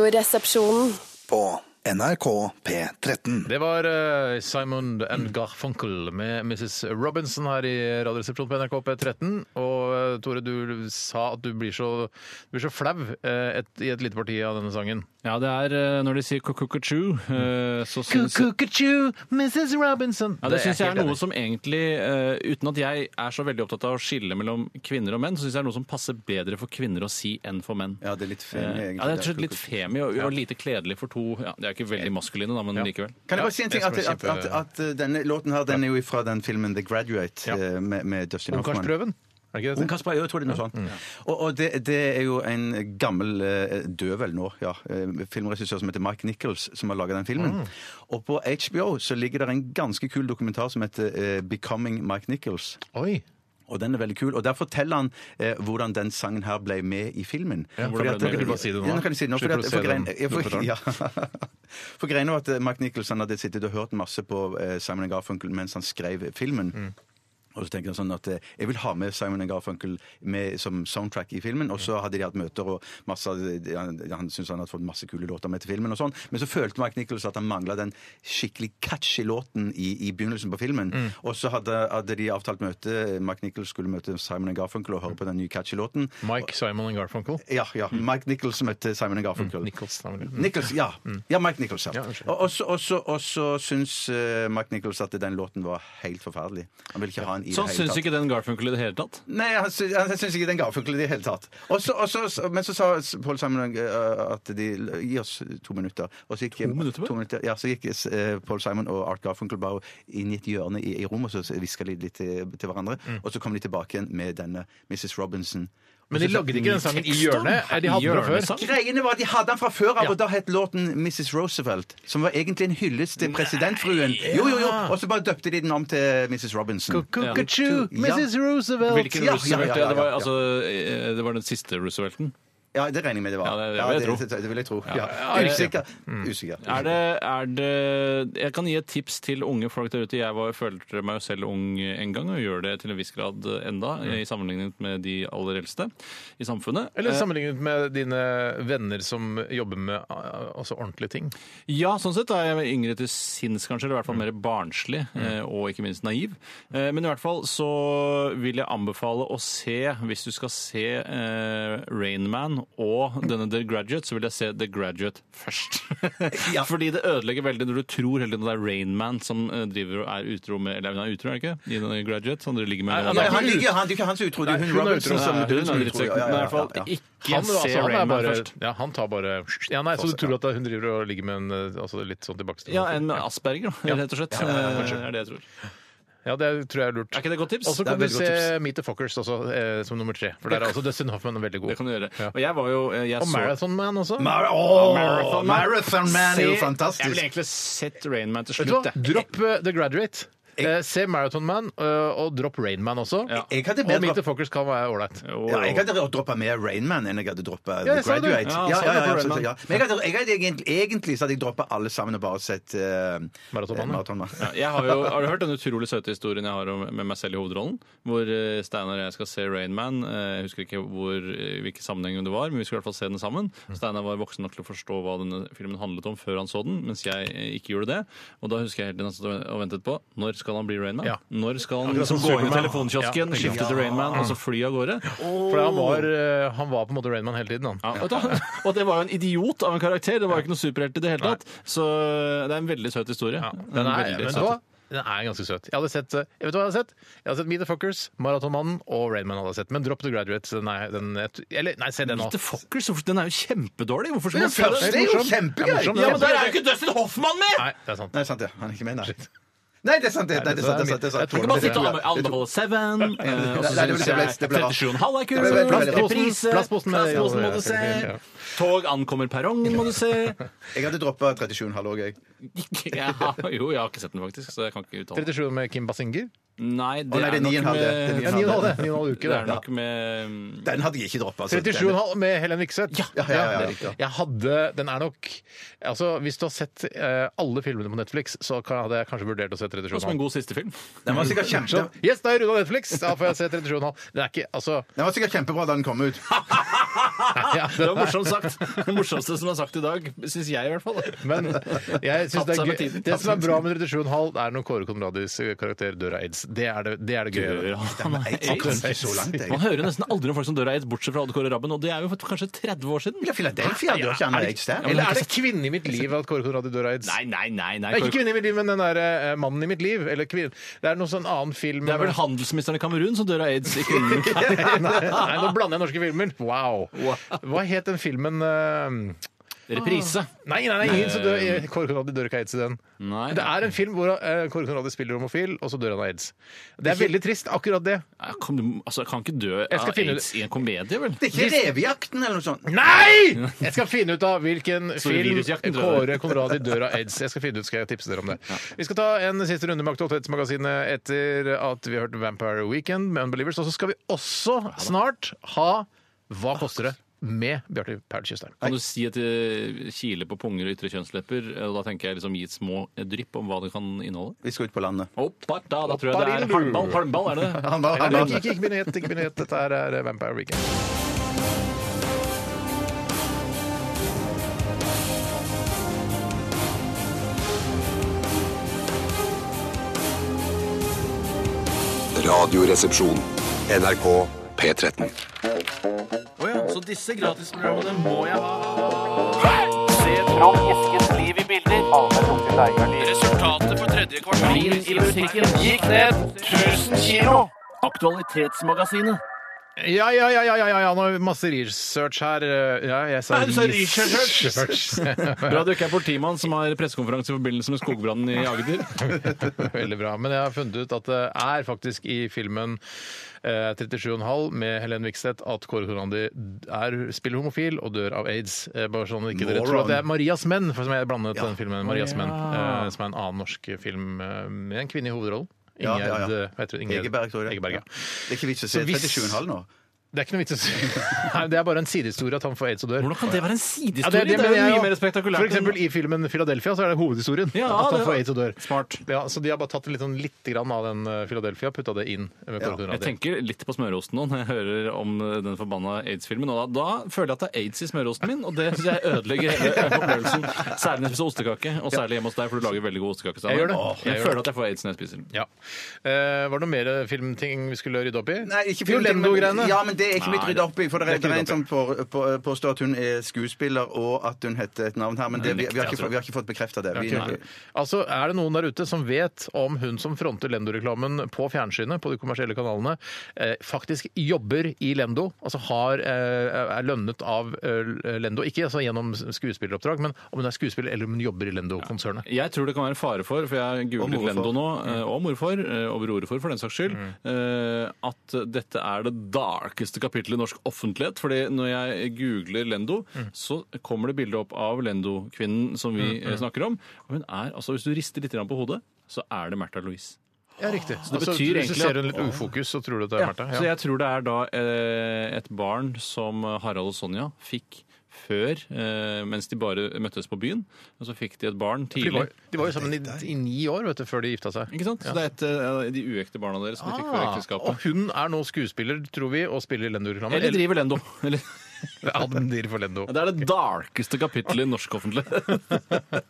Speaker 6: Radioresepsjonen.
Speaker 7: på NRK P13.
Speaker 2: Det var eh, Simon and Garfunkel med Mrs. Robinson her i Radioresepsjonen på NRK P13. Og eh, Tore, du sa at du blir så, du blir så flau eh, et, i et lite parti av denne sangen.
Speaker 4: Ja, det er eh, når de sier kukukachu, så syns
Speaker 2: Cuckoo-cuckoo, Mrs. Robinson.
Speaker 4: Ja, det syns jeg er
Speaker 2: helt
Speaker 4: noe
Speaker 2: enig.
Speaker 4: som egentlig, eh, uten at jeg er så veldig opptatt av å skille mellom kvinner og menn, så syns jeg det er noe som passer bedre for kvinner å si enn for menn.
Speaker 3: Ja, det er litt femi,
Speaker 4: Eh,
Speaker 3: egentlig.
Speaker 4: Ja, det er rett og slett litt femi og, og lite kledelig for to ja, De er ikke veldig maskuline, da, men likevel.
Speaker 3: Kan jeg
Speaker 2: Ja,
Speaker 3: bare si en
Speaker 2: jeg
Speaker 3: ting?
Speaker 2: skal
Speaker 3: At,
Speaker 2: bli
Speaker 3: at,
Speaker 2: kjempe-
Speaker 3: at, at eh, denne låten her, den er jo fra den filmen The Graduate eh, med, med Dustin Hoffman.
Speaker 2: Ungkarsprøven. Er det ikke
Speaker 3: Ung
Speaker 2: det?
Speaker 3: Kasper, ja, jeg tror det er noe sånt. Og, og det, det er jo en gammel eh, død vel nå, ja, eh, filmregissør som heter Mike Nichols, som har laga den filmen. Og på HBO så ligger det en ganske kul dokumentar som heter eh, 'Becoming Mike Nichols'.
Speaker 2: Oi.
Speaker 3: Og den er veldig kul. Og der forteller han eh, hvordan den sangen her ble med i filmen.
Speaker 2: Ja,
Speaker 3: Fordi
Speaker 2: hvordan
Speaker 3: at-
Speaker 2: ble den med? Kan du bare si det nå,
Speaker 3: Ja,
Speaker 2: da?
Speaker 3: kan jeg si det nå.
Speaker 2: Slipper
Speaker 3: Fordi at,
Speaker 2: å
Speaker 3: for
Speaker 2: se
Speaker 3: greien,
Speaker 2: den
Speaker 3: ja, for,
Speaker 2: dokumentaren.
Speaker 3: ja. for greien var at eh, Mark Nicholson hadde sittet og hørt masse på eh, Simon Garfunkel mens han skrev filmen.
Speaker 2: Mm.
Speaker 3: Og så tenker han sånn at eh, jeg vil ha med Simon Garfunkel med som soundtrack i filmen. Og så hadde de hatt møter, og masse, han, han syntes han hadde fått masse kule låter med til filmen. og sånn. Men så følte Mark Nichols at han mangla den skikkelig catchy låten i, i begynnelsen på filmen. Og så hadde, hadde de avtalt møte. Mark Nichols skulle møte Simon Garfunkel og høre på den nye catchy låten.
Speaker 2: Mike, Simon and Garfunkel.
Speaker 3: Ja, ja. Mike Nichols møtte Simon Garfunkel.
Speaker 2: Nichols. da vel, ja.
Speaker 3: Nichols, ja. ja, Mike Nichols. Ja.
Speaker 2: Ja, unnskyld.
Speaker 3: Og- og så- og så- Og så syns eh, Mike Nichols at den låten var helt forferdelig. Han ville ikke ha den i
Speaker 4: Så han
Speaker 3: det hele
Speaker 4: Sånn syns
Speaker 3: tatt.
Speaker 4: ikke den Garfunkel i det hele tatt?
Speaker 3: Nei, han syns, han syns ikke den ga funkel i det hele tatt. Og så- og så- så- men så sa Pål Simon eh, at de Gi oss to minutter. Og så gikk, to
Speaker 4: minutter bare?
Speaker 3: ja, så gikk eh, Paul Simon og Art Garfunkel bare inn i et hjørne i, i rommet, og så hviska de litt til, til hverandre. Og så kom de tilbake igjen med denne Mrs. Robinson.
Speaker 2: Mm. Men de lagde ikke den sangen i hjørnet. Eh, De hadde den fra før.
Speaker 4: Hjørnesang?
Speaker 3: Greiene var at De hadde den fra før av,
Speaker 2: Ja.
Speaker 3: og da het låten Mrs. Roosevelt. Som var egentlig en hyllest til presidentfruen. Jo, jo, jo. Og så bare døpte de den om til Mrs. Robinson.
Speaker 2: Cuckoo,
Speaker 3: Ja.
Speaker 2: Mrs. Roosevelt.
Speaker 4: Hvilken
Speaker 3: Ja, ja, ja,
Speaker 4: Roosevelt?
Speaker 3: ja,
Speaker 4: Ja, det, var,
Speaker 3: ja.
Speaker 4: altså, eh, det var den siste Roosevelten.
Speaker 3: Ja, det regner jeg med det var.
Speaker 4: Ja, det- det vil jeg tro.
Speaker 3: det, det vil jeg tro.
Speaker 4: ja,
Speaker 3: Ja.
Speaker 4: ja.
Speaker 3: Usikker. Usikker.
Speaker 4: Er det, er det Jeg kan gi et tips til unge folk der ute. Jeg var, følte meg jo selv ung en gang, og gjør det til en viss grad enda,
Speaker 3: Mm.
Speaker 4: i sammenlignet med de aller eldste i samfunnet.
Speaker 2: Eller
Speaker 4: Eh,
Speaker 2: sammenlignet med dine venner som jobber med eh, altså ordentlige ting.
Speaker 4: Ja, sånn sett er jeg yngre til sinns, kanskje, eller i hvert fall mer barnslig, eh, og ikke minst naiv. Eh, Men i hvert fall så vil jeg anbefale å se, hvis du skal se eh, Rain Man og denne The Graduate, så vil jeg se The Graduate først. Fordi det ødelegger veldig når du tror hele tiden det er Rain Man som eh, driver og er utro med Eller han er utro, er det ikke? I denne Graduate, som dere ligger med. nå.
Speaker 2: Nei,
Speaker 3: Ja, han ligger, han, det er ikke han som utro, det er
Speaker 2: Nei,
Speaker 3: hun
Speaker 2: hun er
Speaker 3: Robinson
Speaker 2: utro.
Speaker 3: som
Speaker 4: Nei,
Speaker 3: døde
Speaker 4: hun
Speaker 3: som
Speaker 4: er
Speaker 3: utro.
Speaker 4: drittsekk,
Speaker 3: Ja, ja,
Speaker 4: men i
Speaker 3: ja,
Speaker 4: hvert fall
Speaker 3: ja, ja.
Speaker 4: ikke
Speaker 2: Han, altså,
Speaker 4: se
Speaker 2: han, er
Speaker 4: Rain Man
Speaker 2: bare,
Speaker 4: først.
Speaker 2: ja, han tar bare ja, nei, Så du tror at hun driver og ligger med en eh, altså, litt sånn tilbakestående
Speaker 4: Ja, en Asperger, da, rett og slett. Det er det jeg tror.
Speaker 2: Ja, det tror jeg er lurt.
Speaker 4: Er ikke det et godt tips?
Speaker 2: Og så
Speaker 3: Det er
Speaker 2: kan du
Speaker 3: veldig
Speaker 2: se
Speaker 3: godt
Speaker 2: Meet the Fuckers også, eh, som nummer tre. For der er også Dustin Hoffman veldig god.
Speaker 4: Det kan du gjøre.
Speaker 2: Ja.
Speaker 4: Og jeg var jo eh, jeg
Speaker 2: Og
Speaker 4: så-
Speaker 2: Marathon Man også.
Speaker 3: Mar Åh,
Speaker 4: Marathon Man.
Speaker 3: Marathon Man er jo
Speaker 4: Se- Jeg ville
Speaker 3: fantastisk.
Speaker 4: egentlig sett Rain Man til
Speaker 2: Vet du hva?
Speaker 4: slutt. jeg.
Speaker 2: Dropp eh, The Graduate. Eh, se Marathon Man, eh, og dropp Rain Man også.
Speaker 4: Ja.
Speaker 3: Jeg hadde
Speaker 2: Og Meet
Speaker 3: bedre
Speaker 2: the Fuckers kan være ålreit.
Speaker 4: Jo,
Speaker 3: Ja, jeg hadde droppa mer Rainman enn jeg hadde droppa
Speaker 2: Ja,
Speaker 3: The
Speaker 2: jeg sa det.
Speaker 3: Graduate.
Speaker 4: Ja, han
Speaker 3: Ja,
Speaker 4: sa
Speaker 3: ja,
Speaker 4: det
Speaker 3: ja,
Speaker 4: på
Speaker 3: absolutt,
Speaker 4: Rainman.
Speaker 3: ja. Men jeg hadde, jeg hadde egentlig, egentlig så hadde jeg droppa alle sammen og bare sett uh,
Speaker 2: Marathon Man, ja.
Speaker 4: Ja, jeg har, jo, har du hørt den utrolig søte historien jeg har om, med meg selv i hovedrollen? Hvor eh, Steinar og jeg skal se Rain Man. Eh, Jeg husker ikke hvor, eh, hvilken sammenheng det var, men vi skulle i hvert fall se den sammen. Steinar var voksen nok til å forstå hva denne filmen handlet om før han så den, mens jeg eh, ikke gjorde det. Og da husker jeg hele tiden han satt og ventet på når skal han bli Rain Man?
Speaker 2: Ja.
Speaker 4: Når skal han
Speaker 2: Akkurat som
Speaker 4: liksom gå inn i
Speaker 2: Superman.
Speaker 4: telefonkiosken,
Speaker 2: Ja.
Speaker 4: skifte til Rain Man og så fly av gårde?
Speaker 2: For han var, eh, han var på en måte Rain Man hele tiden, han.
Speaker 4: Oh. Ja, og, da, og det var jo en idiot av en karakter. Det var jo ikke noe superhelt i det hele tatt. Så det er en veldig søt historie.
Speaker 2: Ja.
Speaker 4: En
Speaker 2: Den, er, men,
Speaker 4: veldig
Speaker 2: vet
Speaker 4: søt.
Speaker 2: du hva? den er ganske søt. Jeg hadde sett, eh, jeg vet du hva jeg hadde sett? Jeg hadde sett Meet the Fuckers, Marathonmannen og Rain Man. Hadde jeg sett. Men dropp The Graduate. Den er, den, eller, nei, se den nå.
Speaker 4: Meet the Fuckers, hvorfor- den er jo kjempedårlig! Hvorfor
Speaker 3: Men
Speaker 4: skal
Speaker 3: den
Speaker 4: man se
Speaker 3: første
Speaker 4: den?
Speaker 3: er jo
Speaker 2: morsom.
Speaker 3: kjempegøy!
Speaker 2: Det er morsom.
Speaker 4: Ja, men der er jo ikke Dustin Hoffmann med!
Speaker 2: Nei, det er sant.
Speaker 3: Nei, sant det. Han er ikke med der. Nei, det er sant, det. Nei, det er sant, det er sant, det er sant.
Speaker 2: Jeg tror
Speaker 4: Du kan bare sitte og anbefale Seven, eh,
Speaker 3: Nei, det
Speaker 4: og så
Speaker 3: ble-
Speaker 4: syns
Speaker 3: det ble-
Speaker 4: jeg
Speaker 3: det ble rart.
Speaker 4: 37,5 er
Speaker 3: Det ble- det
Speaker 4: kul.
Speaker 3: ble-
Speaker 4: Reprise.
Speaker 2: Plastposten med-
Speaker 4: Plastposen må du se.
Speaker 2: Ja.
Speaker 4: Tog ankommer perrongen, må du se.
Speaker 3: Jeg hadde droppa 37,5 òg, jeg.
Speaker 4: Jeg har, jo, jeg har ikke sett den faktisk, så jeg kan ikke uttale meg.
Speaker 2: 37 med Kim Basinger.
Speaker 4: Nei, det,
Speaker 3: Å, nei, det er
Speaker 4: er nok
Speaker 3: 9,5, det. Det er
Speaker 4: med
Speaker 3: 9,5.
Speaker 2: 9,5 det. 9,5 uker,
Speaker 4: Det er
Speaker 2: det.
Speaker 4: nok med
Speaker 3: Den hadde jeg ikke altså. droppa.
Speaker 2: 37,5 med Helen Vikseth.
Speaker 3: Ja, ja, ja, ja.
Speaker 2: Jeg hadde Den er nok Altså, hvis du har sett eh, alle filmene på Netflix, så kan- hadde jeg kanskje vurdert å se
Speaker 4: Det er som en
Speaker 2: 37,5.
Speaker 4: god siste film.
Speaker 3: Den var sikkert kjempe...
Speaker 2: Så, Yes, da er jeg runda Netflix! Da får jeg se 37,5. Den er ikke Altså
Speaker 3: Den var sikkert kjempebra da den kom ut.
Speaker 2: ja,
Speaker 4: Ah, Det var morsomt sagt. Det morsomste som er sagt i dag, syns jeg i hvert fall.
Speaker 2: Men jeg synes
Speaker 4: Tatt
Speaker 2: det er
Speaker 4: seg med
Speaker 2: gøy.
Speaker 4: tiden.
Speaker 2: Det
Speaker 4: Tatt
Speaker 2: som er
Speaker 4: seg med
Speaker 2: bra med 37,5, det er når Kåre Conradis karakter dør av aids. Det er det, det,
Speaker 4: eh,
Speaker 2: er det gøye.
Speaker 4: Han er
Speaker 3: Jeg kom ikke
Speaker 4: aids.
Speaker 3: så langt, jeg.
Speaker 4: Man hører nesten aldri om folk som dør av aids, bortsett fra Odd Kåre Rabben, og det er jo for kanskje 30 år siden.
Speaker 3: Ja,
Speaker 2: Ah,
Speaker 3: Philadelphia dør ikke han av aids der.
Speaker 2: Eller er det kvinne i mitt liv at Kåre Conradi dør av aids?
Speaker 4: Nei, nei, nei. nei.
Speaker 2: Nei, ikke kvinne i mitt liv, men den der eh, mannen i mitt liv. Eller kvinn. Det er noe sånn annen film
Speaker 4: Det er vel handelsministeren i Kamerun som dør av aids, ikke kvinnen.
Speaker 2: Nei, nei, nå blander jeg norske filmer. Wow. Hva het den filmen eh,
Speaker 4: Reprise.
Speaker 2: Nei, nei, nei, ingen som dør Kåre Conradi dør ikke av aids i den.
Speaker 4: Nei.
Speaker 2: Det er en film hvor eh, Kåre Conradi spiller homofil, og så dør han av aids. Det er veldig trist, akkurat det.
Speaker 4: Jeg kan, altså, jeg kan ikke dø
Speaker 2: Jeg skal
Speaker 4: av
Speaker 2: finne
Speaker 4: aids i en komedie, vel?
Speaker 3: Det er ikke Revejakten eller noe sånt.
Speaker 2: Nei! Jeg skal finne ut av hvilken
Speaker 4: Så det er
Speaker 2: film
Speaker 4: virusjakten, tror jeg.
Speaker 2: Kåre Conradi dør av aids. Jeg skal finne ut, skal jeg tipse dere om det. Vi skal ta en siste runde med Aktualitetsmagasinet etter at vi har hørt Vampire Weekend med Unbelievers. Og så skal vi også snart ha Hva koster det? med Bjarte Paul Tjøstheim.
Speaker 4: Kan du si at det kiler på punger og ytre kjønnslepper? Og Da tenker jeg liksom gi et små drypp om hva det kan inneholde.
Speaker 3: Vi skal ut på landet.
Speaker 4: Oppa, da, da tror jeg det er halmball. Halmball, er det det?
Speaker 3: Han var,
Speaker 2: Nei,
Speaker 3: han
Speaker 2: nei,
Speaker 3: var,
Speaker 2: Ikke, ikke, ikke begynn å gjette, ikke begynn å gjette. Dette her er eh, Vampire Weekend.
Speaker 5: Radioresepsjon. NRK P13.
Speaker 4: Så disse gratisprogrammene må jeg ha. Resultatet på tredje kvartal i musikken gikk ned 1000 kilo. Aktualitetsmagasinet.
Speaker 2: Ja, ja, ja, ja, ja, ja, ja. nå har vi masse research her. Eh, Ja, jeg sa
Speaker 4: Nei, du sa research.
Speaker 2: research.
Speaker 4: Bra du ikke er politimann som har pressekonferanse i forbindelse med skogbrannen i Agder.
Speaker 2: Veldig bra. Men jeg har funnet ut at det er faktisk i filmen eh, 37,5 med Helen Vikstedt at Kåre Conradi er, spiller homofil og dør av aids. Eh, bare sånn ikke dere tror at det er Marias menn, for som jeg blandet den filmen med Marias menn, eh, som er en annen norsk film eh, med en kvinne i hovedrollen.
Speaker 3: Ja,
Speaker 2: Ingjerd,
Speaker 3: ja, ja.
Speaker 2: eh, hva heter hun? Ingjerd-
Speaker 3: Egeberg, tror jeg.
Speaker 2: Egeberg, ja.
Speaker 3: Det er ikke vits å se
Speaker 2: Så hvis-
Speaker 3: 37,5 nå.
Speaker 2: Det er ikke noe vits å si. Nei, det er bare en sidehistorie at han får aids og dør.
Speaker 4: Hvordan kan det være en
Speaker 2: Ja,
Speaker 4: sidehistorie? det,
Speaker 2: mener
Speaker 4: er
Speaker 2: jeg
Speaker 4: jo
Speaker 2: også.
Speaker 4: mye mer spektakulært.
Speaker 2: For eksempel i filmen Philadelphia så er det hovedhistorien.
Speaker 4: Ja,
Speaker 2: at han
Speaker 4: det-
Speaker 2: får aids og dør.
Speaker 4: Smart.
Speaker 2: Ja, så de har bare tatt litt, sånn, litt grann av den eh, Philadelphia, putta det inn. Med Kåre Conradi.
Speaker 4: Jeg tenker litt på smørosten nå når jeg hører om den forbanna aids-filmen. Og da, da føler jeg at det er aids i smørosten min, og det synes jeg ødelegger hele opplevelsen. Særlig når jeg spiser ostekake, og særlig hjemme hos deg, for du lager veldig god ostekake. Steinar.
Speaker 2: Jeg gjør det.
Speaker 4: Åh,
Speaker 2: Jeg
Speaker 4: Jeg,
Speaker 2: gjør
Speaker 4: føler at jeg får aids når jeg spiser den.
Speaker 2: Ja. Eh, var det noe mer filmting vi skulle rydde opp i?
Speaker 3: Nei, ikke
Speaker 2: Jo,
Speaker 3: film-
Speaker 2: Lendo-greiene.
Speaker 3: Ja, men det er ikke blitt
Speaker 4: Nei,
Speaker 3: rydda opp i. For det er,
Speaker 2: det er
Speaker 3: det er en
Speaker 2: ikke
Speaker 3: som på- på- påstår at hun er skuespiller, og at hun heter et navn her. Men det, vi, vi, har
Speaker 4: jeg
Speaker 3: ikke,
Speaker 4: tror.
Speaker 3: fått- vi har ikke fått bekrefta det. Vi,
Speaker 2: Nei. Altså, Er det noen der ute som vet om hun som fronter Lendo-reklamen på fjernsynet, på de kommersielle kanalene, eh, faktisk jobber i Lendo? Altså har, eh, er lønnet av eh, Lendo? Ikke altså, gjennom skuespilleroppdrag, men om hun er skuespiller eller om hun jobber i Lendo-konsernet.
Speaker 4: Jeg tror det kan være fare for, for jeg
Speaker 3: Og
Speaker 4: googlet
Speaker 3: morfar.
Speaker 4: Lendo nå,
Speaker 2: Mm.
Speaker 4: eh, og morfar, eh, og brorefor for den saks skyld, eh, at dette er det darkeste kapittelet i norsk offentlighet. fordi når jeg googler Lendo,
Speaker 2: Mm.
Speaker 4: så kommer det bilde opp av Lendo-kvinnen som vi eh, snakker om. Og hun er, altså Hvis du rister litt grann på hodet, så er det Märtha Louise.
Speaker 2: Ja, riktig.
Speaker 4: det
Speaker 2: altså,
Speaker 4: betyr
Speaker 2: hvis du
Speaker 4: egentlig
Speaker 2: ser
Speaker 4: at-
Speaker 2: en litt ufokus, så tror du at det er
Speaker 4: Ja,
Speaker 2: Märtha.
Speaker 4: Så jeg tror det er da eh, et barn som Harald og Sonja fikk før, eh, mens de bare møttes på byen. Og så fikk de et barn
Speaker 2: De
Speaker 4: tidlig.
Speaker 2: var, de var jo sammen i, i ni år vet du, før de gifta seg.
Speaker 4: Ikke sant? Så det er et eh, av de uekte barna deres som de fikk før
Speaker 2: Ah, og
Speaker 4: ekteskapet.
Speaker 2: hun er nå skuespiller, tror vi, og spiller i Lendo-reklame.
Speaker 4: Eller driver Lendo. Eller,
Speaker 2: Ja, den driver for Lendo.
Speaker 4: det er det darkeste kapittelet i norsk offentlighet.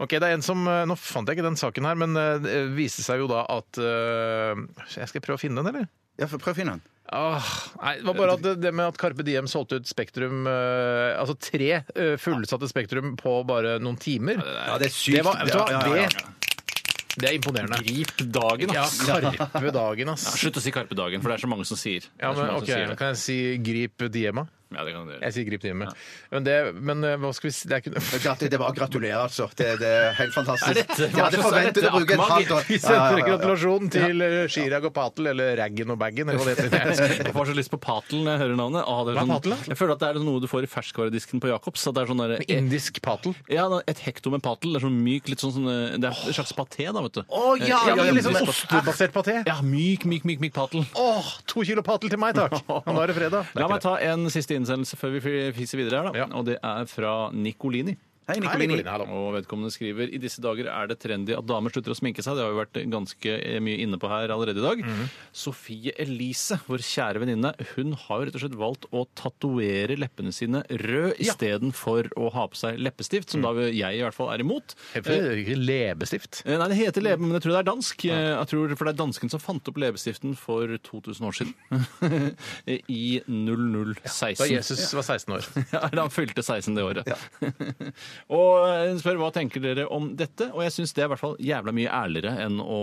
Speaker 2: Ok, det er en som, eh, Nå fant jeg ikke den saken her, men eh, det viste seg jo da at eh, Jeg skal prøve å finne den, eller?
Speaker 3: ja, for- prøv å finne den.
Speaker 2: Ah, nei, det var
Speaker 4: eh,
Speaker 2: bare at det, det med at Carpe Diem solgte ut Spektrum eh, Altså tre eh, fullsatte Spektrum på bare noen timer.
Speaker 3: Ja, det er sykt.
Speaker 2: Det, var, vet du hva,
Speaker 3: Ja, ja, ja, ja.
Speaker 2: det, det er imponerende.
Speaker 4: Grip dagen,
Speaker 2: Ja,
Speaker 4: ass!
Speaker 2: Karpe dagen, ass.
Speaker 4: Slutt å si Karpedagen, for det er så mange som sier.
Speaker 2: Ja,
Speaker 4: Det er så
Speaker 2: men
Speaker 4: mange som
Speaker 2: ok,
Speaker 4: sier det.
Speaker 2: Kan jeg si Grip Diema?
Speaker 4: Ja, det kan du gjøre.
Speaker 2: Jeg sier grip til hjemmet. Men, det, men eh, hva skal vi si Det er ikke noe
Speaker 3: Grat- Det var å gratulere, altså. Det, det er helt fantastisk.
Speaker 4: Er dette-
Speaker 3: jeg hadde
Speaker 4: hva slags- er
Speaker 3: forventet
Speaker 4: dette
Speaker 3: å bruke et halvt år.
Speaker 2: Vi
Speaker 3: Ja, ja,
Speaker 2: sender
Speaker 3: ja, ja.
Speaker 2: gratulasjon til eh, Chirag og Patel, eller Raggen og Baggen, eller hva det heter.
Speaker 4: Jeg får så lyst på Patel når jeg hører navnet. Ah,
Speaker 2: Hva
Speaker 4: det
Speaker 2: er
Speaker 4: sånn,
Speaker 2: Patel, da?
Speaker 4: jeg føler at det er noe du får i ferskvaredisken på Jacobs. At det er sånn der,
Speaker 2: Indisk Patel.
Speaker 4: ja, et hekto med Patel. Det er sånn myk, litt sånn, sånn eh, Det er en slags paté, da, vet du. Eh,
Speaker 2: Å ja!
Speaker 4: Ja, ja, ja,
Speaker 2: Litt sånn
Speaker 4: indisk
Speaker 2: ostebasert paté.
Speaker 4: Ja, myk, myk, myk, myk Patel.
Speaker 2: Åh, to kilo Patel til meg, takk! Nå er det fredag.
Speaker 4: La meg ta en siste innsendelse før vi fi- fiser videre her, da.
Speaker 2: Ja.
Speaker 4: Og det er fra Nicolini.
Speaker 3: Hei,
Speaker 2: Hei,
Speaker 3: Nicolini.
Speaker 2: Nicolini, hallo.
Speaker 4: Og vedkommende skriver i disse dager er det trendy at damer slutter å sminke seg. Det har vi vært ganske eh, mye inne på her allerede i dag.
Speaker 2: Mhm.
Speaker 4: Sofie Elise, vår kjære venninne, hun har jo rett og slett valgt å tatovere leppene sine rød istedenfor å ha på seg
Speaker 2: Mm.
Speaker 4: leppestift, som da jeg i hvert fall er imot.
Speaker 2: Leppestift.
Speaker 4: Eh, Nei, det heter lebe, men jeg tror det er dansk. Eh, Jeg tror, for det er dansken som fant opp leppestiften for 2000 år siden. I 0016.
Speaker 2: Da Jesus var 16 år.
Speaker 4: Ja, eller han fylte 16 det året. og hun spør hva tenker dere om dette, og jeg syns det er i hvert fall jævla mye ærligere enn å,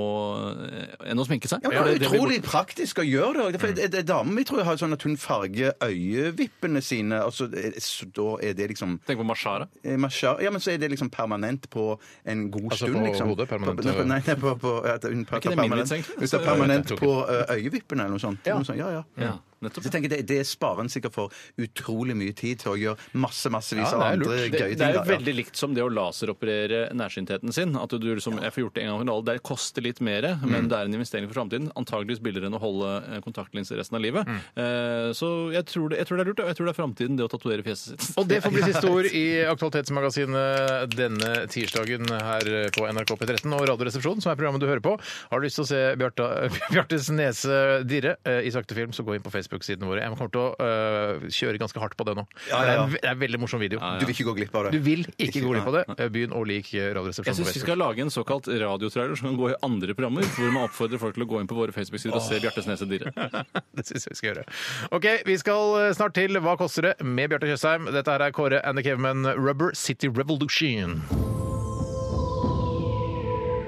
Speaker 4: eh, enn å sminke seg.
Speaker 3: Ja, men
Speaker 4: For
Speaker 3: det
Speaker 4: det-
Speaker 3: er
Speaker 4: det blir
Speaker 3: utrolig praktisk å gjøre
Speaker 2: Mm.
Speaker 3: det. For det, det, damen min tror jeg har sånn at hun farger øyevippene sine, og så, eh, så da er det liksom
Speaker 4: bort- Tenk på Mashara.
Speaker 3: eh, massasje- Ja, men så er det liksom permanent på en god
Speaker 2: Altså
Speaker 3: stund,
Speaker 2: på
Speaker 3: liksom.
Speaker 2: hodet, permanent,
Speaker 3: På, nei, nei, på, på, at hun
Speaker 4: Er ikke det
Speaker 3: prater
Speaker 4: min
Speaker 3: permanent,
Speaker 4: vits, egentlig?
Speaker 3: Hun tar permanent på eh, øyevippene eller noe sånt.
Speaker 2: Ja.
Speaker 3: Noe sånt. Ja, ja. Så
Speaker 4: Ja,
Speaker 3: jeg
Speaker 4: nettopp.
Speaker 3: tenker Det, det sparer en sikkert for utrolig mye tid til å gjøre masse, massevis
Speaker 2: Ja,
Speaker 3: av
Speaker 2: det er lurt.
Speaker 3: andre
Speaker 4: Det,
Speaker 3: gøye ting.
Speaker 4: det er jo
Speaker 3: da, ja.
Speaker 4: veldig likt som det å laseroperere nærsyntheten sin. At du liksom, jeg får gjort det en gang for alle. Det koster litt mer,
Speaker 2: Mm.
Speaker 4: men det er en investering for framtiden. Antageligvis billigere enn å holde eh, kontaktlinser resten av livet.
Speaker 2: Mm.
Speaker 4: Eh, Så jeg tror, det, jeg tror det er lurt, og jeg tror det er framtiden, det å tatovere fjeset sitt.
Speaker 2: Og det får bli siste ord i Aktualitetsmagasinet denne tirsdagen her på NRK P13 og Radioresepsjonen, som er programmet du hører på. Har du lyst til å se Bjarta, Bjartes nese dirre eh, i sakte film, så gå inn på Facebook-sidene våre. Jeg kommer til å eh, kjøre ganske hardt på det nå.
Speaker 3: Ja, ja, ja.
Speaker 2: Det, er en, ve- det er en veldig morsom video.
Speaker 3: Du vil ikke gå glipp av det.
Speaker 2: Du vil ikke gå glipp av det. Eh, Begynn å like Radioresepsjonen.
Speaker 4: Jeg
Speaker 2: på
Speaker 4: syns vi
Speaker 2: Facebook.
Speaker 4: skal lage en såkalt radiotrailer som kan gå i andre programmer, hvor man oppfordrer folk til å gå inn på våre Facebook-sider og se Bjartes Nese Dire.
Speaker 2: Det syns jeg vi skal gjøre. Ok, Vi skal eh, snart til Hva koster det? med Bjarte Tjøstheim. Dette her er Kåre and the Cavemen, Rubber City Revolution.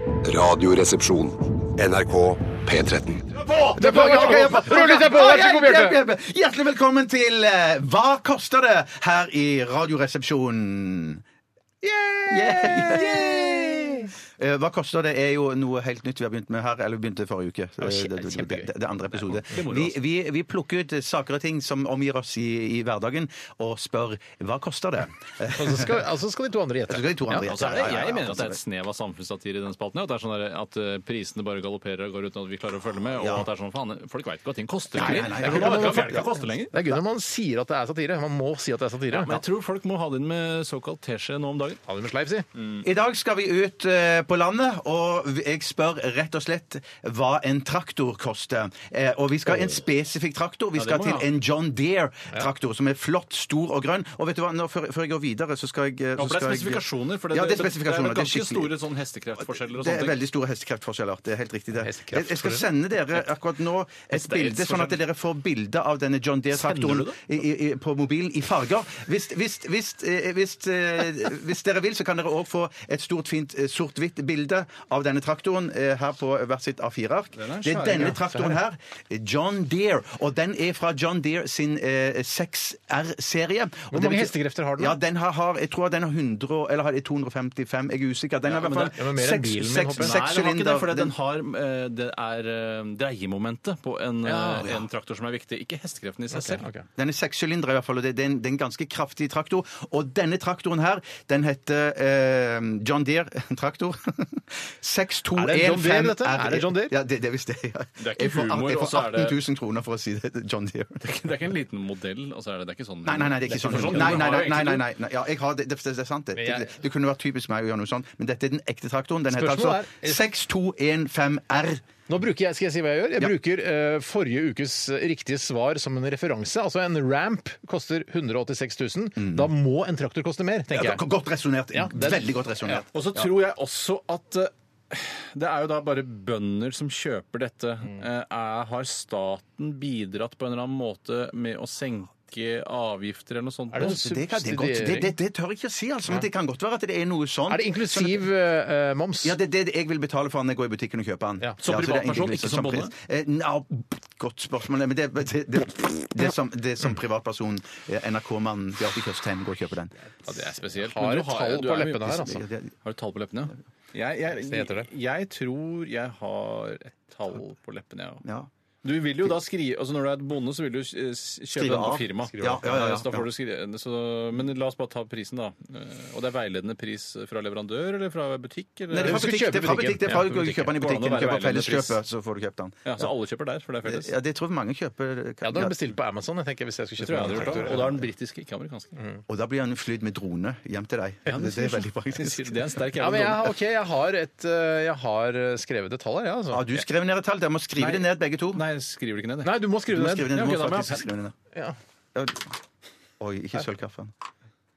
Speaker 5: Radioresepsjon. NRK P13.
Speaker 2: Det er på, ok, ok, ok. Rull litt her på, vær så god, Bjarte.
Speaker 3: Hjelp, hjelp, hjelp. Hjertelig velkommen til eh, Hva koster det? her i Radioresepsjonen. Yeah! Eh, Hva koster det? er jo noe helt nytt vi har begynt med her. Eller vi begynte forrige uke. Det,
Speaker 2: kje-
Speaker 3: det, det,
Speaker 2: kjempegøy.
Speaker 3: det, det er andre episode.
Speaker 4: moro,
Speaker 3: Vi, vi, vi plukker ut saker og ting som omgir oss i, i hverdagen, og spør hva koster det?
Speaker 2: Og så skal, altså skal de to
Speaker 3: Så
Speaker 2: andre gjette.
Speaker 3: skal de to andre
Speaker 4: Ja, altså, er det,
Speaker 3: gjette. Ja, ja,
Speaker 4: jeg
Speaker 3: ja,
Speaker 4: mener at det er et
Speaker 3: altså.
Speaker 4: snev av samfunnssatire i den spalten. ja, At, det er sånn der, at eh, prisene bare galopperer og går uten at vi klarer å følge med. Og
Speaker 3: Ja.
Speaker 4: at det er sånn, faen, folk veit ikke hva ting koster.
Speaker 3: Nei, nei, nei,
Speaker 4: Jeg tror
Speaker 3: nei, nei,
Speaker 4: ikke folk
Speaker 3: nei,
Speaker 4: vet hva det koster lenger.
Speaker 2: Det er gøy når man sier at det er satire. Man må si at det er satire.
Speaker 4: Men jeg tror folk må ha det inn med såkalt teskje nå om dagen.
Speaker 2: Ha det med sleiv, si.
Speaker 3: I dag skal vi ut eh, på landet, og vi- jeg spør rett og slett hva en traktor koster. Eh, og vi skal ha en spesifikk traktor. Vi
Speaker 4: Ja, det
Speaker 3: skal
Speaker 4: må
Speaker 3: til
Speaker 4: vi ha.
Speaker 3: en John Deere-traktor som er flott, stor og grønn. Og vet du hva, Nå, før, før jeg går videre, så skal jeg eh, så
Speaker 4: Ja, for det
Speaker 3: skal
Speaker 4: er
Speaker 3: jeg-
Speaker 4: spesifikasjoner. For det,
Speaker 3: ja, det er
Speaker 4: det
Speaker 3: spesifikasjoner.
Speaker 4: er ganske
Speaker 3: skikkelig-
Speaker 4: store sånn hestekreftforskjeller og
Speaker 3: det er
Speaker 4: sånne ting.
Speaker 3: veldig store hestekreftforskjeller. Det er helt riktig. det. Jeg, jeg skal
Speaker 2: Hestekreftforskjeller?
Speaker 3: sende dere akkurat nå et bilde, sånn at dere får bilde av denne John
Speaker 4: Sender
Speaker 3: Deere-traktoren
Speaker 4: du det?
Speaker 3: i- i- i- på mobilen i farger. Hvis, hvis, hvis, eh, hvis, eh, hvis dere vil, så kan dere òg få et stort, fint eh, sort-hvitt bilde av denne traktoren eh, her på hvert sitt A4-ark. Det er denne traktoren her, John Deere, og den er fra John Deere sin eh, 6R-serie. Og det
Speaker 2: mange
Speaker 3: betyr-
Speaker 2: hestekrefter har den, da?
Speaker 3: Ja, den har, har, jeg tror den har 100, og- eller har det 255, jeg er usikker. Den har i
Speaker 4: men
Speaker 3: hvert
Speaker 4: det-
Speaker 2: ja,
Speaker 3: fall
Speaker 2: men mer enn bilen min,
Speaker 3: seks- seks
Speaker 2: håper jeg.
Speaker 4: Nei,
Speaker 3: seks
Speaker 4: det var ikke det,
Speaker 3: sylinder.
Speaker 4: for den
Speaker 3: Den-
Speaker 4: har, eh, det er eh, dreiemomentet på en, eh,
Speaker 2: Ja, ja.
Speaker 4: en traktor som er viktig. Ikke hestekreften i seg selv.
Speaker 2: Ok.
Speaker 3: Den er sekssylindere i hvert fall, og det, det, er en, det er en ganske kraftig traktor. Og denne traktoren her, den heter eh, John Deere-traktor. 6215
Speaker 2: Er det John Deere, dette? Er det John Deere?
Speaker 3: Ja, det, det er visst det. Ja.
Speaker 4: Det er ikke
Speaker 3: Jeg får at-
Speaker 4: humor,
Speaker 3: Jeg
Speaker 4: og så
Speaker 3: får
Speaker 4: er
Speaker 3: 18
Speaker 4: det-
Speaker 3: 000 kroner for å si det. John Deere.
Speaker 4: Det er ikke en liten modell. Altså, er det, det er ikke sånn
Speaker 3: Nei, nei, nei, det er ikke sånn.
Speaker 4: for
Speaker 3: Nei,
Speaker 4: Du
Speaker 3: nei,
Speaker 4: har
Speaker 3: nei,
Speaker 4: jo
Speaker 3: nei,
Speaker 4: egentlig
Speaker 3: nei,
Speaker 4: noe-
Speaker 3: nei, nei. Ja, jeg har det, det, det er sant, det.
Speaker 2: Men jeg-
Speaker 3: Det, det kunne vært typisk meg å gjøre noe sånnt, men dette er den ekte traktoren. Den heter altså
Speaker 2: Spørsmålet er-
Speaker 3: 6215R.
Speaker 2: Nå bruker jeg, Skal jeg si hva jeg gjør? Jeg
Speaker 3: Ja.
Speaker 2: bruker eh, forrige ukes riktige svar som en referanse. Altså en ramp koster 186 000. Da må en traktor koste mer, tenker
Speaker 3: Mm. Ja,
Speaker 2: jeg.
Speaker 3: godt resonnert.
Speaker 2: Ja, den-
Speaker 3: Veldig godt resonnert.
Speaker 4: Og så tror jeg også at eh, det er jo da bare bønder som Mm. kjøper dette. Eh, er, har staten bidratt på en eller annen måte med å senke drikkeavgifter eller noe sånt.
Speaker 2: Er det
Speaker 4: nå?
Speaker 2: så-
Speaker 3: Det, kan, det, er godt, det, det, det tør jeg ikke å si, altså, men det kan godt være at det er noe sånn.
Speaker 2: Er det inklusiv eh, moms?
Speaker 3: Ja, det er det jeg vil betale for når jeg går i butikken og kjøper den.
Speaker 2: Ja,
Speaker 3: så
Speaker 4: som
Speaker 3: det er egentlig
Speaker 4: privatperson,
Speaker 3: liksom
Speaker 4: ikke som bonde?
Speaker 3: pris. Eh, nja, godt spørsmål. Men det, det, det, det, som, det som privatperson, eh, NRK-mannen Bjarte Tjøstheim, går og kjøper den.
Speaker 4: Ja, det er spesielt.
Speaker 2: Har
Speaker 4: Men
Speaker 2: et tall
Speaker 4: du
Speaker 2: på
Speaker 4: er jo-
Speaker 2: leppene her, altså.
Speaker 3: Det- det-
Speaker 4: Har du et tall på leppene? Jeg, jeg,
Speaker 2: Det heter det.
Speaker 4: jeg tror jeg har et tall på leppene, jeg òg.
Speaker 3: Ja.
Speaker 4: Du vil jo da skrive, altså Når du er et bonde, så vil du jo eh, s- kjøpe
Speaker 3: Skrive
Speaker 4: den på
Speaker 3: av.
Speaker 4: firma.
Speaker 3: Skrive av. Ja, ja, ja,
Speaker 4: Så da
Speaker 3: ja.
Speaker 4: får du skrive, så, men la oss bare ta prisen, da. Eh, Og det er veiledende pris fra leverandør eller fra butikk? Eller?
Speaker 3: Nei, det er fra
Speaker 2: Du skal
Speaker 3: butikk.
Speaker 2: kjøpe
Speaker 3: Det er fra
Speaker 2: butikken.
Speaker 3: butikk. Det er fra
Speaker 4: Ja,
Speaker 3: du
Speaker 4: butikken.
Speaker 3: kjøper den i
Speaker 4: Går det an å
Speaker 3: butikken.
Speaker 4: være
Speaker 3: Kjøper
Speaker 4: veiledende pris?
Speaker 3: Felleskjøpet, så får du kjøpt den.
Speaker 4: Ja, Så alle kjøper der, for det er felles?
Speaker 3: Ja, det tror jeg mange kjøper.
Speaker 2: Jeg hadde bestilt på Amazon jeg tenker, hvis jeg skulle
Speaker 4: Det tror
Speaker 2: kjøpe en
Speaker 4: jeg hadde gjort da.
Speaker 2: traktor.
Speaker 4: Og da er den britiske, ikke amerikanske.
Speaker 3: Og da blir han flydd med drone hjem til deg.
Speaker 4: Ja,
Speaker 3: det,
Speaker 4: sier
Speaker 3: er veldig
Speaker 4: sånn.
Speaker 3: praktisk.
Speaker 4: Det er en sterk
Speaker 2: Ja, men jeg,
Speaker 4: jævla
Speaker 2: OK, jeg har, et, eh, jeg har skrevet et tall her, jeg, altså.
Speaker 3: Ja, du skrev ned et tall. Dere må skrive
Speaker 4: Nei.
Speaker 3: det ned, begge to.
Speaker 4: Nei, skriver du ikke ned det?
Speaker 2: Nei, du må
Speaker 3: Du
Speaker 2: skrive
Speaker 3: må
Speaker 2: det
Speaker 3: skrive
Speaker 2: ned.
Speaker 3: det ned. Du
Speaker 2: Ja,
Speaker 3: må
Speaker 2: ok, da må jeg-
Speaker 3: faktisk skrive det ned.
Speaker 2: Ja.
Speaker 3: Ja. Oi, ikke sølv kaffen.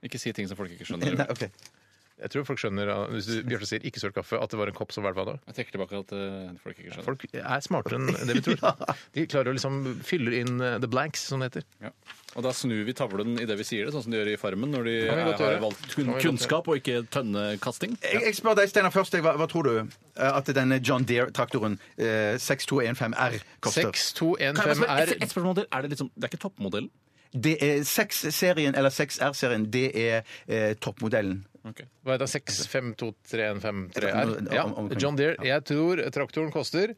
Speaker 4: Ikke si ting som folk ikke
Speaker 3: Nei,
Speaker 4: skjønner.
Speaker 3: ok.
Speaker 2: Jeg tror folk skjønner, uh, hvis du, Bjarte sier 'ikke søl kaffe', at det var en kopp som hvelva da.
Speaker 4: Jeg trekker tilbake at eh, folk ikke skjønner.
Speaker 2: Folk er smartere enn det vi tror. De klarer å liksom fylle inn uh, the blanks, som det heter.
Speaker 4: Ja. Og da snur vi tavlen i det vi sier det, sånn som de gjør i Farmen, når de
Speaker 2: Kan vi godt
Speaker 4: eh, har
Speaker 2: gjøre.
Speaker 4: valgt
Speaker 2: Kan vi
Speaker 4: kun
Speaker 2: godt
Speaker 4: kunnskap og ikke tønnekasting.
Speaker 3: Jeg, jeg spør deg, Steinar, først. jeg, Hva, hva tror du eh, at denne John Deere-traktoren eh, 6215R koster?
Speaker 2: 6215R
Speaker 4: altså, Et spørsmål til. Er det, liksom, det er ikke toppmodellen?
Speaker 3: Det er 6-serien, eller 6R-serien, det er eh, toppmodellen.
Speaker 2: Hva heter det? 652315R?
Speaker 3: Om- om-
Speaker 2: Ja,
Speaker 3: omkring.
Speaker 2: John Deere. Jeg tror traktoren koster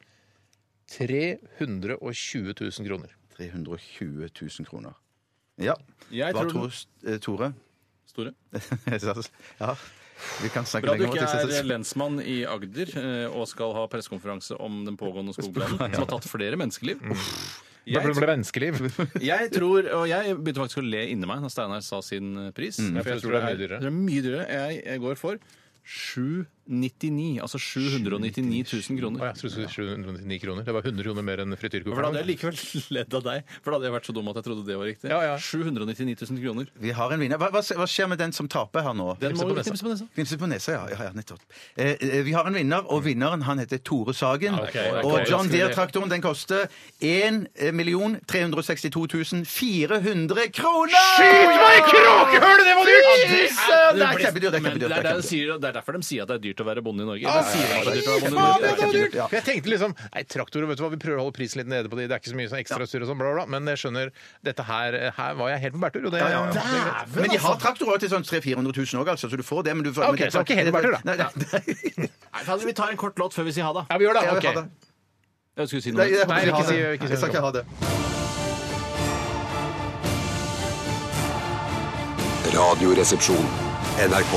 Speaker 2: 320 000 kroner.
Speaker 3: 320 000 kroner. Ja.
Speaker 4: Jeg
Speaker 3: Hva
Speaker 4: tror
Speaker 3: tror eh, Tore?
Speaker 4: Store.
Speaker 3: ja. Vi kan snakke
Speaker 4: Bra du
Speaker 3: lenger om
Speaker 4: ikke
Speaker 3: det.
Speaker 4: er lensmann i Agder eh, og skal ha pressekonferanse om den pågående skogbrannen, som har tatt flere menneskeliv. Jeg,
Speaker 2: Det
Speaker 4: tror-
Speaker 2: ble menneskeliv.
Speaker 4: jeg tror, og jeg begynte faktisk å le inni meg da Steinar sa sin eh, pris. For jeg tror det er, det er mye dyrere. Jeg, jeg går for 799, altså 799
Speaker 2: Å
Speaker 4: 000 kroner.
Speaker 2: ja, jeg trodde det var 799 kroner. Det var 100 kroner mer enn
Speaker 4: For da hadde jeg
Speaker 2: frityrkokeren.
Speaker 4: likevel ledd av deg, for da hadde jeg vært så dum at jeg trodde det var riktig.
Speaker 2: Ja, ja.
Speaker 4: 799 000 kroner.
Speaker 3: Vi har en vinner. Hva, hva, hva skjer med den som taper her nå?
Speaker 4: Den må
Speaker 2: på
Speaker 4: vi
Speaker 2: nesa.
Speaker 4: knipse på nesa.
Speaker 3: Knipse på nesa, ja. ja, ja nettopp. Eh, eh, vi har en vinner, og vinneren han heter Tore Sagen.
Speaker 2: Ok, ok.
Speaker 3: Og John Deere-traktoren den koster eh, 1 362 400 kroner! Skyt meg i kråkehullet! Det var dyrt! Det er kjempedyrt. Det er
Speaker 4: Men det
Speaker 3: kjempedyrt. det er
Speaker 4: er, der de
Speaker 3: kjempedyrt.
Speaker 4: sier, det er derfor de sier at det er dyrt å være bonde i Norge. De sier at det er dyrt å være bonde i
Speaker 3: det
Speaker 4: Norge.
Speaker 3: er kjempedyrt. Ja.
Speaker 2: For jeg tenkte liksom Nei, traktorer, vet du hva, vi prøver å holde prisen litt nede på de. Det er ikke så mye sånn ekstra styr og sånn, bla, bla. bla. Men jeg skjønner, dette her Her var jeg helt på bærtur, og det,
Speaker 3: ja, ja.
Speaker 2: det er greit.
Speaker 3: Men de har traktorer til sånn 300 000-400 000 òg, altså, så du får det. Men du får,
Speaker 2: altså. Ok,
Speaker 3: men det-
Speaker 2: så ikke helt bare tull, da.
Speaker 3: Nei, nei, nei.
Speaker 4: Nei, fader, Vi tar en kort låt før vi sier ha det.
Speaker 2: Ja, vi gjør det.
Speaker 3: Ja, vi har
Speaker 2: ok.
Speaker 3: det.
Speaker 4: Jeg skulle si
Speaker 3: Nei,
Speaker 4: noe.
Speaker 3: jeg håper ikke
Speaker 2: Nei, ikke
Speaker 3: ha det.
Speaker 2: si- ikke si
Speaker 3: Jeg skal ikke ha det.
Speaker 5: Radioresepsjon. NRK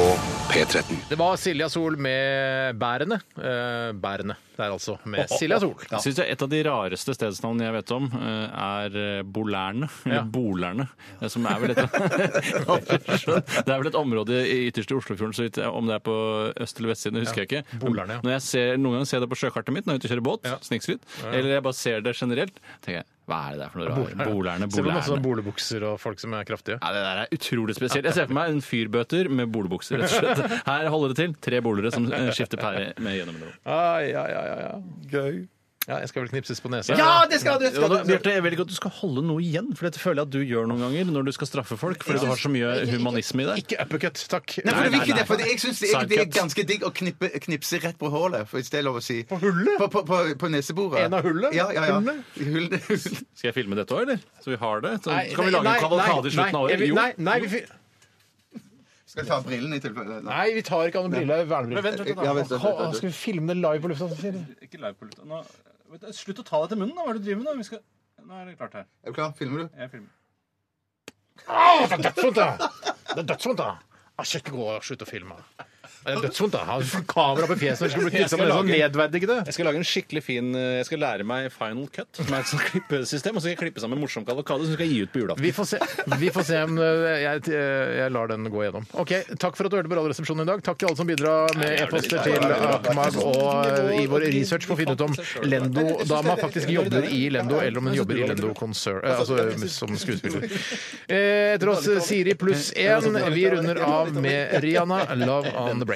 Speaker 5: P13.
Speaker 2: Det var Silja Sol med Bærene. Eh, bærene der, altså. Med Silja Sol.
Speaker 4: Jeg synes det er Et av de rareste stedsnavnene jeg vet om, eh, er Bolærne. Eller
Speaker 2: Ja.
Speaker 4: Bolærne. eh, Som er vel et, det er vel et område i ytterste Oslofjorden, så vidt jeg- om det er på øst- eller vestsiden, det husker jeg ikke.
Speaker 2: Bolerne, ja.
Speaker 4: Når jeg ser, noen ganger ser jeg det på sjøkartet mitt når jeg er ute og kjører båt,
Speaker 2: Ja.
Speaker 4: snikskritt, eller jeg bare ser det generelt, tenker jeg hva er det der for noe sånn rart? Bolærne,
Speaker 2: Ser du masse
Speaker 4: Bolærne.
Speaker 2: sånne bolebukser og folk som er kraftige?
Speaker 4: Ja, det der er utrolig spesielt. Jeg ser for meg en fyrbøter med bolebukser. rett og slett. Her holder det til. Tre bolere som eh, skifter pære med gjennom det.
Speaker 2: Ai, ai, ai, ai, ai. Gøy. Ja, jeg skal vel knipses på nesa.
Speaker 3: Ja, det skal du!
Speaker 4: Ja,
Speaker 3: Skal
Speaker 4: da,
Speaker 3: du.
Speaker 4: Bjarte, jeg vil ikke at du skal holde noe igjen, for dette føler jeg at du gjør noen ganger når du skal straffe folk, fordi du har så mye humanisme i deg.
Speaker 2: Ikke uppercut, takk.
Speaker 3: Nei, for det
Speaker 4: Nei,
Speaker 3: vil ikke
Speaker 4: nei,
Speaker 3: det, for jeg syns det, er- det er
Speaker 4: Sidecut.
Speaker 3: ganske digg å knippe, knipse rett på hålet, for hvis det er lov å si. På
Speaker 2: hullet?
Speaker 3: På, på, på, neseboret.
Speaker 2: En av hullet?
Speaker 3: Ja, ja, ja.
Speaker 2: Hullet?
Speaker 3: Hullet, hullet.
Speaker 4: Skal jeg filme dette òg, eller? Så vi har det? Så
Speaker 2: Nei,
Speaker 4: kan vi lage
Speaker 2: nei,
Speaker 4: en kavalkade i
Speaker 2: nei,
Speaker 4: slutten av
Speaker 2: nei,
Speaker 4: året?
Speaker 2: jeg vil-
Speaker 4: Jo.
Speaker 2: Nei, nei, vi, fi-
Speaker 3: Skal jeg ta brillene i tilfelle? Nei.
Speaker 2: nei, vi tar ikke Anne-Brille
Speaker 3: Ja,
Speaker 2: vernebrille.
Speaker 3: vent, vent, vent,
Speaker 2: Hva-
Speaker 3: vent.
Speaker 2: Skal vi filme det live på lufta? sier de?
Speaker 4: Ikke live på lufta. Nå- vet du, Slutt å ta deg til munnen, da. Hva er det du driver med? nå? Vi skal... Nå er det klart her.
Speaker 3: Er du klar? Filmer du?
Speaker 4: Jeg filmer.
Speaker 2: Å, Det er dødsvondt, da! Det er dødsvondt, da! Ah, Jeg skal ikke gå og slutte å filme. Det er dødsvondt, da. Han får kamera på fjeset og skal bli
Speaker 4: Jeg
Speaker 2: knipsa
Speaker 4: skal
Speaker 2: med sånn
Speaker 4: lage-
Speaker 2: nedverdigende.
Speaker 4: Jeg skal lage en skikkelig fin eh, Jeg skal lære meg final cut, som er et sånt klippesystem, og så skal jeg klippe sammen en morsom kavalkade som vi skal gi ut på julaften.
Speaker 2: Vi får se, vi får se om eh, jeg, eh, jeg lar den gå gjennom. Ok, Takk for at du hørte på Radioresepsjonen i dag. Takk til alle som bidrar med e-poster til Akmag og eh, i vår research for å finne ut om Lendo-dama faktisk jobber i Lendo, eller om hun jobber i Lendo konsert, eh, altså som skuespiller. Eh, Etter oss eh, Siri pluss
Speaker 4: sånn-
Speaker 2: én. Vi runder av med Rihanna, 'Love On The Brain'.